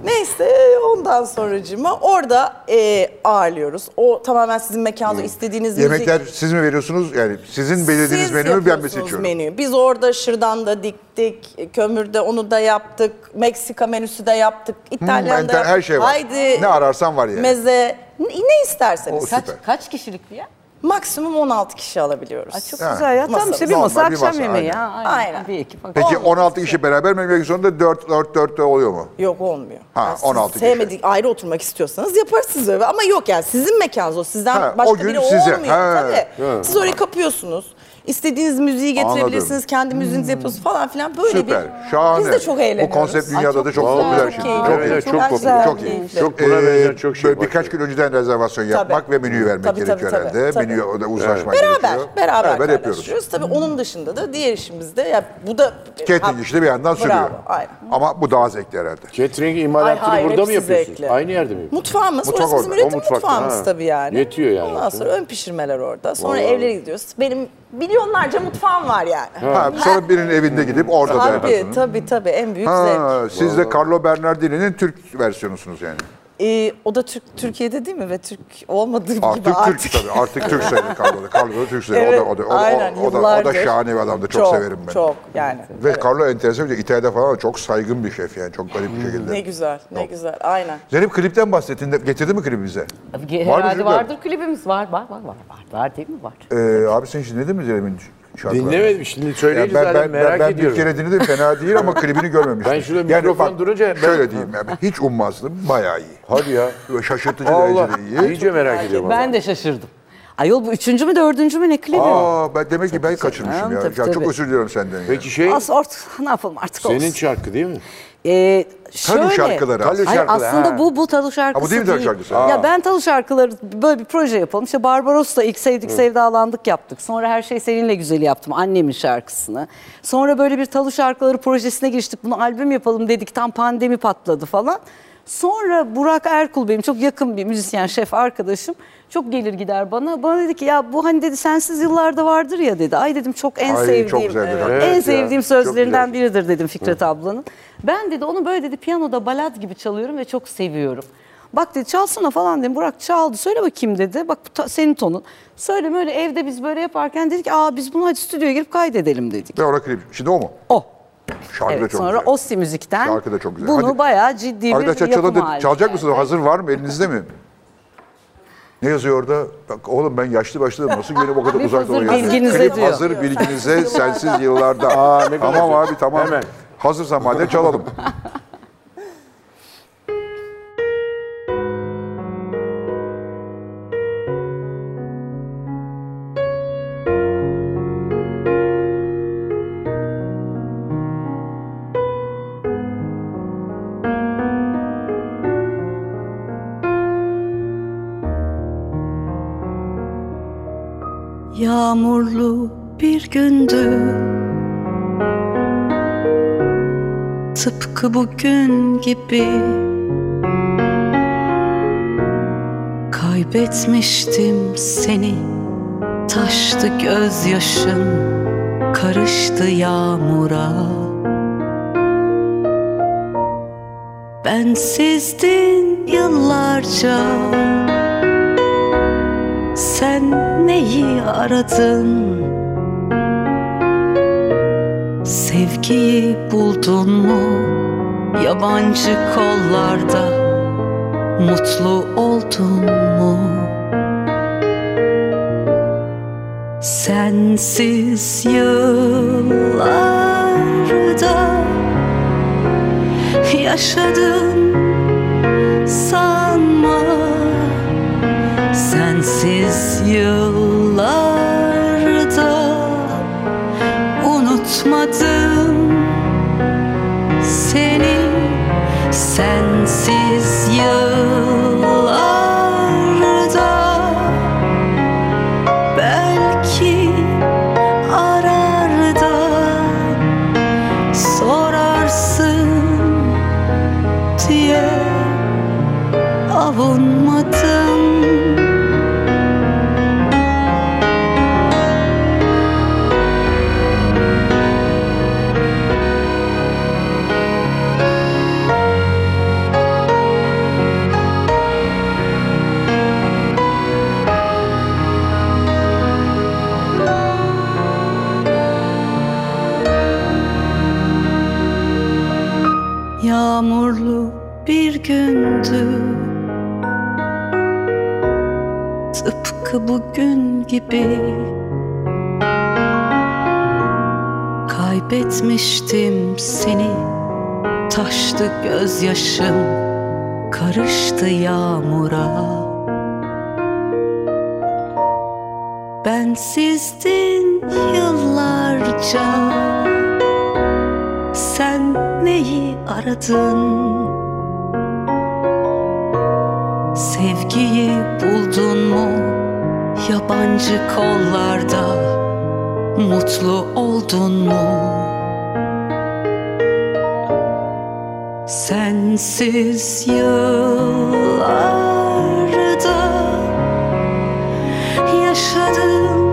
Neyse ondan sonracığıma orada e, ağırlıyoruz. O tamamen sizin mekanınız istediğiniz Hmm. Yemekler müzik. siz mi veriyorsunuz? Yani sizin belirlediğiniz Siz menü mü ben mi yapıyorsunuz seçiyorum? menüyü. Biz orada şırdan da diktik, kömürde onu da yaptık, Meksika menüsü de yaptık, İtalyan da enter- Hmm, her şey var. Haydi, Ne ararsan var yani. Meze, ne, ne isterseniz. O Kaç, Süper. kaç kişilik bir yer? Maksimum 16 kişi alabiliyoruz. Ay, çok Ha. güzel ya. Tam işte bir Normal masa bir akşam masa, yemeği aynen. ya. Aynen. Bir ekip akşam. Peki Olmaz. 16 kişi beraber mi yemek zorunda 4 4 4 de oluyor mu? Yok olmuyor. Ha, siz 16 kişi. Sevmedik ayrı oturmak istiyorsanız yaparsınız öyle ama yok yani sizin mekanınız o sizden Ha, başka o gün biri size. olmuyor Ha, tabii. evet. Siz orayı kapıyorsunuz. İstediğiniz müziği getirebilirsiniz, Anladım. Hmm. kendi müziğinizi yapıyorsunuz falan filan böyle Süper. bir. Şahane. Biz de çok eğleniyoruz. Bu konsept Ay, dünyada çok da çok güzel, popüler çok şimdi. keyifli. Çok Evet, iyi. evet, çok güzel, popüler. Çok iyi. keyifli. Çok buna benzer Ee, çok şey böyle var. birkaç gün önceden rezervasyon yapmak ve menüyü vermek Tabii, tabii, gerekiyor tabii, herhalde. tabii. Menüye o da uzlaşmak Beraber, gerekiyor. beraber Beraber yapıyoruz. paylaşıyoruz. Tabii onun dışında da diğer işimizde ya bu da Catering işi de bir yandan sürüyor. Bravo, aynen. Ama bu daha zevkli herhalde. Catering Ay, imalatını hayır, burada mı hepsi yapıyorsunuz? zevkli. Aynı yerde mi? Mutfağımız, Mutfak orası bizim orada, o üretim mutfakta, mutfağımız ha. tabii yani. Yetiyor yani Ondan aslında. sonra ön pişirmeler orada. Sonra Vallahi. evlere gidiyoruz. Benim milyonlarca mutfağım var yani. Ha, sonra birinin evinde gidip orada da Tabii yaparsınız. tabii tabii en büyük zevk. Ha, siz de Carlo Bernardini'nin Türk versiyonusunuz yani. Ee, o da Türk Türkiye'de değil mi ve Türk olmadığı Artık gibi Ah, Türk artık. tabii. Artık Türk sayılır Carlo da. Carlo da Türk sayılır. Evet, o, da, o, da, o, aynen, o, da, o da yıllardır. şahane bir adamdı. Çok, severim ben. Çok yani. Ve Evet. Carlo enteresan bir şey. İtalya'da falan çok saygın bir şef yani. Çok garip bir şekilde. Ne güzel, ne güzel. Aynen. Zeynep klipten bahsettin. de- Getirdi mi klibi bize? Ge- Var mı Herhalde çocuklar? vardır klibimiz var. Var var var var. Var değil mi? Var. Ee, abi sen hiç dinledin mi Zeynep'in şarkılarını? Dinlemedim şimdi Ya söyleyince ben, zaten ben, merak ben, ben bir ediyorum. kere dinledim fena değil ama klibini görmemiştim. Ben şurada mikrofon durunca ben- Şöyle diyeyim yani hiç ummazdım bayağı iyi. Hadi ya. Şaşırtıcı Allah şey derecede iyi. iyice merak ediyorum. Ben de şaşırdım. Ayol bu üçüncü mü dördüncü mü ne klibi? Aa ben demek ki ben kaçırmışım canım, ya. tabii, Ya Çok tabii. özür diliyorum senden. ya. Peki şey Az ort- ne yapalım artık senin olsun. şarkı değil mi? Ee, şöyle, Talu şarkıları. Talu Hayır, şarkıları, aslında ha. bu bu talu şarkısı değil mi talu şarkısı? Ya ben talu şarkıları böyle bir proje yapalım. İşte Barbaros'la ilk sevdik sevdalandık yaptık. Sonra her şey seninle güzel yaptım annemin şarkısını. Sonra böyle bir talu şarkıları projesine giriştik. Bunu albüm yapalım dedik. Tam pandemi patladı falan. Sonra Burak Erkul benim çok yakın bir müzisyen şef arkadaşım çok gelir gider bana. Bana dedi ki ya bu hani dedi sensiz yıllarda vardır ya dedi. Ay dedim çok en Ay, çok sevdiğim güzeldir hakikaten en ya. sevdiğim Çok sözlerinden güzel. bir biridir dedim Fikret ablanın. Ben dedi onu böyle dedi piyanoda balad gibi çalıyorum ve çok seviyorum. Bak dedi çalsana falan dedim. Burak çaldı. Söyle bakayım dedi. Bak bu ta- senin tonun. Söyleme öyle evde biz böyle yaparken dedik aa biz bunu hadi stüdyoya girip kaydedelim dedik. Ve ona klip. Şimdi o mu? O. Şarkı da Evet, çok sonra güzel. Ossi Müzik'ten Şarkı da çok güzel. bunu Hadi. bayağı ciddi bir Arkadaşlar yapım çalın- haline çalacak geldi. mısınız? Hazır var mı? Elinizde mi? Ne yazıyor orada? Bak oğlum ben yaşlı başladım. Nasıl gelip o kadar Biz uzak hazır doğru yazıyor? bilginize Klip diyor. hazır bilginize sensiz yıllarda. Aa, ne kadar tamam güzel. abi tamam. Hemen. Hazırsan madem çalalım. Yağmurlu bir gündü Tıpkı bugün gibi Kaybetmiştim seni Taştı gözyaşın Karıştı yağmura Bensizdin yıllarca sen neyi aradın? Sevgiyi buldun mu? Yabancı kollarda mutlu oldun mu? Sensiz yıllarda yaşadın sanma Sensiz yıllarda unutmadım seni Sensiz yıllarda belki arar da sorarsın diye avunmadım Yağmurlu bir gündü Tıpkı bugün gibi Kaybetmiştim seni Taştı gözyaşım Karıştı yağmura Bensizdin yıllarca Sen neyi aradın? Sevgiyi buldun mu yabancı kollarda Mutlu oldun mu Sensiz yıllarda yaşadım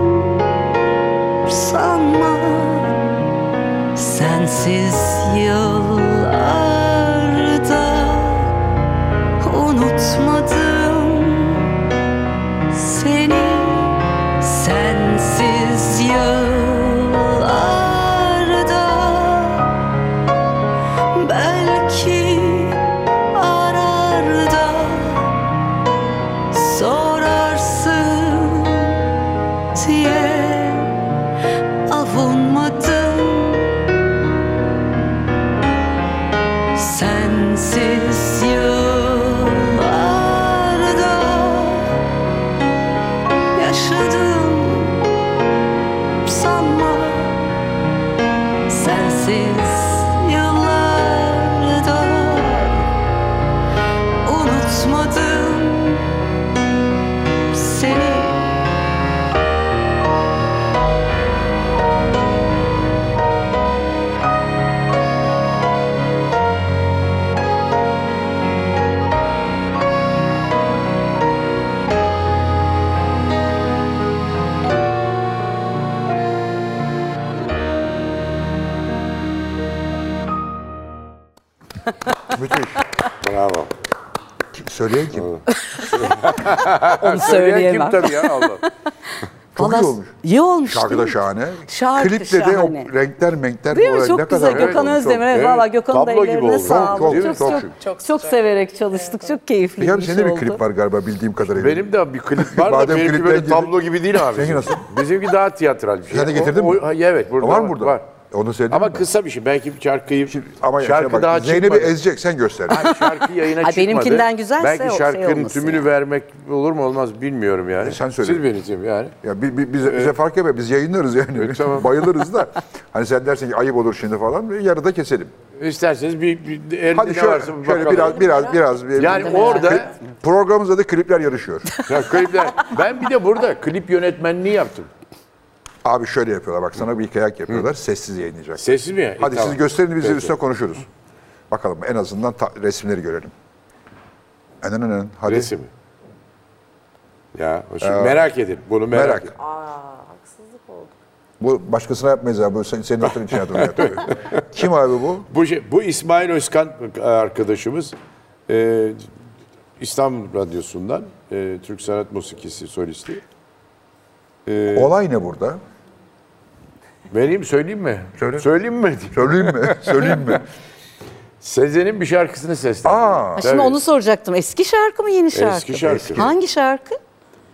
sanma Sensiz yıllarda unutmadım seni sensiz yıllarda belki arar da sorarsın diye avunmadım Sensiz yıllarda yaşa Müthiş. Bravo. Kim- Söyleyen kim? Onu Söyleyen söyleyemem. Kim tabii ya Allah. Çok iyi Vallahi olmuş. İyi olmuş Şarkı değil da mi? şahane. Şarkı Klipte de şahane. o renkler menkler Değil mi? falan Çok güzel evet Gökhan olmuş, çok. Özdemir. Evet, evet. valla Gökhan'ın da Tablo gibi ellerine oldu. sağlık. Çok, Çok, değil mi? çok, Çok çok, şık. Çok sıcak. severek çalıştık. Çok keyifli Peyami bir senin şey de bir oldu. klip var galiba bildiğim kadarıyla. Benim de bir klip var da Madem benimki klipler böyle gibi- tablo gibi değil abi. Seninki nasıl? Bizimki daha tiyatral bir şey. Sen de O- getirdin o- mi? Ha, evet burada var mı burada? Var. Onu söyledin Ama mi? kısa bir şey. Belki bir şarkıyı Ama şarkı şarkı daha bak, Zeynep'i çıkmadı. ezecek sen göster. Abi şarkı yayına Ay, çıkmadı. benimkinden güzelse o Belki şey şarkının olmasın tümünü yani. vermek olur mu olmaz bilmiyorum yani. E, sen söyle. Siz belirtin yani. ya bi- bi- bize, bize fark etmez biz yayınlarız yani. tamam. Bayılırız da. Hani sen dersin ki ayıp olur şimdi falan yarıda keselim. İsterseniz bir, bir elde Hadi ne şöyle, varsa bir şöyle bakalım. biraz biraz biraz bir- Yani bir- orada- Kli- programımızda da klipler yarışıyor. Ya klipler. Ben bir de burada klip yönetmenliği yaptım. Abi şöyle yapıyorlar bak sana bir kayak yapıyorlar sessiz yayınlayacak. Sessiz mi? E, Hadi Tamam. siz gösterin biz de Peki. üstüne konuşuruz. Bakalım en azından ta- resimleri görelim. Enen enen hadi. Resim. Ya şimdi merak edin bunu merak, Merak. edin. Bu başkasına yapmayız abi. Bu sen- senin hatırın için yaptım. Kim abi bu? Bu, şey- bu İsmail Özkan arkadaşımız e, İstanbul Radyosu'ndan e, Türk Sanat Musikisi solisti. Olay ne burada? Vereyim söyleyeyim mi? Söyle. Söyleyeyim mi? Söyleyeyim mi? Söyleyeyim mi? Sezen'in bir şarkısını seslendirdim. Aa. Ha, şimdi Tabii. onu soracaktım. Eski şarkı mı yeni şarkı? Eski şarkı. Eski. Hangi şarkı?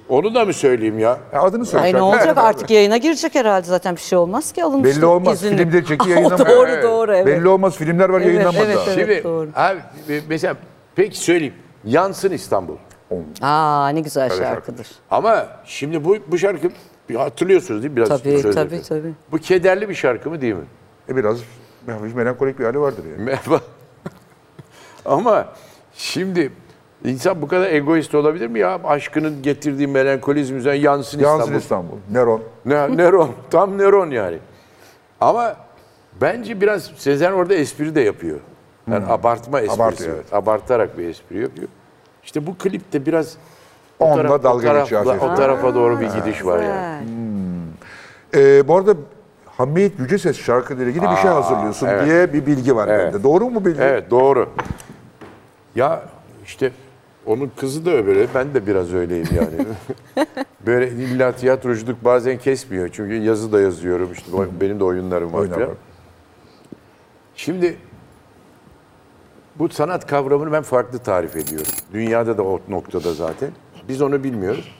Onu da mı söyleyeyim ya? Ya Adını söyle. Ay ne şarkı. olacak Evet, artık abi. yayına girecek herhalde zaten bir şey olmaz ki alınmıştır. Belli olmaz. izinli. Filmleri çeki O yayınlanmaz. doğru Evet. doğru evet. Belli olmaz. Filmler var Evet, yayınlanmaz evet, daha. evet. Şimdi doğru. abi e, mesela peki söyleyeyim. Yansın İstanbul. Aa ne güzel şarkıdır. Ama şimdi bu bu şarkı bir hatırlıyorsunuz değil mi? Biraz Tabii, söz tabii, edeyim. tabii. Bu kederli bir şarkı mı değil mi? E biraz hafif melankolik bir hali vardır yani. Merhaba. Ama şimdi insan bu kadar egoist olabilir mi ya? Aşkının getirdiği melankolizm yüzünden yansın, Yansın İstanbul. İstanbul. Neron. Ne, Neron. Tam Neron yani. Ama bence biraz Sezen orada espri de yapıyor. Yani abartma esprisi. Hmm. Abartıyor, evet. Abartarak bir espri yapıyor. İşte bu klipte biraz o Onunla taraf- o dalga tarafla- geçiyor O hafif. tarafa doğru bir gidiş var yani. Güzel. Ee, bu arada Hamit Yüceses şarkılarıyla ilgili bir şey hazırlıyorsun evet. diye bir bilgi var Evet. bende. Doğru mu bu bilgi? Evet doğru. Ya işte onun kızı da öyle. Ben de biraz öyleyim yani. Böyle illa tiyatroculuk bazen kesmiyor. Çünkü yazı da yazıyorum. İşte benim de oyunlarım var. Oyunlar falan. var. Şimdi bu sanat kavramını ben farklı tarif ediyorum. Dünyada da o noktada zaten. Biz onu bilmiyoruz.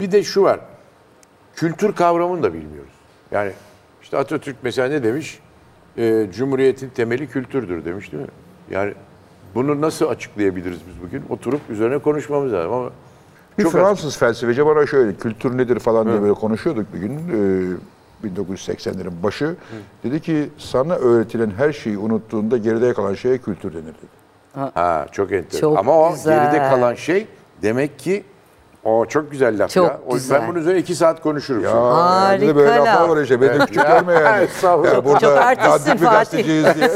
Bir de şu var. Kültür kavramını da bilmiyoruz. Yani işte Atatürk mesela ne demiş? Ee, Cumhuriyetin temeli kültürdür demiş değil mi? Yani bunu nasıl açıklayabiliriz biz bugün? Oturup üzerine konuşmamız lazım ama Bir çok az- Fransız felsefeci bana şöyle kültür nedir falan diye böyle konuşuyorduk bir gün. Ee, 1980'lerin başı. Dedi ki sana öğretilen her şeyi unuttuğunda geride kalan şeye kültür denir dedi. Ha çok enteresan. Çok Ama o güzel. geride kalan şey demek ki o çok güzel laf Çok ya. O- güzel. Ben bunun üzerine iki saat konuşurum. şimdi. Aa, de böyle Harika laflar laf. var işte. Beni küçük görme yani. ya Çok burada artistsin dandik bir Fatih. gazeteciyiz diye.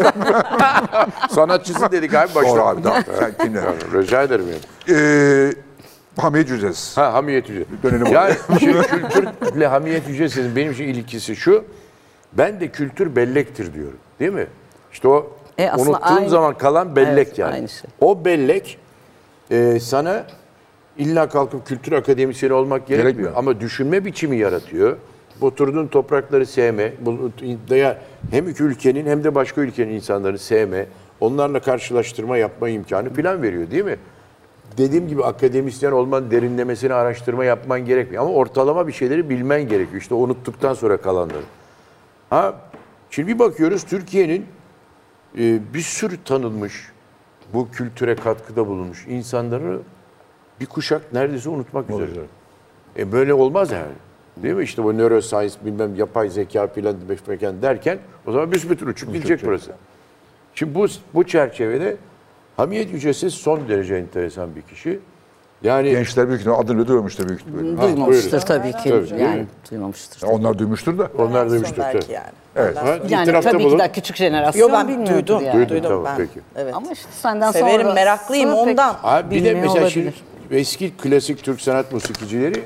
Sanatçısı dedik abi başta. Doğru abi. tamam. Sen kimle? Rica ederim yani. Ee, Hamid Cüces. Ha hamiyet yüce. Dönelim Yani şey, kültürle hamiyet yücesinin benim için ilkisi şu. Ben de kültür bellektir diyorum. Değil mi? İşte o E, aslında unuttuğun aynı- zaman kalan bellek Evet, yani. aynı şey. O bellek e, sana illa kalkıp kültür akademisyeni olmak gerekmiyor. Gerekmiyor. Ama düşünme biçimi yaratıyor. Oturduğun toprakları sevme, bu- ya hem iki ülkenin hem de başka ülkenin insanlarını sevme, onlarla karşılaştırma yapma imkanı falan veriyor değil mi? dediğim gibi akademisyen olman, derinlemesine araştırma yapman gerekmiyor. Ama ortalama bir şeyleri bilmen gerekiyor. İşte unuttuktan sonra kalanları. Ha, şimdi bir bakıyoruz Türkiye'nin e, bir sürü tanınmış, bu kültüre katkıda bulunmuş insanları bir kuşak neredeyse unutmak üzere. E böyle olmaz yani. Değil mi? İşte bu neuroscience bilmem yapay zeka filan falan derken o zaman büsbütün uçup gidecek burası. Şimdi bu, bu çerçevede Hamiyet Yücesi son derece enteresan bir kişi. Yani Gençler büyük ihtimalle adını bile duymamıştır büyük ihtimalle. Duymamıştır buyurun. tabii ki. Tabii, değil yani mi? duymamıştır. Ya Onlar duymuştur da. onlar Belki demiştir. tabii. yani. Evet. Ha, Yani itirafta tabii ki bulun. de küçük jenerasyon Yo ben bilmiyordur duydum. yani. Duydum, Duydum tamam, ben. peki. Evet. Ama işte senden sonra... Severim, meraklıyım ondan. Abi bir de Bilmiyor mesela şimdi olabilir. eski klasik Türk sanat musikicileri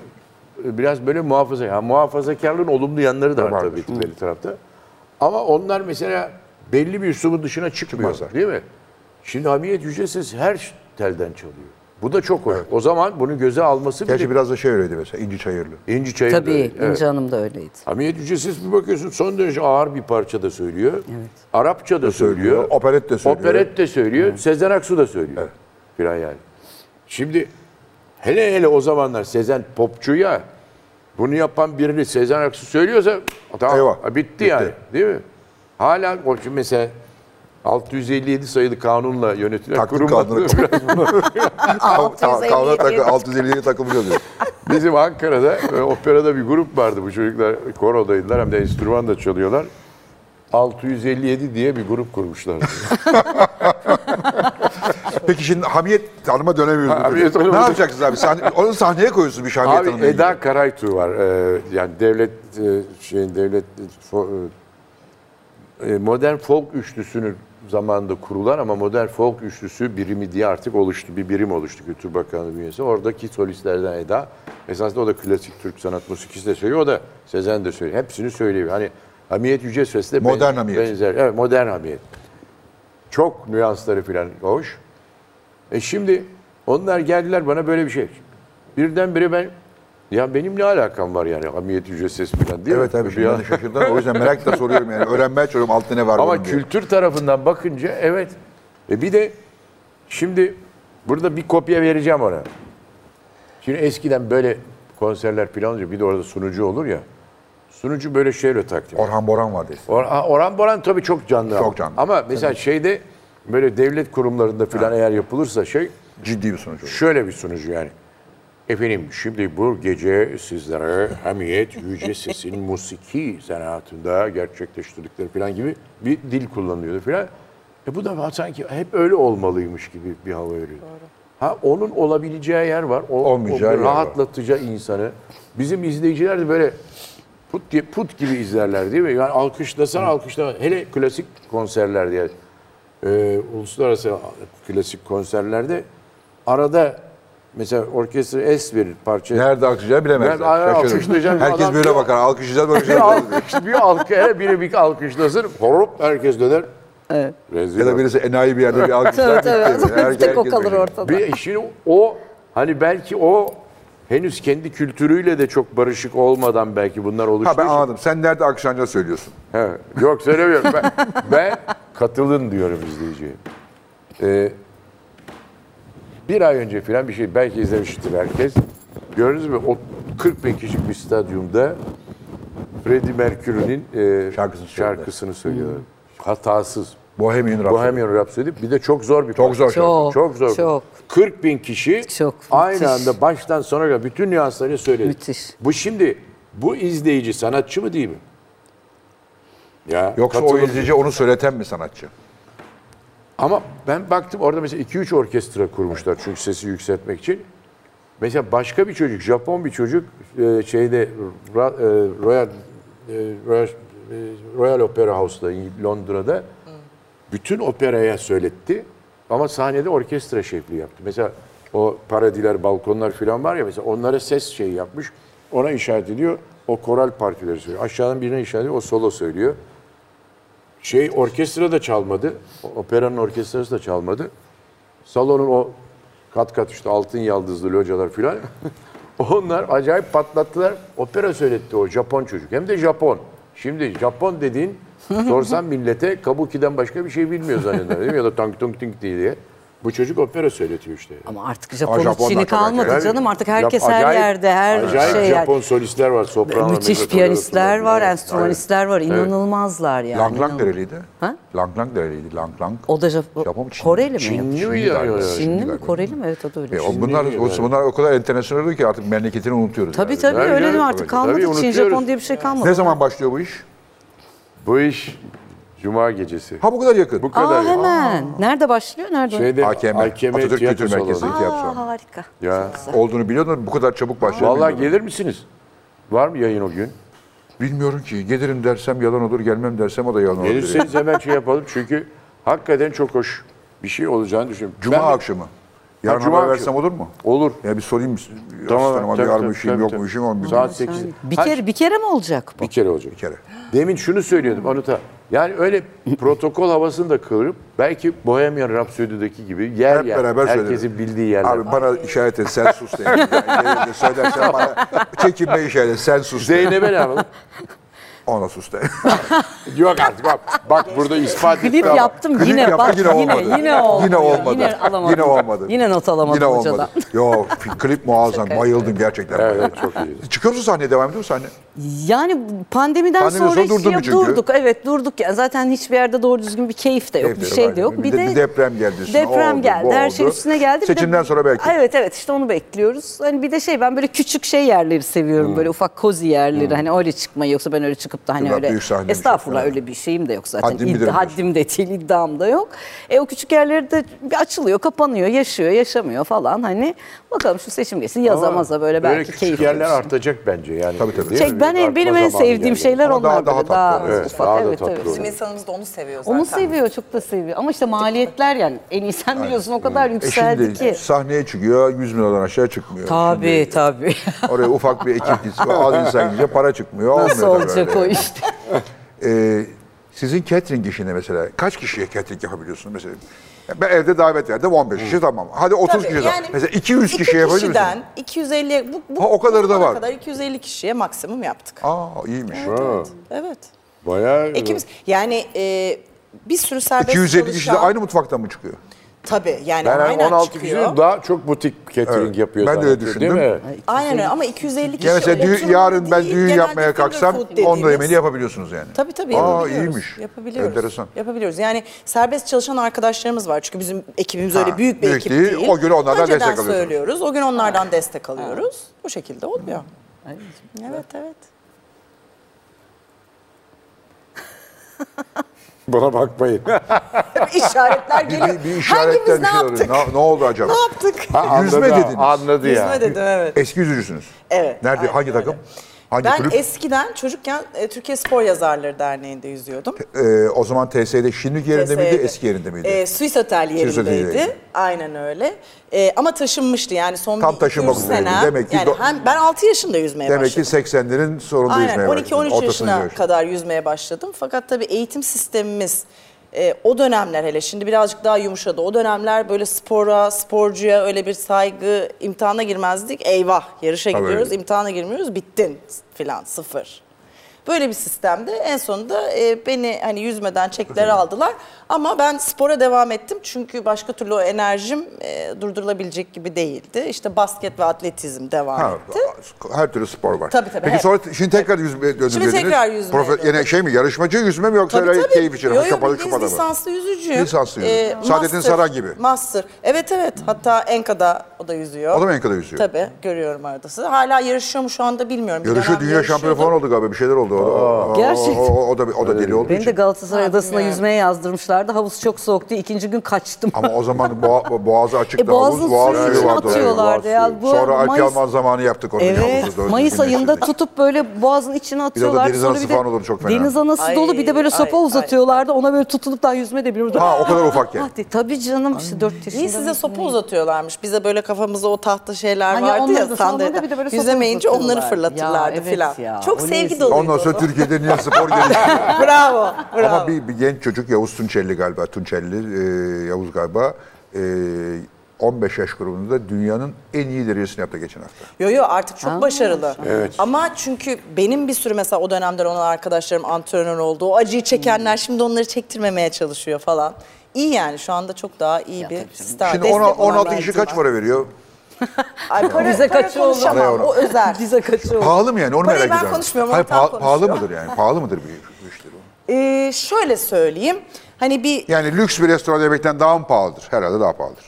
e, biraz böyle muhafaza, yani muhafazakarlığın olumlu yanları da var Vardır. tabii ki bir tarafta. Ama onlar mesela belli bir üslubun dışına çıkmıyor Çıkmazlar. değil mi? Şimdi Hamiyet Yüce Ses her telden çalıyor. Bu da çok hoş. O zaman bunu göze alması Gerçi bile biraz da şey öyleydi mesela İnci Çayırlı. İnci Çayır da Tabii öyle. İnci Evet. Hanım da öyleydi. Hamiyet Yüce Ses bir bakıyorsun son derece ağır bir parça da söylüyor. Arapça da söylüyor. söylüyor, operet de söylüyor. Operet de söylüyor. Sezen Aksu da söylüyor. Filan yani. Şimdi hele hele o zamanlar Sezen popçu ya. Bunu yapan birini Sezen Aksu söylüyorsa tamam Eyvah, bitti, bitti. yani. Değil mi? Hala o şimdi mesela 657 sayılı kanunla yönetilen Taklit kurumlar- kanunu. Kavla takı, 657 takımı yazıyor. Bizim Ankara'da e, operada bir grup vardı. Bu çocuklar korodaydılar hem de enstrüman da çalıyorlar. 657 diye bir grup kurmuşlar. Peki şimdi Hamiyet Hanım'a dönemiyoruz. Hamiyet Hanım'a ne dön- yapacaksınız abi? Sahne, onu sahneye koyuyorsun bir şey Hamiyet Abi Hanım'la ilgili. Eda Karaytu var. E, yani devlet e, şeyin devlet e, fo- e, e, modern folk üçlüsünün zamanında kurulan ama modern folk üçlüsü birimi diye artık oluştu. Bir birim oluştu Kültür Bakanlığı bünyesinde. Oradaki solistlerden Eda. Esasında o da klasik Türk sanat musikisi de söylüyor. O da Sezen de söylüyor. Hepsini söylüyor. Hani Hamiyet Yüce Ses'le Modern Hamiyet. benzer. Evet modern Hamiyet. Çok nüansları falan hoş. E şimdi onlar geldiler bana böyle bir şey. Birdenbire ben ya benim ne alakam var yani hamiyet yüce ses falan değil Evet mi? abi Bir şimdi an- ben de şaşırdım. O yüzden merakla soruyorum yani. Öğrenmeye çalışıyorum altta ne var Ama bunun diye. kültür tarafından bakınca evet. E bir de şimdi burada bir kopya vereceğim ona. Şimdi eskiden böyle konserler plan olunca bir de orada sunucu olur ya. Sunucu böyle şeyle takdim. Orhan Boran vardı. Or- ha, Orhan Boran tabii çok canlı. Çok ama. canlı. Ama mesela şeyde böyle devlet kurumlarında falan eğer yapılırsa şey Ciddi bir sonuç oldu. Şöyle bir sunucu yani. Efendim şimdi bu gece sizlere Hamiyet Yüce Ses'in musiki zanaatında gerçekleştirdikleri falan gibi bir dil kullanılıyordu falan. E bu da sanki hep öyle olmalıymış gibi bir hava veriyor. Ha onun olabileceği yer var. O, Olmayacağı o yer var. rahatlatacağı insanı. Bizim izleyiciler de böyle put gibi, put gibi izlerler değil mi? Yani alkışlasan alkışlama. Hele klasik konserlerde yani. Ee, uluslararası klasik konserlerde arada mesela orkestra es verir parça. Nerede alkışlayacağı bilemezler. Ben ayağa Şaşırırım. alkışlayacağım, Herkes adam böyle diyor. bakar. Alkışlayacağız böyle şey bir alkış, bir alkı, hele biri bir alkışlasın, hop herkes döner. Evet. Rezil Ya da olur. birisi enayi bir yerde bir alkışlar. Tabii tabii. bitti. Herkes- Bir tek o herkes kalır böyle. ortada. Bir şimdi o hani belki o henüz kendi kültürüyle de çok barışık olmadan belki bunlar oluştuğu Ha ben için- anladım. Sen nerede alkışlanacağını söylüyorsun. He, yok söylemiyorum. Ben, ben katılın diyorum izleyiciye. Ee, bir ay önce falan bir şey belki izlemiştir herkes. Gördünüz mü? O 40 bin kişilik bir stadyumda Freddie Mercury'nin e, Şarkısını söylüyorlar. şarkısını söylüyor. Hatasız. Bohemian Rhapsody. Bohemian Rhapsody bir de çok zor bir Çok parça. zor şarkı. Çok, Çok zor. çok. 40 bin kişi Çok, aynı müthiş. anda baştan sona kadar bütün nüanslarını söyledi. Müthiş. Bu şimdi bu izleyici sanatçı mı değil mi? Ya Yoksa o katılım- izleyici onu söyleten mi sanatçı? Ama ben baktım orada mesela 2-3 orkestra kurmuşlar çünkü sesi yükseltmek için. Mesela başka bir çocuk, Japon bir çocuk e, şeyde Ra- e, Royal e, Royal, e, Royal Opera House'da İng- Londra'da bütün operaya söyletti. Ama sahnede orkestra şekli yaptı. Mesela o paradiler, balkonlar falan var ya mesela onlara ses şey yapmış. Ona işaret ediyor. O koral partileri söylüyor. Aşağıdan birine işaret ediyor. O solo söylüyor. Şey orkestra da çalmadı. o- Operanın orkestrası da çalmadı. Salonun o kat kat işte altın yaldızlı localar filan. Onlar acayip patlattılar. Opera söyletti o Japon çocuk. Hem de Japon. Şimdi Japon dediğin sorsan millete kabuki'den başka bir şey bilmiyor zanneder değil mi? Ya da tang tung ting diye. Bu çocuk opera söyletiyor işte. Ama artık Ama Japon Japonlar Çin'i çok kalmadı acayip. canım. Artık herkes Yap- her acayip- yerde, her acayip şey. Japon solistler var. Soprano, E, Müthiş mezzosoprano, piyanistler soprano. var, Evet. enstrümanistler var. İnanılmazlar yani. Lang Lang inanılmaz. nereliydi? Ha? Lang Lang nereliydi? Lang Lang. O da Japon, Japon mu, Çin mi? Koreli mi? Çinli Çinli, mi ya? galiba. Çinli Çinli mi, galiba. Koreli mi? Evet o da öyle. şey. E, Çin. o, bunlar, diyor yani. o, bunlar o kadar enternasyonel ki artık memleketini unutuyoruz. Tabii yani. tabii Ben öyle değil mi canım, artık tabii, kalmadı. tabii, Çin, unutuyoruz. Japon diye bir şey kalmadı. Ne zaman başlıyor bu iş? Bu iş Cuma gecesi. Ha bu kadar Şey, yakın. Bu kadar. Aa ya. hemen. Nerede başlıyor? Nerede? o? Şeyde AKM, AKM, Atatürk tiyatro Kültür Merkezi salonu. tiyatro. Aa harika. Ya. Olduğunu biliyordun bu kadar çabuk başlıyor. Vallahi bilmiyordum. gelir misiniz? Var mı yayın o gün? Bilmiyorum ki. Gelirim dersem yalan olur, gelmem dersem o da yalan olur. Gelirseniz hemen şey yapalım çünkü hakikaten çok hoş bir şey olacağını düşünüyorum. Cuma Ben- akşamı. Yarın Cuma haber akşamı. versem olur mu? Olur. Ya bir sorayım Tamam, asistanıma bir tabii, var mı tabii, işim tabii, yok mu tabii. işim var mı? Saat 8. Bir kere, bir kere mi olacak bu? Bir kere olacak. Bir kere. Demin şunu söylüyordum onu da Yani öyle protokol havasını da kıvırıp belki Bohemian Rhapsody'deki gibi yer Hep yer beraber herkesin söyleyelim. bildiği yerler. Abi bana işaret et sen sus dedim. Yani de söylersen bana çekinme işaret et sen sus de. Zeynep'e ne yapalım? Ona sus de. Yok artık bak, bak burada ispat etti Klip ama. yaptım Klip yine yaptı, bak yine yine yine, olmadı. olmadı. Yine olmadı. Yine alamadım. Yine olmadı. Yine not alamadım Yine hocadan. olmadı. Yo fi- klip muazzam. Bayıldım gerçekten. Evet, evet, çok iyi. Çıkıyor musun sahneye devam ediyor musun sahne? Yani pandemiden Pandemi sonra sonra durdu ya mu çünkü? durduk. Evet durduk. Yani zaten hiçbir yerde doğru düzgün bir keyif de yok, Keyif de bir yok, şey aynen. de yok. Bir de bir deprem geldi üstüne. O Deprem oldu, geldi. bu Her şey oldu. üstüne geldi. Bir de- Seçimden sonra belki. Evet evet işte onu bekliyoruz. Hani bir de şey ben böyle küçük şey yerleri seviyorum. Böyle ufak kozi yerleri. Hani öyle çıkmayı yoksa ben öyle çıkıp da hani Hmm. Yok, öyle büyük sahne bir şey. estağfurullah Evet. öyle bir şeyim de yok zaten. Haddim bilirim İd- diyorsun. haddim de değil, iddiam da yok. E o küçük yerleri de bir açılıyor, kapanıyor, yaşıyor, yaşamıyor falan hani. Bakalım şu seçim geçsin yazamaza böyle Böyle belki küçük keyif yerler alırız. artacak bence yani. Tabii, tabii. Değil mi? Çek Şey, ben Artma benim en zamanı sevdiğim geldi. şeyler Ama daha- onlar daha böyle, tatlı oluyor. Evet, ufak. daha da evet, tatlı evet. oluyor. Bizim insanımız da onu seviyor zaten. Onu seviyor, çok da seviyor. Ama işte maliyetler yani en iyi sen biliyorsun o kadar E şimdi yükseldi ki. sahneye çıkıyor 100 milyondan aşağı çıkmıyor. Tabii tabii. Şimdi oraya ufak bir ekip gitsin. Az insan gidince para çıkmıyor. Nasıl olmuyor tabii olacak öyle. o işte? Ee, sizin catering işinde mesela kaç kişiye catering yapabiliyorsunuz mesela? Ben evde davet verdim 15 kişi tamam. Hadi 30 Tabii, kişi tamam. Mesela 200 iki kişiye yapabilir misiniz? kişiden 250 bu, bu Ha, o kadarı da zamana var. Kadar 250 kişiye maksimum yaptık. Aa iyiymiş. Evet. Bayağı Ekimiz yani e, bir sürü serbest 250 kişi çalışan- de aynı mutfaktan mı çıkıyor? Tabii yani Ben aynen 16 çıkıyor. kişinin daha çok butik catering Evet, yapıyor. ben de öyle zannediyorum, düşündüm. Değil mi? Aynen öyle ama 250 kişi Ya mesela düğün- oturumlu yarın ben değil, düğün genelde yapmaya finger kalksam food onda dediğimiz- yemeğini yapabiliyorsunuz yani. Tabii tabii Aa yapabiliyoruz. iyiymiş. Yapabiliyoruz. Enteresan. Yapabiliyoruz. Yani serbest çalışan arkadaşlarımız var. Çünkü bizim ekibimiz öyle büyük bir büyük ekip değil. değil. O gün onlardan Önceden destek alıyorsunuz. söylüyoruz. O gün onlardan destek alıyoruz. Bu şekilde oluyor. Evet evet. Bana bakmayın. İşaretler Bir, geliyor. bir, bir işaretler Hangimiz bir ne şeyler oluyor. yaptık? Ne, ne oldu acaba? Ne yaptık? Ha, Yüzme anladı ha, dediniz. Anladı ya. Yüzme dedim evet. Eski yüzücüsünüz. Evet, Nerede? aynen hangi öyle. takım? Hangi Ben Hani kulüp? eskiden çocukken e, Türkiye Spor Yazarları Derneği'nde yüzüyordum. Ee, o zaman TS'de şimdiki yerinde miydi, TSE'de. eski yerinde miydi? Ee, Suis Otel Suis Otel yerinde. yerindeydi. Aynen öyle. Ee, ama taşınmıştı yani son Tam bir taşınmak iki, üç üzereydi. senem. Demek ki yani do- hem, ben 6 yaşında yüzmeye Demek ki başladım. 80'lerin sonunda Aynen yüzmeye başladınız, 12-13 ortasında yaşına yüzmeye kadar yüzmeye başladım. Fakat tabii eğitim sistemimiz e, o dönemler hele şimdi birazcık daha yumuşadı. O dönemler böyle spora, sporcuya öyle bir saygı, imtihana girmezdik. Eyvah yarışa Tabii. gidiyoruz, imtihana girmiyoruz, bittin filan sıfır. Böyle bir sistemde en sonunda e, beni hani yüzmeden çekleri aldılar. Ama ben spora devam ettim çünkü başka türlü o enerjim e, durdurulabilecek gibi değildi. İşte basket ve atletizm devam Ha, etti. her türlü spor var. Tabii, tabii, Peki hep. sonra şimdi tekrar yüzmeye döndünüz. Şimdi tekrar yüzmeye Profe- döndüm. yine şey mi yarışmacı yüzme mi yoksa Tabii öyle tabii. keyif için? Yo, yo, kapalı bildiğiniz kapalı mı? lisanslı yüzücü. Lisanslı yüzücü. Saadettin master, Saran gibi. Master. Evet evet. Hatta Enka'da o da yüzüyor. O da mı Enka'da yüzüyor? Tabii. Görüyorum arada sizi. Hala yarışıyor mu şu anda bilmiyorum. Bir Yarışı dönem dünya yarışıyordu. şampiyonu falan oldu galiba bir şeyler oldu. O, o- o- Gerçekten. O, o- o da, o da deli oldu. Beni de Galatasaray Adası'na Bilmiyorum. yüzmeye yazdırmışlardı. Havuz çok soğuk diye ikinci gün kaçtım. Ama o zaman boğa, boğazı açıktı. E, boğazın havuz, boğaz suyun suyu içine vardı. atıyorlardı Evet, ya. boğaz suyu. Bu Sonra Alp Mayıs- Yalman zamanı yaptık onu. Evet. Mayıs ayında tutup böyle boğazın içine atıyorlar. deniz Sonra anası falan olur çok fena. Deniz anası Ay, dolu bir de böyle sopa ay, ay. uzatıyorlardı. Ona böyle tutulup daha yüzme de bilmiyorum. Ha, o kadar ufakken. Ah, de- Tabii canım işte 4 yaşında. İyi size sopa uzatıyorlarmış. Bize böyle kafamıza o tahta şeyler Hani vardı onları ya da sandalye. sonra bir de böyle sopa Yüzemeyince onları uzatıyorlar. fırlatırlardı Ya, evet filan. ya, Çok o sevgi neyse. doluydu. Ondan sonra Türkiye'de niye spor gelişti? bravo. bravo. Ama bir, bir genç çocuk Yavuz Tunçelli galiba, Tunçelli, e, Yavuz galiba e, 15 yaş grubunda dünyanın en iyi derecesini yaptı geçen hafta. Yo yo artık çok başarılı. Ama çünkü benim bir sürü mesela o dönemler olan arkadaşlarım antrenör oldu. O acıyı çekenler şimdi onları çektirmemeye çalışıyor falan. İyi yani şu anda çok daha iyi bir sistem. Şimdi destek ona- olan 16 bir kişi eğitim kaç var. para veriyor? Ay, para, Bize para kaçı olur? Araya konuşamam onu. o özel. Bize kaçıyor. Pahalı mı yani? Onu Parayı merak ben ediyorum. konuşmuyorum, onu Hayır, tam paha- pahalı konuşuyor. müşteri mıdır yani? Pahalı mıdır bir müşteri? o? Ee, şöyle söyleyeyim. Hani bir Yani lüks bir restoran yemekten daha mı pahalıdır? Herhalde daha pahalıdır.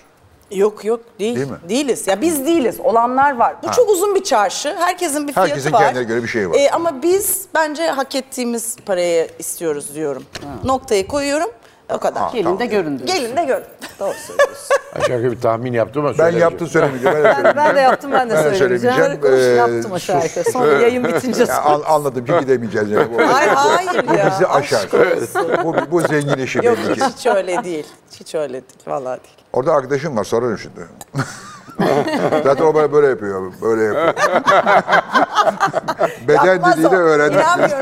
yok yok değil. Değil mi? Değiliz. Ya biz değiliz. Olanlar var. Bu çok uzun bir çarşı. Herkesin bir fiyatı Herkesin var. kendine göre bir şeyi var. Ee, ama biz bence hak ettiğimiz parayı istiyoruz diyorum. Noktayı koyuyorum. O kadar. Gelin de görün diyor. Gelin de görün. Doğru Aşağı yukarı bir tahmin yaptım ama Ben söylemeyeceğim. yaptım söylemeyeceğim. Ben de Ben, söylemeyeceğim. ben de yaptım ben de Ben de söyleyeceğim. söylemeyeceğim. Konuş, Ee, yaptım aşağı yukarı. Sonra yayın bitince Ya, an- anladım ki gidemeyeceğiz. Yani. Bu, Ay hayır ya. bizi Aşk aşar. olsun. bu, bu zengin işi Yok belli ki. hiç öyle değil. Hiç öyle değil. Vallahi değil. Orada arkadaşım var sorarım şimdi. Zaten o böyle, böyle yapıyor. Böyle yapıyor. Beden Yapmaz diliyle o. öğrendim. İnanmıyorum.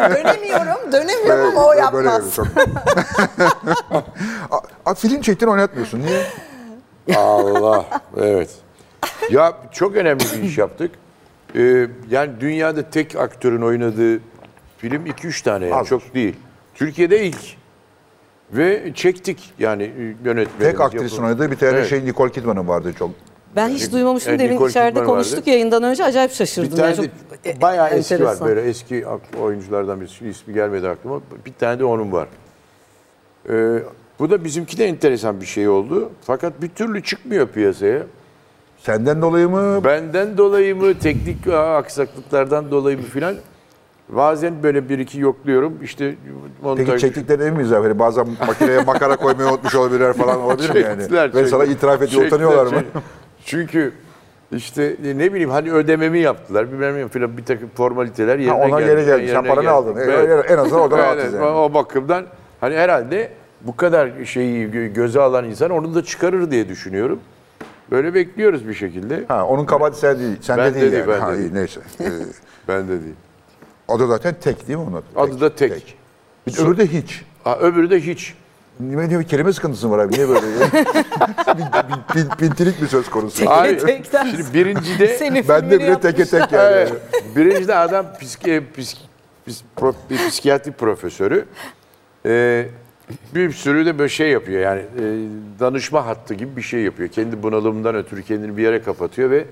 Dönemiyorum. bilmiyorum ama o Böyle- böyle yapmaz. yapıyor, tabii. A- a- film çektin oynatmıyorsun. Niye? Allah evet. Ya çok önemli bir iş yaptık. Ee, yani dünyada tek aktörün oynadığı film 2-3 tane yani, Az. çok değil. Türkiye'de ilk. Ve çektik yani e, yönetmenimiz. Tek aktrisin yapımı. oynadığı bir tane Evet. şey Nicole Kidman'ın vardı çok. Ben hiç duymamıştım. Ee, Yani Demin Nicole içeride Kidman konuştuk vardı. yayından önce acayip Bir şaşırdım. tane yani de çok e- bayağı eski enteresan. var böyle eski ak- oyunculardan birisi. ismi gelmedi aklıma. Bir tane de onun var. Ee, bu da bizimki de enteresan bir şey oldu. Fakat bir türlü çıkmıyor piyasaya. Senden dolayı mı? Benden dolayı mı, teknik e, aksaklıklardan dolayı mı filan. Bazen böyle bir iki yokluyorum. İşte montaj. Peki çektikleri en mi zaferi? Bazen makineye makara koymayı unutmuş olabilirler falan olabilir mi yani? Çektiler, Ve sana çektiler. itiraf ediyor Çektiler, utanıyorlar mı? çektiler. Çünkü işte ne bileyim hani ödememi yaptılar bilmem ne filan bir takım formaliteler yerine Ha, ona geldi. geri ben geldi. Sen yerine paranı geldim. aldın. E, Evet. En azından oradan Evet, rahatız evet. yani. O bakımdan hani herhalde bu kadar şeyi gö- göze alan insan onu da çıkarır diye düşünüyorum. Böyle bekliyoruz bir şekilde. Ha, onun kabahati sen değil. Sen Ben de değil, de değil, yani. ben ha, de iyi, neyse. Ee, Ben de değil. adı zaten tek değil mi onun? adı? Adı da tek. Bir de öbürü de hiç. Ha, öbürü de hiç. Ne diyor kelime sıkıntısı mı var abi? Niye böyle? ya? bin, bin, bin, bintilik bir söz konusu. Hayır. tekten. Şimdi birincide Senin Ben de filmini bile yap- teke tek yani. Evet. Birincide adam psiki, psik, psik- pro- bir psikiyatri profesörü. Ee, bir sürü de böyle şey yapıyor yani e, danışma hattı gibi bir şey yapıyor. Kendi bunalımından ötürü kendini bir yere kapatıyor ve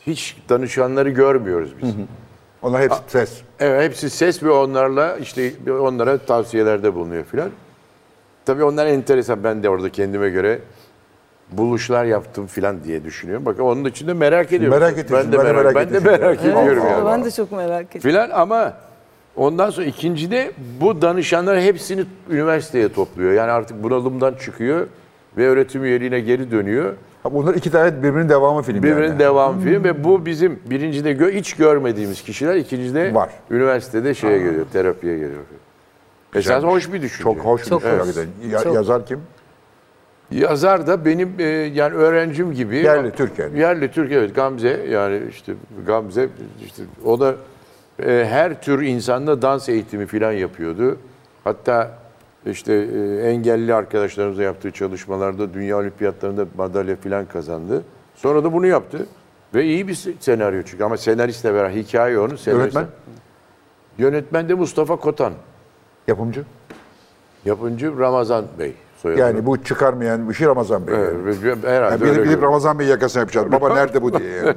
hiç danışanları görmüyoruz biz. Onlar hepsi ses. Evet hepsi ses ve onlarla işte onlara tavsiyelerde bulunuyor filan. Tabii onlar enteresan. Ben de orada kendime göre buluşlar yaptım filan diye düşünüyorum. Bakın onun için de merak ediyorum. Merak ediyorsun, Ben de merak, ben de ediyorum. merak Evet, ediyorum evet, yani. ben Ben de çok merak ettim. Filan ama ondan sonra ikincide bu danışanlar hepsini üniversiteye topluyor. Yani artık bunalımdan çıkıyor ve öğretim üyeliğine geri dönüyor. Ha, Bunlar iki tane birbirinin devamı film Birbirinin yani. devam film ve bu bizim birincide gö- hiç görmediğimiz kişiler ikincide Var. üniversitede şeye geliyor, terapiye geliyor. Esas hoş bir düşünce. Çok hoş bir Çok şey. hoş. hakikaten. Ya- Çok. Yazar kim? Yazar da benim e, yani öğrencim gibi. Yerli Türk yani. Yerli Türk evet Gamze yani işte Gamze işte o da e, her tür insanla dans eğitimi falan yapıyordu. Hatta işte e, engelli arkadaşlarımızla yaptığı çalışmalarda dünya olimpiyatlarında madalya falan kazandı. Sonra da bunu yaptı. Ve iyi bir senaryo çünkü ama senaristle beraber hikaye onun senarist. Yönetmen? Yönetmen de Mustafa Kotan. Yapımcı. Yapımcı Ramazan Bey soyadı. Yani bu çıkarmayan bir şey Ramazan Bey. Evet, yani. herhalde Yani öyle bilip, bilip görünüyor. Ramazan Bey yakasına yapacağız. Baba nerede bu diye. yani.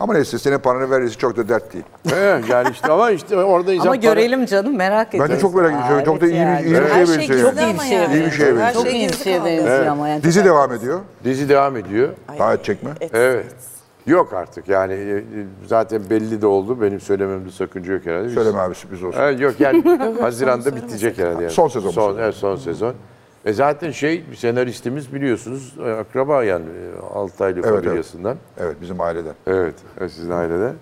Ama neyse senin paranı vermesi çok da dert değil. He, yani işte ama işte orada insan Ama para- görelim canım merak ediyorum. Ben de çok merak ediyorum. Çok da iyi bir, iyi bir Her şeye şey benziyor. gizli yani. ama şey yani. İyi bir şeye Her benziyor. Çok şey iyi bir gizli şeye kaldı. benziyor ama yani. Dizi devam ediyor. Dizi devam ediyor. Daha çekme. Evet. Yok artık yani e, e, zaten belli de oldu. Benim söylememde sakınca yok herhalde. Biz- Söyleme abi sürpriz olsun. Ha, yok yani Haziran'da bitecek herhalde. Yani. Son sezon bu Son, sezon. evet, son sezon. E zaten şey senaristimiz biliyorsunuz e, akraba yani e, Altaylı Evet, familyasından. Evet bizim aileden. Evet, evet sizin ailede.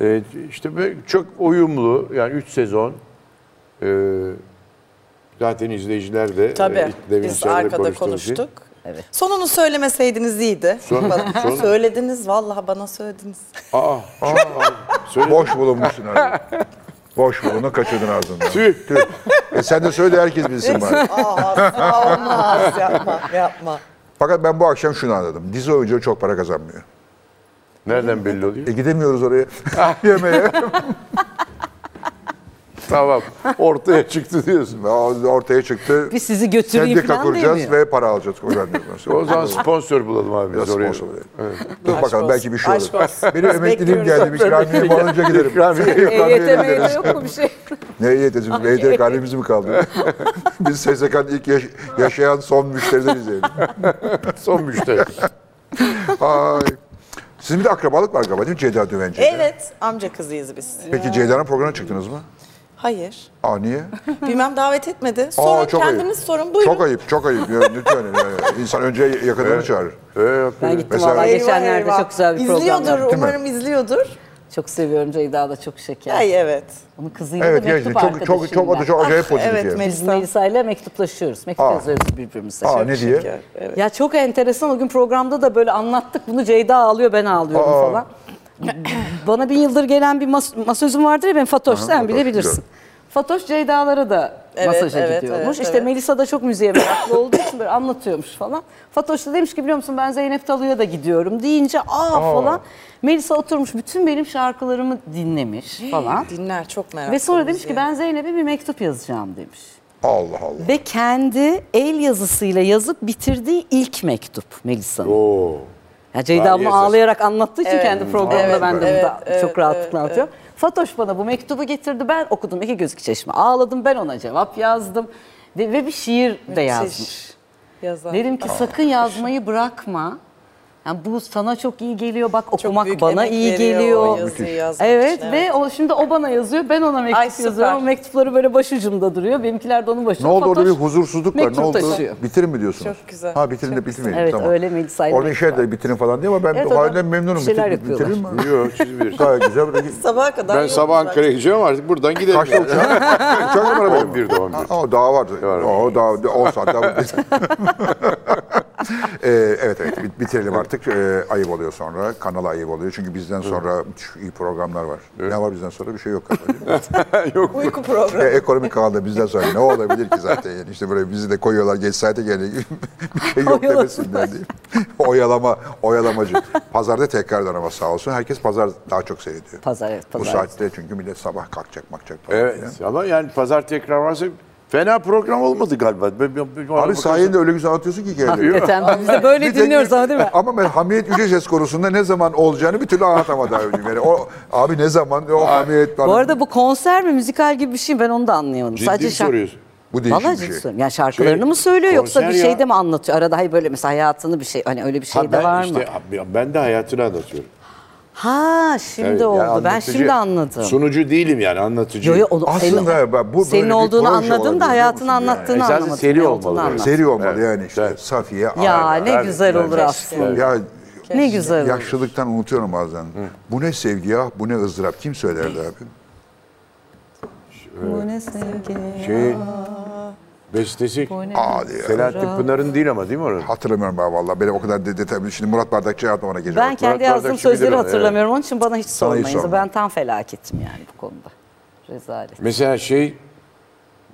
Ee, işte böyle çok uyumlu, yani 3 sezon. Ee, zaten izleyiciler de Tabii. e, demin Biz içeride arkada konuştuğumuz şey. konuştuk. Sonunu söylemeseydiniz iyiydi. Son- Bana- son- Söylediniz vallahi bana söylediniz. Aa, söyle. Boş bulunmuşsun abi. Boş bulunu kaçırdın ağzından. Tüh. E sen de söyle herkes bilsin bari. Aa, sağ olmaz yapma yapma. Fakat ben bu akşam şunu anladım. Dizi oyuncuları çok para kazanmıyor. Nereden belli oluyor? E gidemiyoruz oraya yemeğe. tamam, ortaya çıktı diyorsun. Ortaya çıktı. Biz sizi götüreyim Sendika falan kuracağız demiyor. ve para alacağız. O zaman diyoruz. O zaman sponsor bulalım abi Biraz biz oraya. sponsor olayım. Dur bakalım olsun, belki bir şey olur. aşk olsun. Benim Biz emekliliğim bekliyoruz. geldi. Biz ikramiye bağlanınca giderim. İkramiye. EYT meyde yok mu bir şey? Ne E EYT'si? Bizim EYT karnemiz mi kaldı? Biz SSK'nın ilk yaş- yaşayan son müşterileriz yani. Son müşteri. Ee, Ay. Sizin bir de akrabalık var galiba değil mi Ceyda Düvenci? Evet amca kızıyız biz. Peki Ceyda'nın programına çıktınız mı? Hayır. Aa niye? Bilmem davet etmedi. Sorun çok ayıp. kendiniz sorun buyurun. Çok ayıp, çok ayıp. Ya, lütfen yani insan önce yakınlarını çağırır. Evet. Ben gittim Mesela- valla Eyvah, geçenlerde eyvah. çok güzel bir program İzliyordur yaptım. Değil mi? umarım izliyordur. Çok seviyorum Ceyda da çok şeker. Ay evet. Ah, Onun kızıyla Evet da mektup gerçekten çok çok çok o da çok acayip pozitif evet, yani. Melis. Biz Melisa'yla mektuplaşıyoruz. Mektup Aa. yazıyoruz birbirimize. Aa ne diye? Şeker, evet. Ya çok enteresan o gün programda da böyle anlattık bunu Ceyda ağlıyor ben ağlıyorum Aa. falan. Bana bin yıldır gelen bir mas- masözüm vardır ya ben Fatoş sen bile Fatoş, bilirsin. biliyorum. Fatoş Ceyda'lara da Evet, masaja evet, gidiyormuş. evet, işte evet. Melisa da çok müziğe meraklı olduğu için böyle anlatıyormuş falan. Fatoş da demiş ki biliyor musun ben Zeynep Talu'ya da gidiyorum deyince aa falan. Melisa oturmuş bütün benim şarkılarımı dinlemiş falan. Dinler çok merak Ve sonra demiş ki ben Zeynep'e bir mektup yazacağım demiş. Allah Allah. Ve kendi el yazısıyla yazıp bitirdiği ilk mektup Melisa'nın. Oo. Ya Ceyda bunu Maalesef. ağlayarak anlattığı için Evet. kendi programında Evet, ben de evet, burada evet, çok rahatlıkla evet, anlatıyorum. Fatoş bana bu mektubu getirdi. Ben okudum iki gözük çeşme. Ağladım ben ona cevap yazdım. Ve, ve bir şiir de Şey, yazmış. Yazar. Dedim ki sakın yazmayı bırakma. Yani bu sana çok iyi geliyor. Bak okumak büyük bana emek iyi veriyor geliyor. o yazıyı yazmak evet, için, ve o şimdi o bana yazıyor. Ben ona mektup Ay, süper. yazıyorum. O mektupları böyle başucumda duruyor. Benimkiler de onun başucunda. Ne oldu orada bir Fatoş huzursuzluk var. Ne mektup oldu? taşıyor. Bitirin mi diyorsunuz? Çok güzel. Ha bitirin de Çok bitirmeyelim. Evet, tamam. öyle Melisa ile Orada mektup şey de bitirin falan diye ama ben Evet, o adam halden memnunum. bir şeyler Bitir- bitirin mi? Yok siz bilirsiniz. Gayet güzel. Bırakın. Sabaha kadar Ben yolumuz sabah var. Ankara'ya gideceğim artık buradan gidelim. Kaçta yani. uçak? Uçak numara benim. 11'de 11'de. Ha, O daha vardı. O daha 10 saat daha. Ee, evet evet bit- bitirelim artık. Ee, ayıp oluyor sonra. Kanala ayıp oluyor. Çünkü bizden sonra müthiş iyi programlar var. Ne var bizden sonra? Bir şey yok. galiba. Uyku programı. E, ekonomik kanalda bizden sonra ne olabilir ki zaten? Yani işte böyle bizi de koyuyorlar geç saate gene bir şey yok demesinler diye. Oyalama, oyalamacı. Pazarda tekrardan ama sağ olsun. Herkes pazar daha çok seyrediyor. Pazar, evet, Bu pazar. saatte çünkü millet sabah kalkacak makacak. falan Evet diye. ama yani pazar tekrar varsa fena program olmadı galiba. Ben- ben- ben- Abi sayende öyle güzel anlatıyorsun ki hikayeleri. Hakikaten Ah, biz de böyle Bir tek- dinliyoruz ama değil mi? Ama ben hamiyet ücretsiz konusunda ne zaman olacağını bir türlü anlatamadım. abi. Yani o, abi ne zaman o hamiyet Bu arada bu konser mi müzikal gibi bir şey ben onu da anlayamadım. Ciddi mi şarkı- soruyorsun? bu Vallahi değişik ciddi bir şey. söylüyorum. Yani şarkılarını Şey, mı söylüyor yoksa bir konser şey de ya. mi anlatıyor? Arada hayır böyle mesela hayatını bir şey hani öyle bir şey Ha, de ben var mı? işte, abi, Ben de hayatını anlatıyorum. Ha şimdi Evet, yani oldu. ben anlatıcı- şimdi anladım. Sunucu değilim yani anlatıcı. Yo, yo, onu- Aslında senin, bak, bu böyle senin bir olduğunu proje anladım olabilir, da biliyor hayatını musun? anlattığını Yani esasen anlamadım. seri Ne olmalı olduğunu böyle. anlamadım. Seri olmalı Evet, yani işte evet. Safiye Ya Ayla. ne tabii, güzel tabii. olur aslında. Ya Ne güzel olur. yaşlılıktan unutuyorum bazen. Bu ne sevgi ya, bu ne ızdırap. Kim söylerdi abi? Bu ne sevgi. Şey, bestesi Aa diye. Selahattin Pınar'ın değil ama değil mi oranın? Hatırlamıyorum ben valla. Benim o kadar de- detaylı. Şimdi Murat Bardakçı hayatım ona geliyor. Ben kendi Murat yazdığım Bardakçı sözleri bilirim, hatırlamıyorum. Onun için bana hiç Sana hiç sormayın. sorma. Ben tam felaketim yani bu konuda. Rezalet. Mesela şey,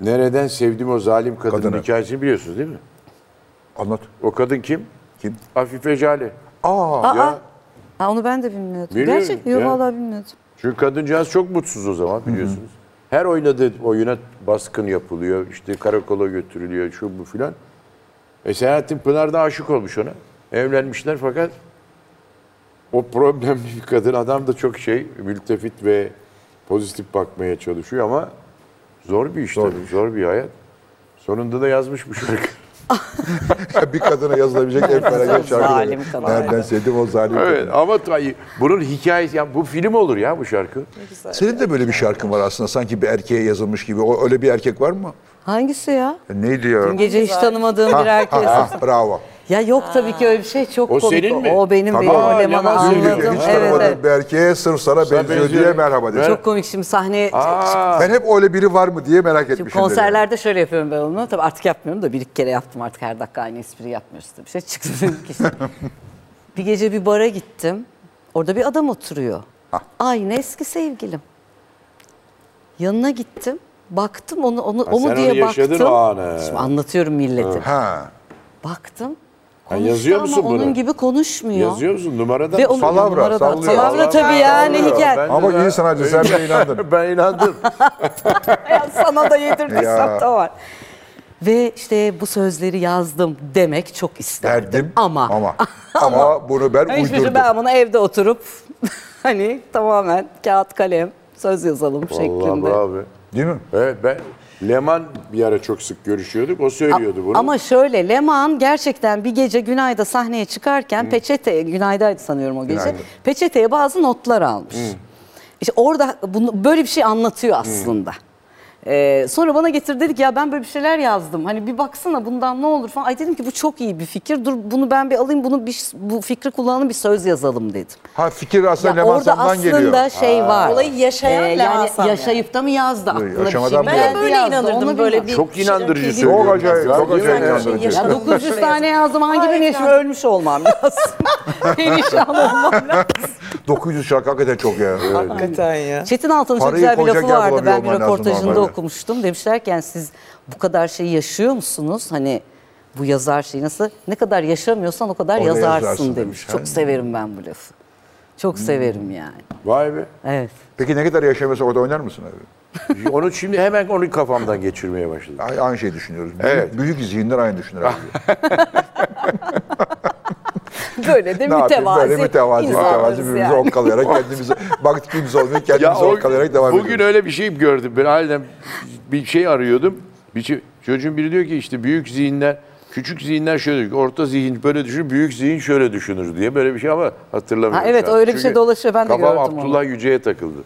nereden sevdim o zalim kadının Kadını. hikayesini biliyorsunuz değil mi? Anlat. O kadın kim? Kim? Afife Jale. Aa, Ya, Ha, onu ben de bilmiyordum. Biliyorum Gerçek yok ya. vallahi bilmiyordum. çünkü kadıncağız çok mutsuz o zaman biliyorsunuz. Her oynadığı oyuna baskın yapılıyor, işte karakola götürülüyor, şu bu filan. E Selahattin Pınar da aşık olmuş ona. Evlenmişler fakat o problemli bir kadın. Adam da çok şey, mültefit ve pozitif bakmaya çalışıyor ama zor bir iş tabii, zor bir hayat. Sonunda da yazmış bu şarkı. bir kadına yazılabilecek en felaket şarkı. Zalim kadın. Nereden sevdim o zalim evet ama tay- bunun hikayesi, ya bu film olur ya bu şarkı. Senin de böyle bir şarkın var aslında. Sanki bir erkeğe yazılmış gibi. O, öyle bir erkek var mı? Hangisi ya? Neydi ya? Dün gece hiç tanımadığım bir erkek. Ha, bravo. Ya yok tabii ki öyle bir şey çok O komik. senin mi? O benim Tabii. benim. Aa, O Leman Leman'ı Dün Anladım. gece anladım. hiç Evet, tanımadığım evet. bir şey. erkeğe sırf sana benziyor, benziyor. diye merhaba dedim. Çok komik şimdi sahne Aa, Ben hep öyle biri var mı diye merak Şimdi etmişim. konserlerde şöyle yapıyorum ben onu. Tabii artık yapmıyorum da bir iki kere yaptım artık her dakika aynı espri yapmıyoruz tabii. Bir şey çıktı dedim ki işte. bir gece bir bara gittim. Orada bir adam oturuyor. Ah. Aynı eski sevgilim. Yanına gittim. Baktım onu onu o sen mu onu diye yaşadın baktım. o anı. Şimdi anlatıyorum millete. dedim. Ha. Baktım. Ha, Konuştu yazıyor ama musun bunu? onun gibi konuşmuyor. yazıyor musun numaradan? Ve onu Palavra, numara da sallıyor. Palavra tabii yani Palavra. hikaye. Ben- Ama iyi sanatçı sen de inandın. ben inandım. Ya sana da yedirdik Ya. sapta var. Ve işte bu sözleri yazdım demek çok isterdim. Derdim Ama. Ama, ama bunu ben Hiçbir şey uydurdum. ben bunu evde oturup hani tamamen kağıt kalem söz yazalım Vallahi şeklinde. bravo. Değil mi? Evet ben Leman bir ara çok sık görüşüyorduk. O söylüyordu bunu. Ama şöyle Leman gerçekten bir gece Günay'da sahneye çıkarken peçete Günay'daydı sanıyorum o gece. Peçeteye bazı notlar almış. İşte orada bunu, böyle bir şey anlatıyor aslında. Ee, sonra bana getir dedik ya ben böyle bir şeyler yazdım. Hani bir baksana bundan ne olur falan. Ay dedim ki bu çok iyi bir fikir. Dur bunu ben bir alayım bunu bir, bu fikri kullanalım bir söz yazalım dedim. Ha fikir aslında Ya Leman orada Sandan aslında geliyor. şey var. Olayı yaşayan Leman yani Sandan. yaşayıp da mı yazdı aklına bir şey yaşamadan mi mı Ben yazdı? geldi böyle yazdı, onu inanırdım böyle bilmem. bir Çok inandırıcı Şey- söylüyor. Çok acayip, Ya, çok değil mi? acayip Yani inandırıcı. yaşa- Ya 900 tane yazdım hangi Ay, birini yaşım ya. ölmüş olmam lazım. Perişan olmam lazım. 900 şarkı hakikaten çok ya. Evet. Hakikaten ya. Çetin Altan'ın çok Parayı güzel bir koca lafı gel vardı. Ben bir bulabiliyor olman lazım röportajında normalde. okumuştum. Demişlerken siz bu kadar şeyi yaşıyor musunuz? Hani bu yazar şeyi nasıl? Ne kadar yaşamıyorsan o kadar Onu yazarsın, yazarsın demiş. demiş. Çok Ha. severim ben bu lafı. Çok severim yani. Vay be. Evet. Peki ne kadar yaşamıyorsa orada oynar mısın abi? Onu şimdi hemen onu kafamdan geçirmeye başladım. A- Aynı şeyi düşünüyoruz. Büyük, Evet. büyük zihinler aynı düşünür abi. Böyle de ne yapayım böyle mütevazi mütevazi birbirimizi yani. okkalayarak kendimizi baktık kimse olmuyor kendimizi o- okkalayarak devam bugün ediyoruz. öyle bir şey gördüm. Ben ailem bir şey arıyordum. Bir şey- çocuğun biri diyor ki işte büyük zihinler, küçük zihinler şöyle düşünür, orta zihin böyle düşünür, büyük zihin şöyle düşünür diye böyle bir şey ama hatırlamıyorum. Ha, evet, şu an. öyle bir şey Çünkü dolaşıyor, ben de kafam gördüm onu. Abdullah Yüce'ye takıldı.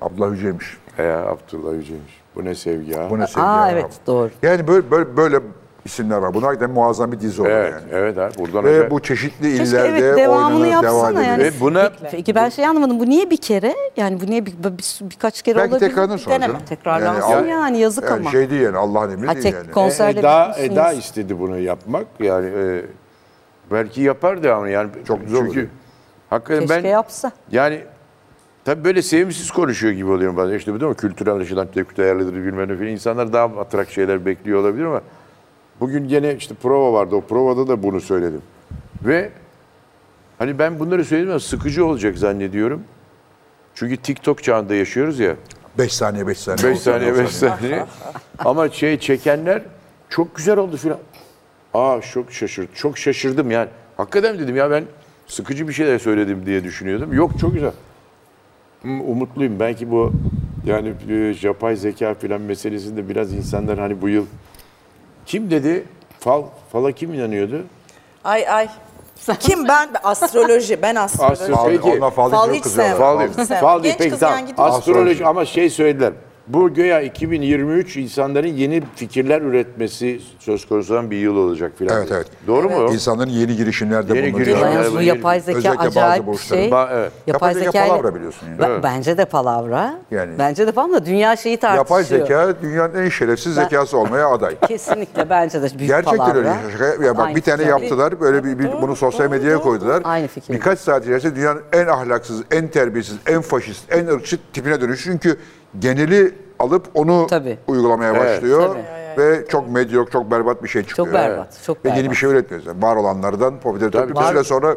Abdullah Hüceymiş. He ya, Abdullah Yüce'ymiş. Bu ne sevgi ha? Bu ne sevgi Aa ya? evet doğru. Yani böyle, böyle, böyle isimler var. Bunlar hakikaten muazzam bir dizi oldu Evet, yani. evet ha. Buradan Ve acayip- bu çeşitli Keşke illerde evet devamını oynanır, devam yapsana edilir. yani. Ve buna Peki ben şey anlamadım. Bu niye bir kere? Yani bu niye bir, bir- birkaç kere Belki olabilir? tekrarlanır sonra Deneme. canım. Tekrarlansın al- yani, yazık yani ama. Şey değil yani Allah'ın emri Ha, değil tek yani. kon- konserle şey Eda, biliyorsunuz. Eda istedi bunu yapmak. Yani e, belki yapar devamını. Yani Çok güzel Çünkü olur. hakikaten Keşke ben yapsa. yani tabii böyle sevimsiz konuşuyor gibi oluyorum bazen. İşte biliyor musun kültürel açıdan tepki değerlidir bilmem ne filan. İnsanlar daha atrak şeyler bekliyor olabilir ama bugün gene işte prova vardı. O provada da bunu söyledim. Ve hani ben bunları söyledim ama sıkıcı olacak zannediyorum. Çünkü TikTok çağında yaşıyoruz ya. 5 saniye 5 saniye. 5 saniye 5 saniye. Ama şey çekenler çok güzel oldu filan. Aa çok şaşırdım. Çok şaşırdım yani. Hakikaten mi dedim ya ben sıkıcı bir şeyler söyledim diye düşünüyordum. Yok çok güzel. Hmm, Umutluyum. Belki bu yani e, yapay zeka filan meselesinde biraz insanlar hani bu yıl kim dedi? Fal, fala kim inanıyordu? Ay ay. Kim ben? Astroloji. Ben astroloji. Astro- Peki. Ondan fazla Fal çok hiç kızıyorlar. sevmem. Fal değil. Sen- Fal değil. Genç Peki kız yan tamam. gidiyor. Astroloji ama şey söylediler. Bu göya 2023 insanların yeni fikirler üretmesi söz konusu olan bir yıl olacak filan. Evet, evet. Doğru mu? İnsanların yeni girişimlerde Yeni bulunuyor. girişimler. Yalnız Yani bu bu yapay yeni- zeka özellikle bazı acayip bir borçların. şey. Ba- evet. Yapay zeka zekayla- palavra biliyorsun yani. Ba- Bence de palavra. Yani- Bence de palavra. Dünya şeyi tartışıyor. Yapay zeka dünyanın en şerefsiz Ben- zekası olmaya aday. Kesinlikle bence de büyük Gerçekten palavra. öyle. Şaka- Ya bak Aynı bir tane fikir. yaptılar böyle bir, bir- bunu sosyal medyaya koydular. Aynı fikir. Birkaç saat içerisinde dünyanın en ahlaksız, en terbiyesiz, en faşist, en ırkçı tipine dönüş. Çünkü geneli alıp onu Tabii. uygulamaya Evet. başlıyor Tabii. ve çok medyok, çok berbat bir şey çıkıyor. berbat, çok Ve yeni berbat. bir şey üretmiyoruz. Yani var olanlardan popüler Tabii, tabii var. sonra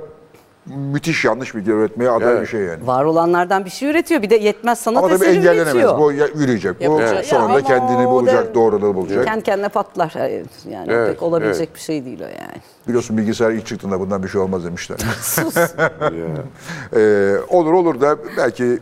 müthiş yanlış bilgi üretmeye aday Evet. bir şey yani. Var olanlardan bir şey üretiyor. Bir de yetmez sanat Ama tabii eseri engellenemez. üretiyor. Bu ya- yürüyecek. Bu Yapacak- Evet. sonunda Ya ama kendini o bulacak, da- doğruluğu bulacak. Kendi kendine patlar. Evet, Yani Evet, pek olabilecek evet. bir şey değil o yani. Biliyorsun bilgisayar ilk çıktığında bundan bir şey olmaz demişler. Sus. Ee, olur olur da belki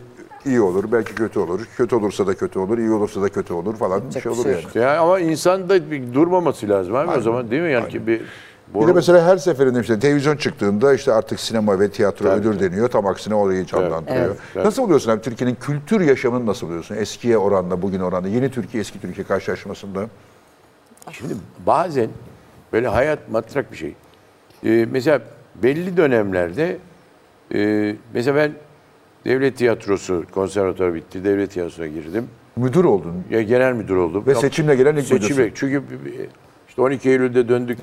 iyi olur, belki kötü olur. Kötü olursa da kötü olur, iyi olursa da kötü olur falan bir şey bir olur şey yani. Yani ama insan da bir durmaması lazım abi o zaman değil mi? Yani ki bir Bir boru- de mesela her seferinde işte televizyon çıktığında işte artık sinema ve tiyatro ödül deniyor. Tam aksine orayı canlandırıyor. Nasıl buluyorsun abi Türkiye'nin kültür yaşamını nasıl buluyorsun? Eskiye oranla, bugün oranla, yeni Türkiye, eski Türkiye karşılaşmasında. Şimdi bazen böyle hayat matrak bir şey. Ee, mesela belli dönemlerde e, mesela ben devlet tiyatrosu konservatuvar bitti. Devlet tiyatrosuna girdim. Müdür oldun. Ya genel müdür oldum. Ve Kap- seçimle gelen ilk Seçim müdürsün. ek- Çünkü b- b- işte 12 Eylül'de döndük.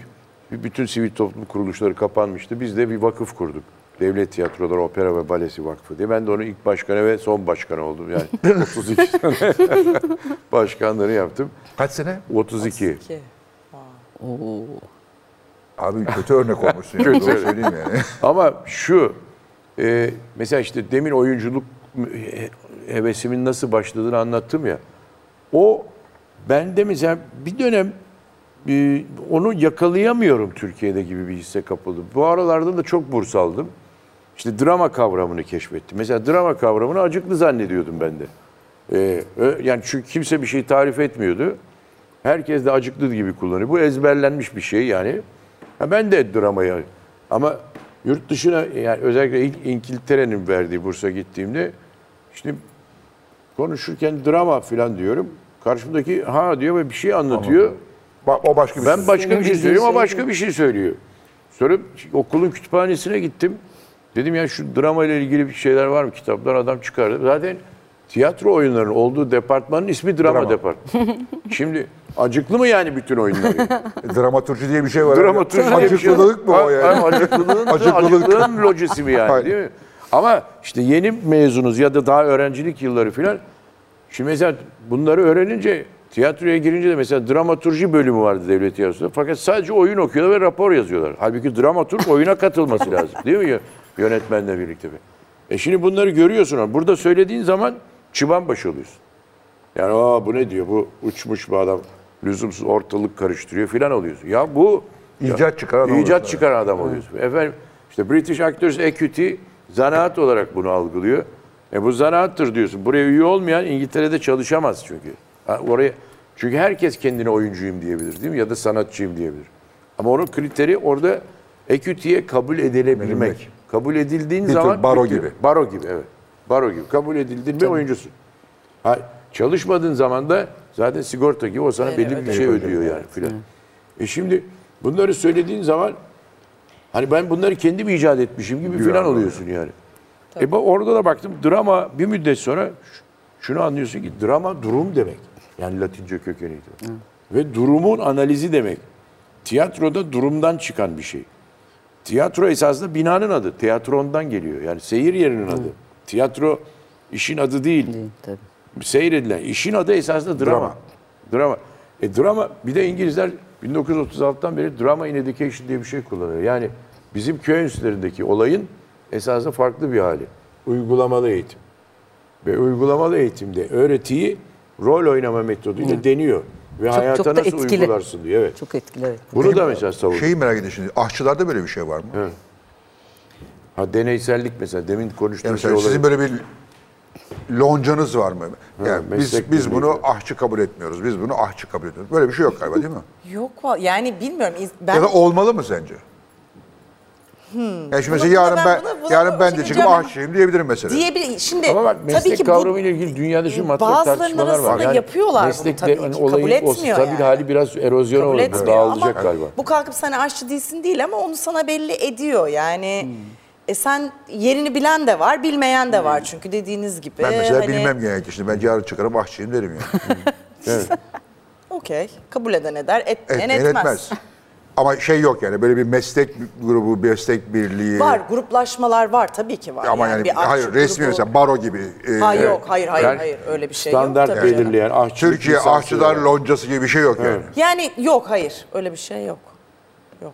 B- Bütün sivil toplum kuruluşları kapanmıştı. Biz de bir vakıf kurduk. Devlet Tiyatroları Opera ve Balesi Vakfı diye. Ben de onun ilk başkanı ve son başkanı oldum. Yani 32 sene başkanları yaptım. Kaç sene? 32. Ki. Abi kötü örnek olmuşsun. Kötü kötü. Doğru örnek. söyleyeyim yani. Ama şu, e, mesela işte demin oyunculuk he- hevesimin nasıl başladığını anlattım ya. O bende mesela bir dönem e, onu yakalayamıyorum Türkiye'de gibi bir hisse kapıldım. Bu aralarda da çok burs aldım. İşte drama kavramını keşfettim. Mesela drama kavramını acıklı zannediyordum ben de. E, ö- yani çünkü kimse bir şey tarif etmiyordu. Herkes de acıklı gibi kullanıyor. Bu ezberlenmiş bir şey yani. Ha ben de dramayı ama yurt dışına yani özellikle İng- İngiltere'nin verdiği bursa gittiğimde işte konuşurken drama falan diyorum. Karşımdaki ha diyor ve bir şey anlatıyor. Ba- O başka bir Ben şey. başka bir şey söylüyorum, o başka bir şey söylüyor. Sonra okulun kütüphanesine gittim. Dedim ya şu drama ile ilgili bir şeyler var mı? Kitaplar adam çıkardı. Zaten tiyatro oyunlarının olduğu departmanın ismi drama, Drama. departmanı. Şimdi acıklı mı yani bütün oyunları? Dramaturji diye bir şey var. Dramaturji diye bir şey yok. Acıklılık mı o Ha, yani? ha, Acıklılığın, Acıklılık. acıklılığın lojisi mi yani Hayır. değil mi? Ama işte yeni mezunuz ya da daha öğrencilik yılları filan. Şimdi mesela bunları öğrenince tiyatroya girince de mesela dramaturji bölümü vardı devlet tiyatrosunda. Fakat sadece oyun okuyorlar ve rapor yazıyorlar. Halbuki dramaturg oyuna katılması lazım. Değil mi? Yönetmenle birlikte. bir. E şimdi bunları görüyorsun. ama Burada söylediğin zaman çıban başı oluyorsun. Yani aa bu ne diyor bu uçmuş bu adam lüzumsuz ortalık karıştırıyor filan oluyorsun. Ya bu İcat çıkaran İcat oluyorsun. çıkaran adam oluyorsun. Efendim işte British Actors Equity zanaat olarak bunu algılıyor. E bu zanaattır diyorsun. Buraya üye olmayan İngiltere'de çalışamaz çünkü. Ha, oraya çünkü herkes kendine oyuncuyum diyebilir değil mi? Ya da sanatçıyım diyebilir. Ama onun kriteri orada equity'ye kabul edilebilmek. Kabul edildiğin tür zaman baro bitiyor. gibi. Baro gibi evet. Baro gibi. Kabul edildin mi oyuncusun. Ha, çalışmadığın zaman da zaten sigorta gibi o sana belli bir şey ödüyor yani filan. E şimdi bunları söylediğin zaman hani ben bunları kendim icat etmişim gibi filan oluyorsun yani. E bak orada da baktım drama bir müddet sonra ş- şunu anlıyorsun ki drama durum demek. Yani Latince kökeniydi. Ve durumun analizi demek. Tiyatroda durumdan çıkan bir şey. Tiyatro esasında binanın adı. Tiyatrondan geliyor. Yani seyir yerinin adı. Tiyatro işin adı değil. Tabii. Seyredilen. işin adı esasında drama. Drama. Drama. E drama bir de İngilizler 1936'dan beri drama in education diye bir şey kullanıyor. Yani bizim köy enstitülerindeki olayın esasında farklı bir hali. Uygulamalı eğitim. Ve uygulamalı eğitimde öğretiyi rol oynama metoduyla deniyor. Ve çok hayata da nasıl etkili. uygularsın diyor. Evet. Çok etkili. evet. Bunu da mesela savunuyor. Şeyi merak ediyorum şimdi. Aşçılarda böyle bir şey var mı? Ha deneysellik mesela demin konuştuğum Yani şey mesela olabilir. sizin böyle bir loncanız var mı? Yani biz meslek biz birliği bunu gibi. ahçı kabul etmiyoruz. Biz bunu ahçı kabul ediyoruz. Böyle bir şey yok galiba değil mi? Yok va- yani bilmiyorum. İz- Ben Ya da olmalı mı sence? Yani şimdi mesela Buna- buna yarın ben- ben, buna- buna yarın ben de şey çıkıp diyeceğim. ahçıyım diyebilirim mesela. diyebilir. Şimdi Ama bak tabii meslek ki bu e, kavramıyla ilgili dünyada şimdi matrak bazılarının tartışmalar var. hani arasında yapıyorlar bunu tabii ki. Kabul o etmiyor stabil yani. hali biraz erozyona kabul uğradı. etmiyor Dağılacak ama galiba. bu kalkıp sana aşçı değilsin değil ama onu sana belli ediyor. Yani Hmm. e sen yerini bilen de var, bilmeyen de Hmm. var çünkü dediğiniz gibi. Ben mesela hani- bilmem genellikle şimdi. Ben yarın çıkarım ahçıyım derim yani. Okey. Kabul eden eder, etmeyen Etmeyen etmez. etmez. Ama şey yok yani böyle bir meslek grubu, meslek birliği. Var, gruplaşmalar var tabii ki var. Ama yani, bir aşçı hayır resmi grubu- mesela baro gibi. e, Ha yok, hayır hayır Ben- hayır öyle bir şey Standart yok. tabii canım. belirleyen ahçılık Türkiye lisansı ahçılar var. loncası gibi bir şey yok yani. Yani yok hayır öyle bir şey yok. Yok.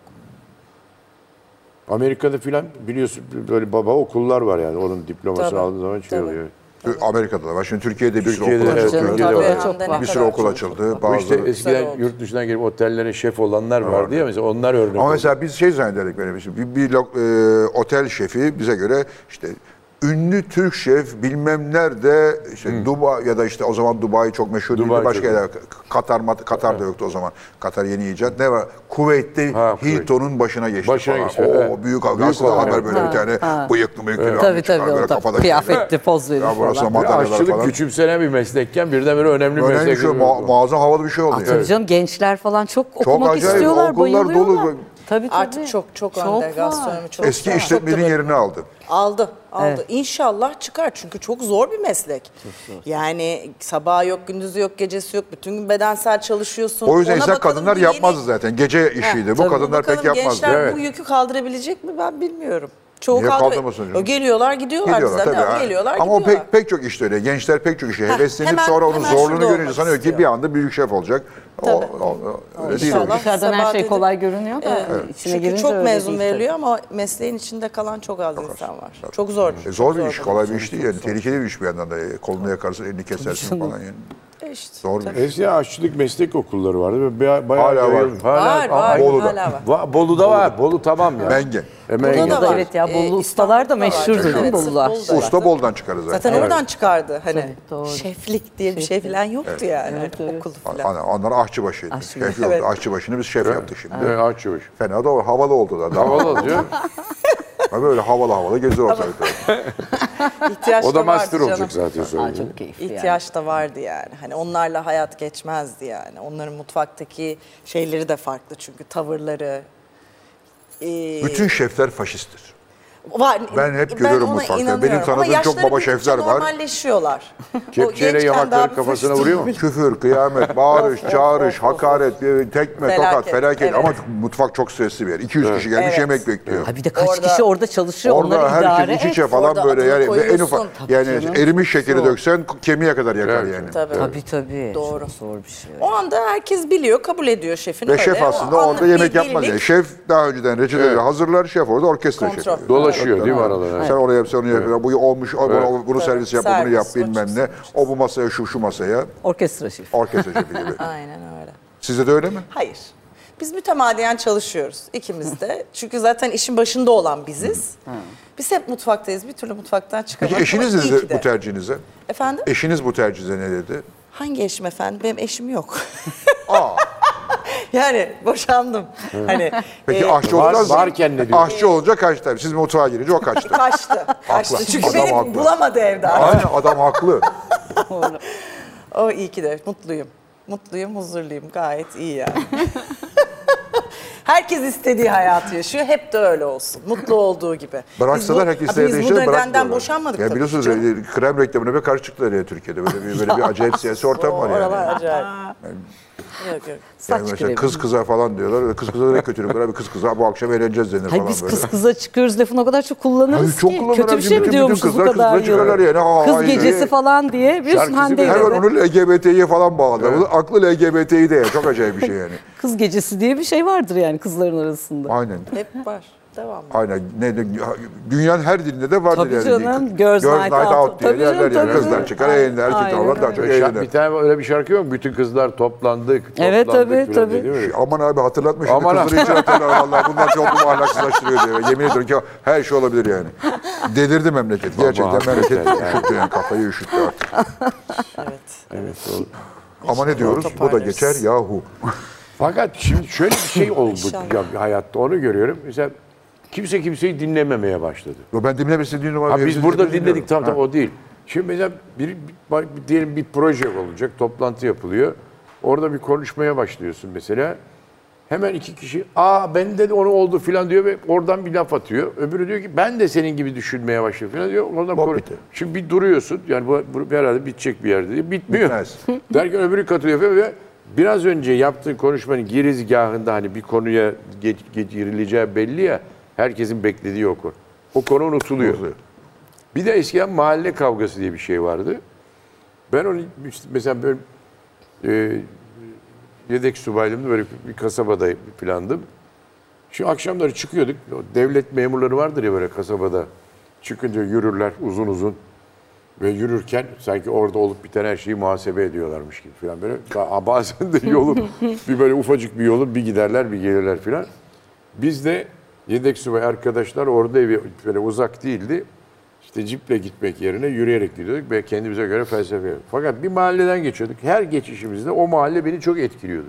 Amerika'da filan biliyorsun böyle baba okullar var yani. Onun diplomasını Tabii, aldığın zaman şey tabii. oluyor. Tü- Amerika'da da var. Şimdi Türkiye'de bir sürü Türkiye'de okul evet, açıldı. Canım, Türkiye'de tabii, var. çok Bir var. Bir sürü okul açıldı. Bu Bazıları. işte Güzel eskiden oldu. yurt dışından gelip otellere şef olanlar vardı ya mesela onlar örnek Ama oldu. mesela biz şey zannederdik böyle bir, bir, bir lo- e, otel şefi bize göre işte ünlü Türk şef bilmem nerede işte Dubai ya da işte o zaman Dubai çok meşhur değildi Dubai başka çok- yerler Katar mat- Katar da yoktu o zaman Katar yeni icat ne var Kuveyt'te Ha, Kuveyt. Hilton'un başına geçti Başına falan. geçti, Oo, evet. büyük, Büyük aslında olay. haber böyle Ha, bir tane ha. bıyıklı mıyıklı bir adam Tabii çıkar tabii. böyle O da kafadaki- kıyafetli poz verir Ya burası falan. Bir de madalyalar aşçılık falan. küçümsenen bir meslekken birdenbire önemli bir Önemli bir meslek. şey mu- muazzam havalı bir şey oldu. Aa, yani. tabii canım gençler falan çok, okumak acayip, istiyorlar, okullar dolu. bayılıyorlar. E Tabii, tabii. Artık çok çok, çok var. gastronomi çok Eski var. Çok da işletmenin böyle- yerini aldı. Aldı, aldı. Evet. İnşallah çıkar çünkü çok zor bir meslek. Yani sabah yok, gündüzü yok, gecesi yok. Bütün gün bedensel çalışıyorsun. O yüzden Ona insan bakalım kadınlar bir yeni- yapmazdı zaten. Gece işiydi. Heh, bu tabii. kadınlar Bakalım pek yapmazdı. Gençler Evet. bu yükü kaldırabilecek mi ben bilmiyorum. Çoğu Niye kaldıra- kaldıramasın canım? Geliyorlar gidiyorlar, Gidiyorlar bizden. tabii. ha. Geliyorlar Ama o gidiyorlar. pek pek çok işte öyle. Gençler pek çok işe heveslenip hemen- sonra onun hemen şurada zorluğunu görünce olmak sanıyor ki istiyor. bir anda büyük şef olacak. O, Tabii. o- o- öyle değil. İnşallah. o iş. Dışarıdan her Sabah şey dedi- kolay görünüyor da içine Çünkü girince çok öyle mezun değil tabii. veriliyor ama mesleğin içinde kalan çok az insan var. Çok zor. E, Zor bir Çok iş, kolay bir Çok iş değil. Yani tehlikeli bir iş bir yandan da. E, Kolunu yakarsın, elini kesersin falan. Yani. E işte. Zor bir iş. Eskiden aşçılık meslek okulları vardı ve baya- bayağı Hala var. yayılmış. Var, Aa, var, Bolu'da. hala var. Va- Bolu'da var. Bolu tamam ya. Benge. E, Bolu'da Menge. da var. Evet ya, Ee, Bolu İstanbul'da ustalar da var. meşhurdur değil mi Evet, Bolular? Bolu'da var. Usta boldan çıkar zaten. Zaten oradan çıkardı hani. doğru. Şeflik diye bir şey falan yoktu yani. Okul falan. Ana- Onlar ahçıbaşıydı. Ahçı- Şef yoktu. Evet. Ahçıbaşını biz şef yaptık şimdi. Evet, Ahçıbaşı. Fena da o- havalı oldu da. Daha Havalı diyor. böyle havalı havalı geziyor ortalıkta. İhtiyaç O da da vardı master canım. olacak zaten sonra. Aa, çok keyifli yani. İhtiyaç da vardı yani. Hani onlarla hayat geçmezdi yani. Onların mutfaktaki şeyleri de farklı çünkü tavırları. Ee, Bütün şefler faşisttir. Var. Ben hep görüyorum ona mutfakta. inanıyorum. Benim tanıdığım Ama çok yaşları baba büyüdükçe şefler var. Normalleşiyorlar. O Kepçeyle gençken daha yamakları bir kafasına fırsat- vuruyor mu? Küfür, kıyamet, bağırış, Of, of, çağırış, of, of, hakaret, bir tekme, Felaket, tokat, felaket. evet. Ama mutfak çok stresli bir yer. 200 kişi gelmiş Evet. yemek bekliyor. Ha bir de kaç Orada- kişi orada çalışıyor Orada onları idare herkes iç et. içe falan Orada böyle adını yani ve en koyuyorsun. ufak yani erimiş şekeri döksen kemiğe kadar yakar Evet. yani. Tabii. Tabii tabii. Doğru. Çok zor bir şey. O anda herkes biliyor, kabul ediyor şefin. Ve öyle şef ama aslında anlık orada bir yemek yapmaz. delilik- Yani şef daha önceden reçeteleri hazırlar, şef orada orkestra Kontrol. şefi. Dolaşıyor değil mi aralara? Sen oraya yap, sen onu yap. Bu olmuş, o- o- bunu servis yap, bunu Servis, yap o bilmem çıksın, ne. O bu masaya, şu şu masaya. Orkestra şefi. Orkestra şefi gibi. Aynen öyle. Sizde de öyle mi? Hayır. Biz mütemadiyen çalışıyoruz ikimiz de. Çünkü zaten işin başında olan biziz. Biz hep mutfaktayız. Bir türlü mutfaktan çıkamadık. Peki eşiniz E- ama ne iyi dedi ki de. bu tercihinize? Efendim? Eşiniz bu tercihinize ne dedi? Hangi eşim efendim? Benim eşim yok. Aa, yani boşandım. Hani peki e, aşçı var- olacağız. varken ne diyor? Aşçı olacak kaçtı. Siz mutfağa girince o kaçtı. kaçtı. Haklı. Kaçtı. Çünkü Adam beni haklı. bulamadı evde. Aynen adam haklı. O iyi ki de mutluyum. Mutluyum, huzurluyum. Gayet iyi yani. Herkes istediği hayatı yaşıyor. Hep de öyle olsun. Mutlu olduğu gibi. Bıraksalar herkes Abi istediği Biz işe bu bırakmıyorlar. nedenden boşanmadık ya tabii. biliyorsunuz canım. e, krem reklamına bir karşı çıktılar ya Türkiye'de. Böyle bir, böyle bir acayip siyasi ortam var yani. Oralar acayip. yok yok. Yani Saç mesela kremi. kız kıza falan diyorlar. Kız kıza ne kötülük var abi kız kıza bu akşam eğleneceğiz denir Hayır falan biz böyle. kız kıza çıkıyoruz lafını o kadar çok Hayır, kullanırız çok ki. kullanırız. Kötü bir şey Bütün- mi bütün diyormuşuz bu kızlar kızla kadar çıkarlar yıl? yani. Ha, Kız hayır. gecesi falan diye biliyorsun Şarkısı Hande'yle Hemen de. onu LGBT'ye falan bağladılar. Bunun Aklı LGBT'yi de ya. Çok acayip bir şey yani. Kız gecesi diye bir şey vardır yani kızların arasında. Aynen. Hep var. Devam. Aynen. Ne, ne- dünyanın her dilinde de vardır Tabii yani. canım, Kız- Girls Night Out. diye Tabii canım, yerler yani. tabii. Kızlar çıkar Aynen, eğlenir. Erkek aynen olan daha çok öyle. Şa- eğlenir. Bir tane öyle bir şarkı yok mu? Bütün kızlar toplandık. Evet, toplandık tabii, falan tabii. diyor, değil mi? Aman abi hatırlatma şimdi Aman kızları hiç hatırlar vallahi. Bunlar toplumu ahlaksızlaştırıyor diyor. Yemin ediyorum ki her şey olabilir yani. Delirdi memleket. Gerçekten hakikaten memleket üşüttü yani. Kafayı üşüttü artık. Evet, doğru. Ama ne diyoruz? Bu da toparlarız. geçer yahu. Fakat şimdi şöyle bir şey oldu ya hayatta onu görüyorum. Mesela kimse kimseyi dinlememeye başladı. Yo, Ben dinlemesini dinliyorum. Ha, abi, biz hepsini burada dinliyorum. dinledik tamam Ha. tamam o değil. Şimdi mesela bir, bir- diyelim bir proje olacak, toplantı yapılıyor. Orada bir konuşmaya başlıyorsun mesela. Hemen iki kişi, aa bende de onu oldu filan diyor ve oradan bir laf atıyor. Öbürü diyor ki ben de senin gibi düşünmeye başlıyor filan diyor. Oradan Bak konu- bitti. Şimdi bir duruyorsun, yani bu, bu herhalde bitecek bir yerde diyor. Bitmiyor. Bitmez. Derken öbürü katılıyor falan ve biraz önce yaptığın konuşmanın girizgahında hani bir konuya geç, geç girileceği belli ya. Herkesin beklediği o konu. O konu unutuluyor. Unutuluyor. Bir de eskiden mahalle kavgası diye bir şey vardı. Ben onu işte mesela böyle e, yedek subaylığımda böyle bir kasabada plandım. Şimdi akşamları çıkıyorduk. O Devlet memurları vardır ya böyle kasabada. Çıkınca yürürler uzun uzun. Ve yürürken sanki orada olup biten her şeyi muhasebe ediyorlarmış gibi falan böyle. Ba- Bazen de yolun bir böyle ufacık bir yolun bir giderler bir gelirler falan. Biz de yedek subay arkadaşlar orada evi böyle uzak değildi. İşte ciple gitmek yerine yürüyerek gidiyorduk ve kendimize göre felsefe yapıyorduk. Fakat bir mahalleden geçiyorduk. Her geçişimizde o mahalle beni çok etkiliyordu.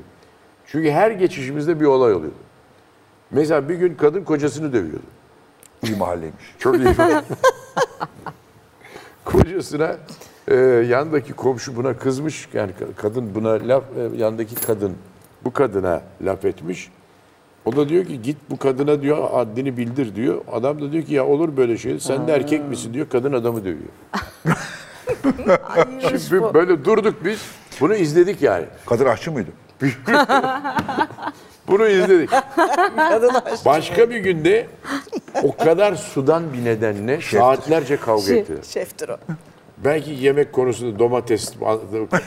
Çünkü her geçişimizde bir olay oluyordu. Mesela bir gün kadın kocasını dövüyordu. İyi mahalleymiş. Çok iyi. Kocasına e, yandaki komşu buna kızmış. Yani ka- kadın buna laf, e, yandaki kadın bu kadına laf etmiş. O da diyor ki git bu kadına diyor haddini bildir diyor. Adam da diyor ki ya olur böyle şey. Sen de erkek misin diyor. Kadın adamı dövüyor. Şimdi böyle durduk biz. Bunu izledik yani. Kadın aşçı mıydı? Bunu izledik. Başka bir günde o kadar sudan bir nedenle saatlerce kavga ettiler. Şeftir o. Belki yemek konusunda domates konusunda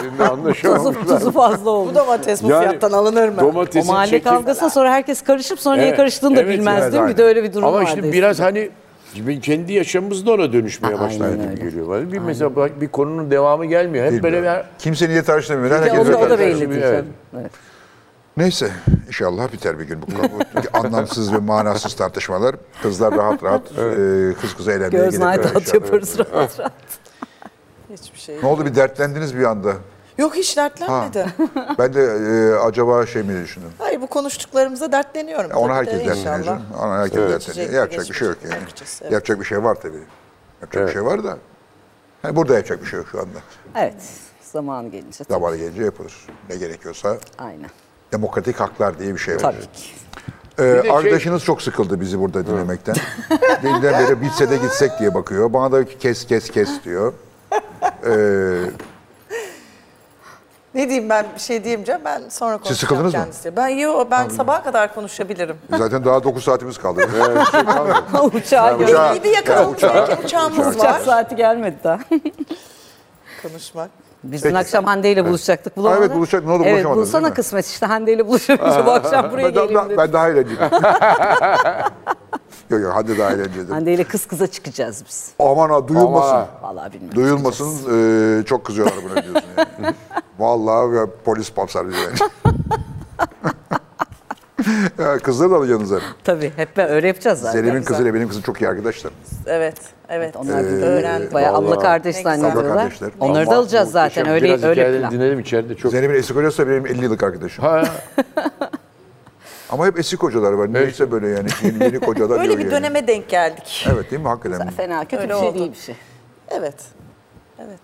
Tuzu, anlaşamamışlar. tuzu fazla oldu. Bu domates bu Yani fiyattan alınır mı? O Domatesin mahalle şekli- kavgasına sonra herkes karışıp sonra neye Evet, karıştığını da evet bilmez yani, değil mi? Bir de öyle bir durum Ama vardı. işte biraz hani gibi kendi yaşamımızda ona dönüşmeye Aynen başladı gibi öyle. geliyor. bana. Bir mesela bak- bir konunun devamı gelmiyor. Hep böyle bir Kimse niye tartışlamıyor? Ya Herkes o da, o da öyle. belli değil. Evet. canım. Evet. Neyse inşallah biter bir gün bu bu anlamsız ve manasız tartışmalar. Kızlar rahat rahat e, kız kıza eğlenmeye Göz gidebilirler naydat inşallah. yaparız rahat rahat. Hiçbir şey. Ne oldu bir dertlendiniz bir anda. Yok hiç dertlenmedi. Ben de e, acaba şey mi düşündüm? Hayır bu konuştuklarımıza dertleniyorum. Ona Tabii de herkes dertleniyor inşallah. canım. Ona herkes dertleniyor. Geçecek, Yapacak bir şey yok geçecek. yani. Bakacağız, evet. Yapacak bir şey var tabii. Yapacak bir şey var da. Yani burada yapacak bir şey yok şu anda. Evet. Zaman gelince. tabii. Zamanı gelince yapılır. Ne gerekiyorsa Aynen. demokratik haklar diye bir şey var. Tabii ki. Ee, şey- arkadaşınız çok sıkıldı bizi burada dinlemekten. Dilinden beri bitse de gitsek diye bakıyor. Bana da kes kes kes diyor. Ee, Ne diyeyim ben bir şey diyemeyeceğim. Ben sonra konuşacağım sıkıldınız mı? kendisiyle. Ben yo ben sabaha kadar konuşabilirim. zaten daha 9 saatimiz kaldı. Uçağa gö- Uçağı- Bir de yakalım belki uçağımız Uçak var. saati gelmedi daha. Konuşmak. Biz dün akşam Hande ile buluşacaktık. Ha, Bulamadık. evet, buluşacak- ne oldu, Evet buluşamadınız, değil bulsana mi? kısmet işte Hande ile buluşamayınca bu akşam buraya ben, geleyim daha, dedim. ben daha eğlenceli. yok yok hadi daha eğlenceli. Hande ile kız kıza çıkacağız biz. Aman ha duyulmasın. Aman. Vallahi bilmiyorum. Duyulmasın ee, çok kızıyorlar buna diyorsun. Yani. Vallahi ya, polis papsar bizi. ya, kızları da alacaksınız hep. Tabii hep ben öyle yapacağız zaten. Zeynep'in kızıyla benim kızım çok iyi arkadaşlar. Evet, evet. Onlar birbirini öğrendim. bayağı vallahi. abla kardeş Ne güzel. Ee, Abla zannediyorlar. kardeşler. Onları da Ama alacağız zaten muhteşem. öyle Biraz öyle hikayelerini plan. dinleyelim içeride çok. Zeynep'in eski kocası da benim 50 yıllık arkadaşım. Ha, Ama hep eski kocalar var. Neyse böyle yani. Yeni, yeni kocalar Öyle yok bir yani. döneme denk geldik. Evet değil mi? Hakikaten. Fena kötü Öyle bir şey oldu. değil bir şey. Evet. Evet.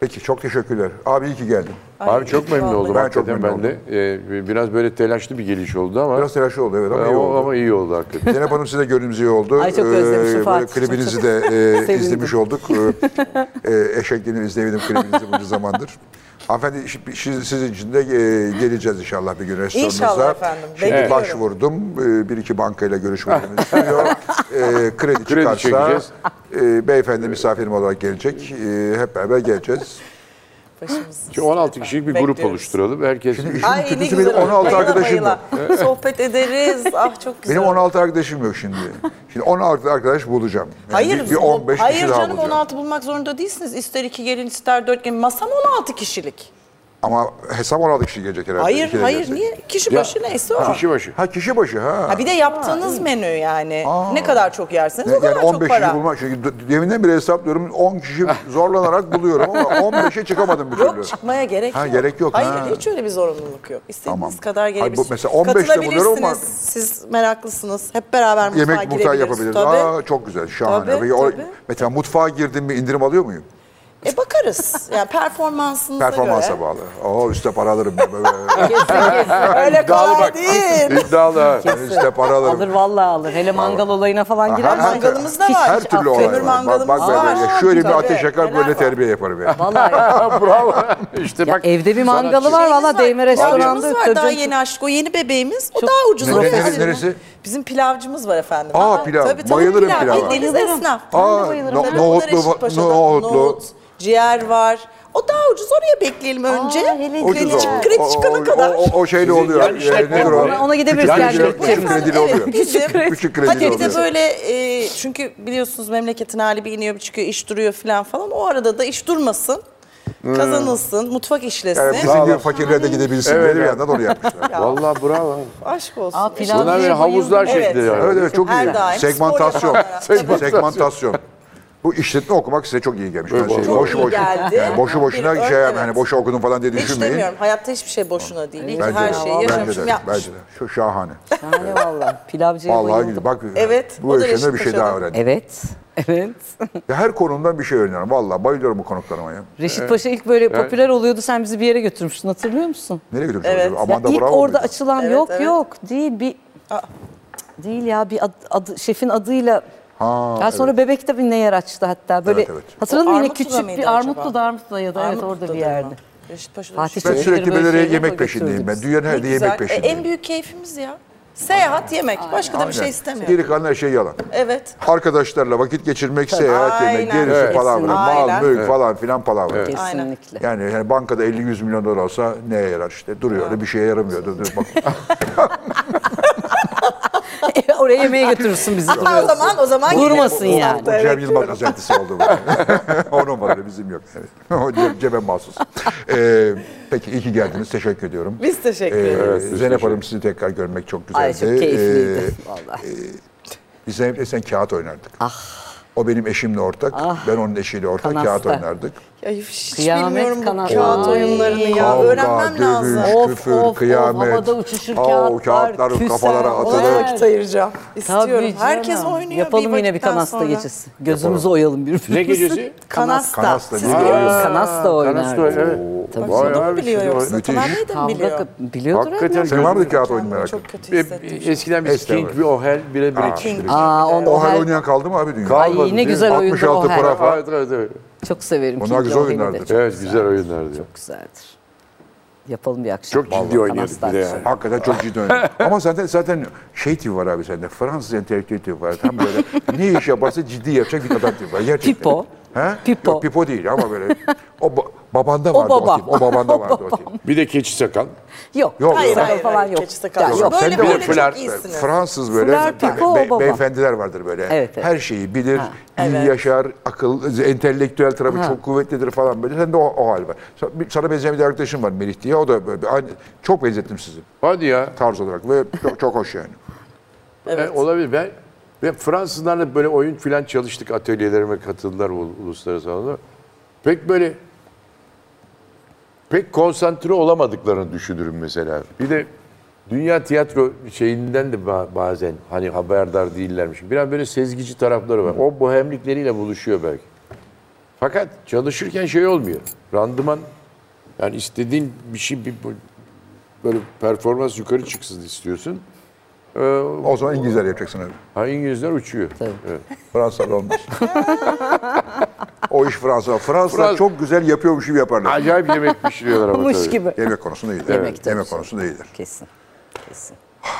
Peki çok teşekkürler. Abi iyi ki geldin. Ay, abi çok memnun vallahi. oldum. Ben çok hakikaten memnun ben de. Ee, biraz böyle telaşlı bir geliş oldu ama. Biraz telaşlı şey oldu evet ama ama, iyi oldu. ama iyi oldu hakikaten. Zeynep Hanım size gördüğümüz iyi oldu. Ee, Ay, çok özlemişim böyle Fatih. Klibinizi de e, izlemiş olduk. E, eşekliğini izleyemedim klibinizi bunca zamandır. Hanımefendi şi- şi- sizin için de e, geleceğiz inşallah bir gün restoranınıza. İnşallah efendim, Şimdi bekliyorum. başvurdum. E, bir iki bankayla görüşmelerimiz sürüyor. E, kredi çıkarsa çekeceğiz. e, beyefendi misafirim olarak gelecek. E, hep beraber geleceğiz. Başımız. Şimdi 16 kişilik bir Bekliyoruz. grup oluşturalım. Herkes Ay ne Kötüsü güzel. benim olur. 16 Bayıla arkadaşım bayıla. Sohbet ederiz. Ah çok güzel. Benim 16 arkadaşım yok şimdi. Şimdi 16 arkadaş bulacağım. Yani Hayır, bir, bir 15 hayır kişi daha canım bulacağım. 16 bulmak zorunda değilsiniz. İster iki gelin ister dört gelin. Masam 16 kişilik. Ama hesap 16 kişi gelecek herhalde. Hayır İkide hayır gelecek. niye? Kişi Ya, başı neyse o. kişi başı. Ha kişi başı ha. Ha bir de yaptığınız menü yani. Ne kadar çok yerseniz o Ne- kadar yani 15 çok kişi para. bulmak. Çünkü d- deminden beri hesaplıyorum 10 kişi zorlanarak buluyorum ama 15'e çıkamadım bir türlü. Yok çıkmaya gerek Ha, yok. gerek yok, Hayır ha. hiç öyle bir zorunluluk yok. İstediğiniz Tamam. kadar Hayır, bu gelebilirsiniz. mesela 15'te buluyorum ama- Katılabilirsiniz. Siz meraklısınız. Hep beraber mutfağa Yemek mutfağı girebiliriz. yapabiliriz. Tabii. Aa, çok güzel şahane. Tabii, Peki, o- tabii. Mesela mutfağa girdim mi indirim alıyor muyum? E bakarız. Yani performansınıza Performansa göre. bağlı. Oo üste para alırım. ben. Böyle- Öyle kolay bak. değil. iddialı. ha. üste para alırım. Alır vallahi alır. Hele mangal olayına falan girer. her- her- Mangalımız da var. Her Hiç türlü olay kömür var. Bak, bak, mangalımız ben- var. şöyle bir Tabii, ateş yakar neler böyle var. terbiye yaparım yani. Vallahi Bravo. İşte ya bak. evde bir şey mangalı var valla değme restoranda. Pilavcımız var daha Tabii. yeni açtık. O yeni bebeğimiz. O daha ucuz. Ne- o ne- fazla. neresi? Bizim pilavcımız var efendim. Aa, pilav. Bayılırım pilava. E, Deniz esnaf. Aa, no- Tabii, nohutlu onlar Eşitpaşa'da. va- nohutlu. Nohut, ciğer var. O daha uciz oraya bekleyelim önce. hele Ucuz kredi, o. çık- O- kredi o- çıkana o- kadar. O, o şeyle oluyor. Yan Ee, işletme nedir o? Ona- ona gidebiliriz Küçük yani. kredi- Bu Küçük efendim, krediyle oluyor. Küçük Küçük krediyle Hadi bir de oluyor. böyle e, çünkü biliyorsunuz memleketin hali bir iniyor bir çıkıyor iş duruyor falan falan. O arada da iş durmasın. Hmm. Kazanılsın, mutfak işlesin. Yani bizim gibi fakirlere de gidebilsin Evet, diye bir evet. yandan onu yapmışlar. Vallahi bravo. Aşk olsun. Aa, pilav Bunlar böyle diye havuzlar bayıldım. şeklinde Evet. yani. evet evet çok Her güzel. daim spor Segmentasyon. yapanlara. Segmentasyon. Segmentasyon. Bu işletme okumak size çok iyi gelmiş. Ben şey, Çok boşu iyi boşu. geldi. Yani boşu Bir boşuna ön- şey yani evet. hani boşu okudum falan diye Hiç düşünmeyin. demiyorum. Hayatta hiçbir şey boşuna değil. İyi ki Bence de, her şeyi bence yaşamışım, de, yapmışım. bence de. Şu şahane. Yani valla pilavcıya Vallahi bayıldım. güzel. Bak Evet, bu o da yaşamda bir şey Reşit daha Paşa'dan. öğrendim. Evet. Evet. Ya her konumdan bir şey öğreniyorum. Vallahi bayılıyorum bu konuklarıma ya. Reşit Paşa ilk böyle popüler oluyordu. Sen bizi bir yere götürmüştün hatırlıyor musun? Nereye götürmüş? Evet. Evet. Amanda ilk Bravo orada muydu? açılan Evet, yok evet. yok değil bir değil ya bir ad, adı- şefin adıyla Ha, ya sonra bebek de bir ne yer açtı hatta böyle Evet, evet. hatırladın mı yine Armutlu'da küçük mıydı bir Armutlu'da acaba? Armutlu'da ya da evet orada bir yerde. Reşitpaşa'da. Fatih Ben Çelikleri sürekli böyle böyle şeylere yemek götürdü peşindeyim ben. bizi. Dünyanın her Ne yerde yemek güzel. E, peşindeyim. en büyük keyfimiz ya. Seyahat, yemek. Başka da bir şey istemiyorum. Geri kalan her şey yalan. Evet. Arkadaşlarla vakit geçirmek, seyahat yemek, Aynen. gerisi Evet. palavra, mal, Aynen. mülk falan filan palavra. Kesinlikle. Yani, yani bankada 50-100 milyon dolar olsa neye yarar işte? Duruyor öyle bir şeye yaramıyor. Dur, dur, bak. Oraya yemeğe götürürsün bizi. Ha, o zaman o zaman Durmasın gidelim. yani. Bu Cem Yılmaz özentisi oldu bu. o numaralı bizim yok. Evet. o Cem, Cem'e mahsus. Ee, peki iyi ki geldiniz. Teşekkür ediyorum. Biz teşekkür Ee, ederiz. Zeynep Hanım sizi tekrar görmek çok güzeldi. Ee, Ay çok keyifliydi vallahi. Biz Ah. Zeynep'le sen kağıt oynardık. O benim eşimle ortak, ben onun eşiyle ortak Kanasta. kağıt oynardık. Ay, hiç Kıyamet bilmiyorum bu kanatları. kağıt Ay. oyunlarını ya. Kavga, Öğrenmem lazım. dövüş, Of, küfür, of, of. kıyamet. Havada uçuşur Aa, kağıtlar, küser, kafalara Ona da atılır. vakit ayıracağım. İstiyorum. Tabii Herkes canım. oynuyor. Yapalım yine bir vakitten kanasta sonra. gecesi. Gözümüzü oyalım birbirimizi. Ne gecesi? Kanasta. Kanasta, Siz değil mi? biliyor musunuz? Biz Kanasta Kanasta, oynardık. evet. Tabii Vay Bunu abi, biliyor şimdi o- yoksa. müthiş. Tamam nereden biliyor? Kavga biliyordur Hakikaten herhalde. Sen var mı kağıt oyunu Canım, merak Çok ettim. kötü E, hissettim. Eskiden bir Eskiden King var. ve Ohel bire bire King. çıkmıştı. Aa, onda O hal Ohel- oynayan kaldı mı abi dünyada? Kalmadı. Ay ne değil mi? güzel oyundu 66 Ohel. para. Evet, evet, evet. Çok severim. Bunlar King güzel Ohel'i de. oynardı. Çok Evet, güzel oyunlardı. güzeldir. Yapalım bir akşam. Çok ciddi oynuyorduk Kanasta bir de akşamı. yani. Hakikaten çok ciddi oynadı. Ama zaten zaten şey tipi var abi sende. Fransız entelektüel tipi var. Tam böyle ne iş yaparsa ciddi yapacak bir adam tipi var. Gerçekten. Pipo. He? Pipo. Yok, pipo değil ama böyle. O ba- babanda vardı o, baba. tip. O babanda vardı o tip. Bir de keçi sakal. Yok. Yok, Hayır Sakal hayır falan hayır. yok. Keçi sakal. Ya, Yok, yok. Böyle Sen de böyle fırlar- çok iyisiniz. Fransız böyle Fırlar, be- pipo, be- baba. beyefendiler vardır böyle. Evet, evet. Her şeyi bilir, iyi evet. yaşar, akıl, entelektüel tarafı çok kuvvetlidir falan böyle. Sen de o, o hal var. Sa- bir- Sana benzeyen bir arkadaşım var Melih diye. O da böyle, aynı, çok benzettim sizi Hadi ya. tarz olarak ve çok, çok hoş yani. E, olabilir. Ben ve Fransızlarla böyle oyun filan çalıştık. Atölyelerime katıldılar u- uluslararası alanda. Pek böyle pek konsantre olamadıklarını düşünürüm mesela. Bir de dünya tiyatro şeyinden de ba- bazen hani haberdar değillermiş. Biraz böyle sezgici tarafları var. O bohemlikleriyle buluşuyor belki. Fakat çalışırken şey olmuyor. Randıman yani istediğin bir şey bir böyle performans yukarı çıksın istiyorsun. O zaman İngilizler yapacaksın abi. Ha İngilizler uçuyor. Evet. Fransa'da olmaz. o iş Fransa. Fransa Fransa- çok güzel yapıyormuş gibi yaparlar. Acayip yemek pişiriyorlar ama Olmuş tabii. gibi. Yemek konusunda iyidir. Yemek Evet, tabii. Yemek konusunda iyidir. Kesin. Kesin.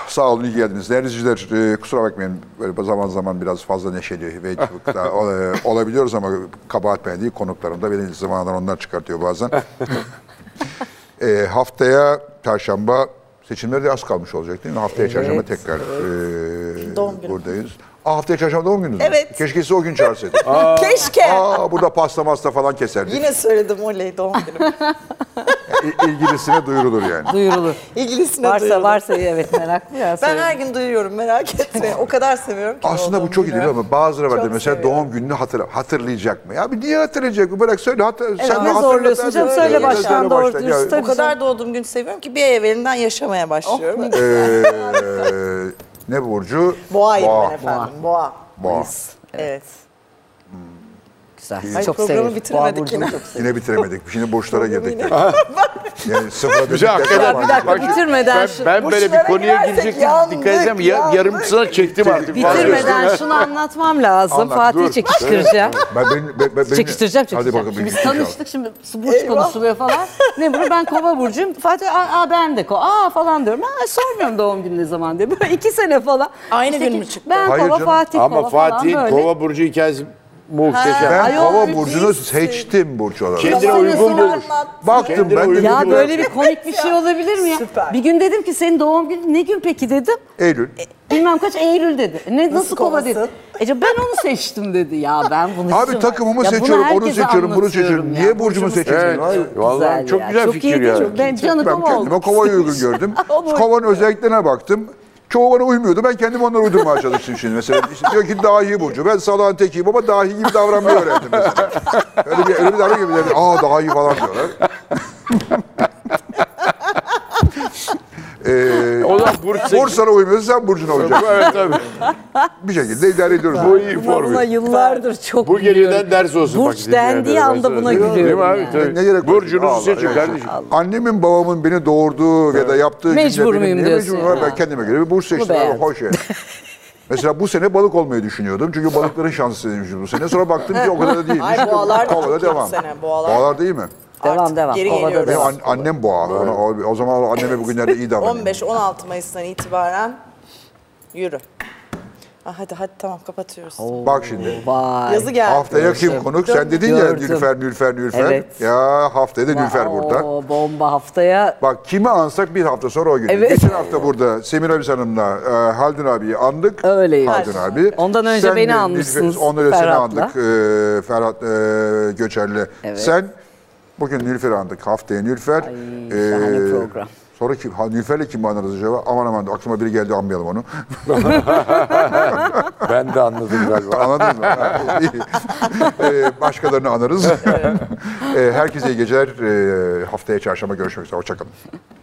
Sağ olun, iyi geldiniz. Değerli izleyiciler, e, kusura bakmayın. Böyle zaman zaman biraz fazla neşeli ve cıvık da ol- e, olabiliyoruz ama kabahat ben değil, konuklarım da beni zamandan onlar çıkartıyor bazen. E, haftaya Çarşamba seçimleri de az kalmış olacak değil mi? Haftaya Çarşamba tekrar e, Doğum günü. buradayız. Aa, haftaya Çarşamba doğum gününüz mü? Evet. Keşke sizi o gün çağırsaydık. Keşke. Aa, burada pasta masta falan keserdik. Yine söyledim oley doğum günü. İ- ilgilisine duyurulur yani. Duyurulur. İlgilisine varsa duyuralım. varsa evet meraklı ya. Ben her gün duyuyorum merak etme. O kadar seviyorum ki. Aslında bu doğduğum çok iyi günü. değil mi? ama bazıları var Çok da mesela seviyorum. doğum gününü hatırla, hatırlayacak mı? Ya bir niye hatırlayacak mı? Bırak söyle hatır, sen de ne hatırlat zorluyorsun abi. canım? Söyle baştan, söyle doğru baştan. dürüst Ya, O kadar doğduğum günü seviyorum ki bir ay evvelinden yaşamaya başlıyorum. eee, ne burcu? Boğa'yım Boğa. ben efendim. Boğa. Boğa. Evet. Güzel. Ay, çok programı severim. bitiremedik Boğa burcunu yine. çok severim. Yine bitiremedik. Şimdi boşlara girdik. yani sıfıra dönük Güzel, tekrar şey başlayacağız. hakikaten. Bir dakika Bak- bitirmeden Ben, şu, ben böyle bir Burçlara konuya girersek girecektim. yandık, Dikkat etsem ya, yandık. yarımsına çektim artık. bitirmeden şunu anlatmam lazım. Anlat, Fatih'i dur. çekiştireceğim. Ben, ben, ben, ben, Çekiştireceğim Hadi çekiştireceğim. bakalım. Şimdi biz inşallah. tanıştık şimdi burç konuşuluyor falan. Ne bunu ben kova burcuyum. Fatih aa, aa, ben de kova aa falan diyorum. Aa, sormuyorum doğum günü ne zaman diye. Böyle iki sene falan. Aynı İşte gün ki, mü çıktı? Ben Hayır kova canım. Fatih Ama kova falan Fatih böyle. Kova Burcu hikayesi muhteşem. Ben Ayol, kova bir şey. burcunu seçtim burç olarak. Kendine Yalan uygun yazılar bulmuş. Baktım Kendine ben uygun dedim Ya ki, böyle bir komik bir şey olabilir mi ya? Süper. Bir gün dedim ki senin doğum günün ne gün peki dedim. Eylül. Bilmem kaç Eylül dedi. Ne nasıl, kova kovasın? dedi. Ece ben onu seçtim dedi. Ya ben bunu Abi seçiyorum. takımımı Ya bunu seçiyorum, onu herkese seçiyorum, bunu seçiyorum. anlatıyorum ya. Niye burcumu Evet. seçiyorsun? Hayır. E Vallahi Güzel çok ya, güzel çok iyi fikir değil ya. mi? Ben canı ben kova kendime oldu. kovayı uygun gördüm. Kovanın özelliklerine baktım. Çoğu bana uymuyordu. Ben kendim onlara uydurmaya çalıştım şimdi. Mesela işte diyor ki dahi burcu. Ben salağın tekiyim ama dahi gibi davranmayı öğrendim mesela. Öyle bir, öyle bir davranıyor. Bir de, Aa dahi falan diyorlar. ee, O zaman Burç Burç seçtim. sana uymuyorsa sen burcuna uyacaksın. evet tabii. Bir şekilde idare ediyoruz. Bu iyi Buna, buna formül. yıllardır çok Bu gülüyorum. geceden ders olsun. bak Burç dendiği dinleyenlere. Ben anda sana buna söylüyorum. gülüyorum. Değil mi abi? yani. Tabii. Ne gerek var? Allah, Burcunuzu seçin evet. kardeşim. Annemin babamın beni doğurduğu ya da yaptığı Mecbur günde benim muyum niye diyorsun mecbur var? ya? Ben kendime göre bir burs seçtim. abi, beğendim. hoş yani. Mesela bu sene balık olmayı düşünüyordum. Çünkü balıkların şanslıymış bu sene. Sonra baktım ki o kadar da değilmiş. Ay, boğalar da Kovada çok iyi bu sene, boğalar. değil mi? Devam Artık devam. geri Kovada geliyoruz. Benim devam. an- annem boğa. Ona- o, o zaman anneme bugünlerde iyi davranıyor. 15-16 Mayıs'tan itibaren yürü. Ah, hadi hadi tamam kapatıyoruz. Bak şimdi. Vay. Yazı geldi. Haftaya kim konuk? Sen dedin ya Gördüm. Nülfer, Nülfer, Nülfer. Evet. Ya haftaya da Nülfer burada. Oo, bomba haftaya. Bak kimi ansak bir hafta sonra o gün. Evet. Geçen hafta burada Semir Abis Hanım'la e, Haldun abiyi andık. Öyle Haldun yaptık. abi. Ondan önce Sen beni de- anmışsınız Ondan önce seni Ferhat'la. andık e, Ferhat e, Göçer'le. Evet. Sen bugün Nülfer'i andık. Haftaya Nülfer. Ay, şahane program. Sonra kim, ha, Nülfer'le kim anarız acaba? Aman aman aklıma biri geldi anmayalım onu. Ben de anladım galiba. Anladın mı? Ha, iyi. E, başkalarını anarız. Ee, herkese iyi geceler. Ee, haftaya çarşamba görüşmek üzere. Hoşçakalın.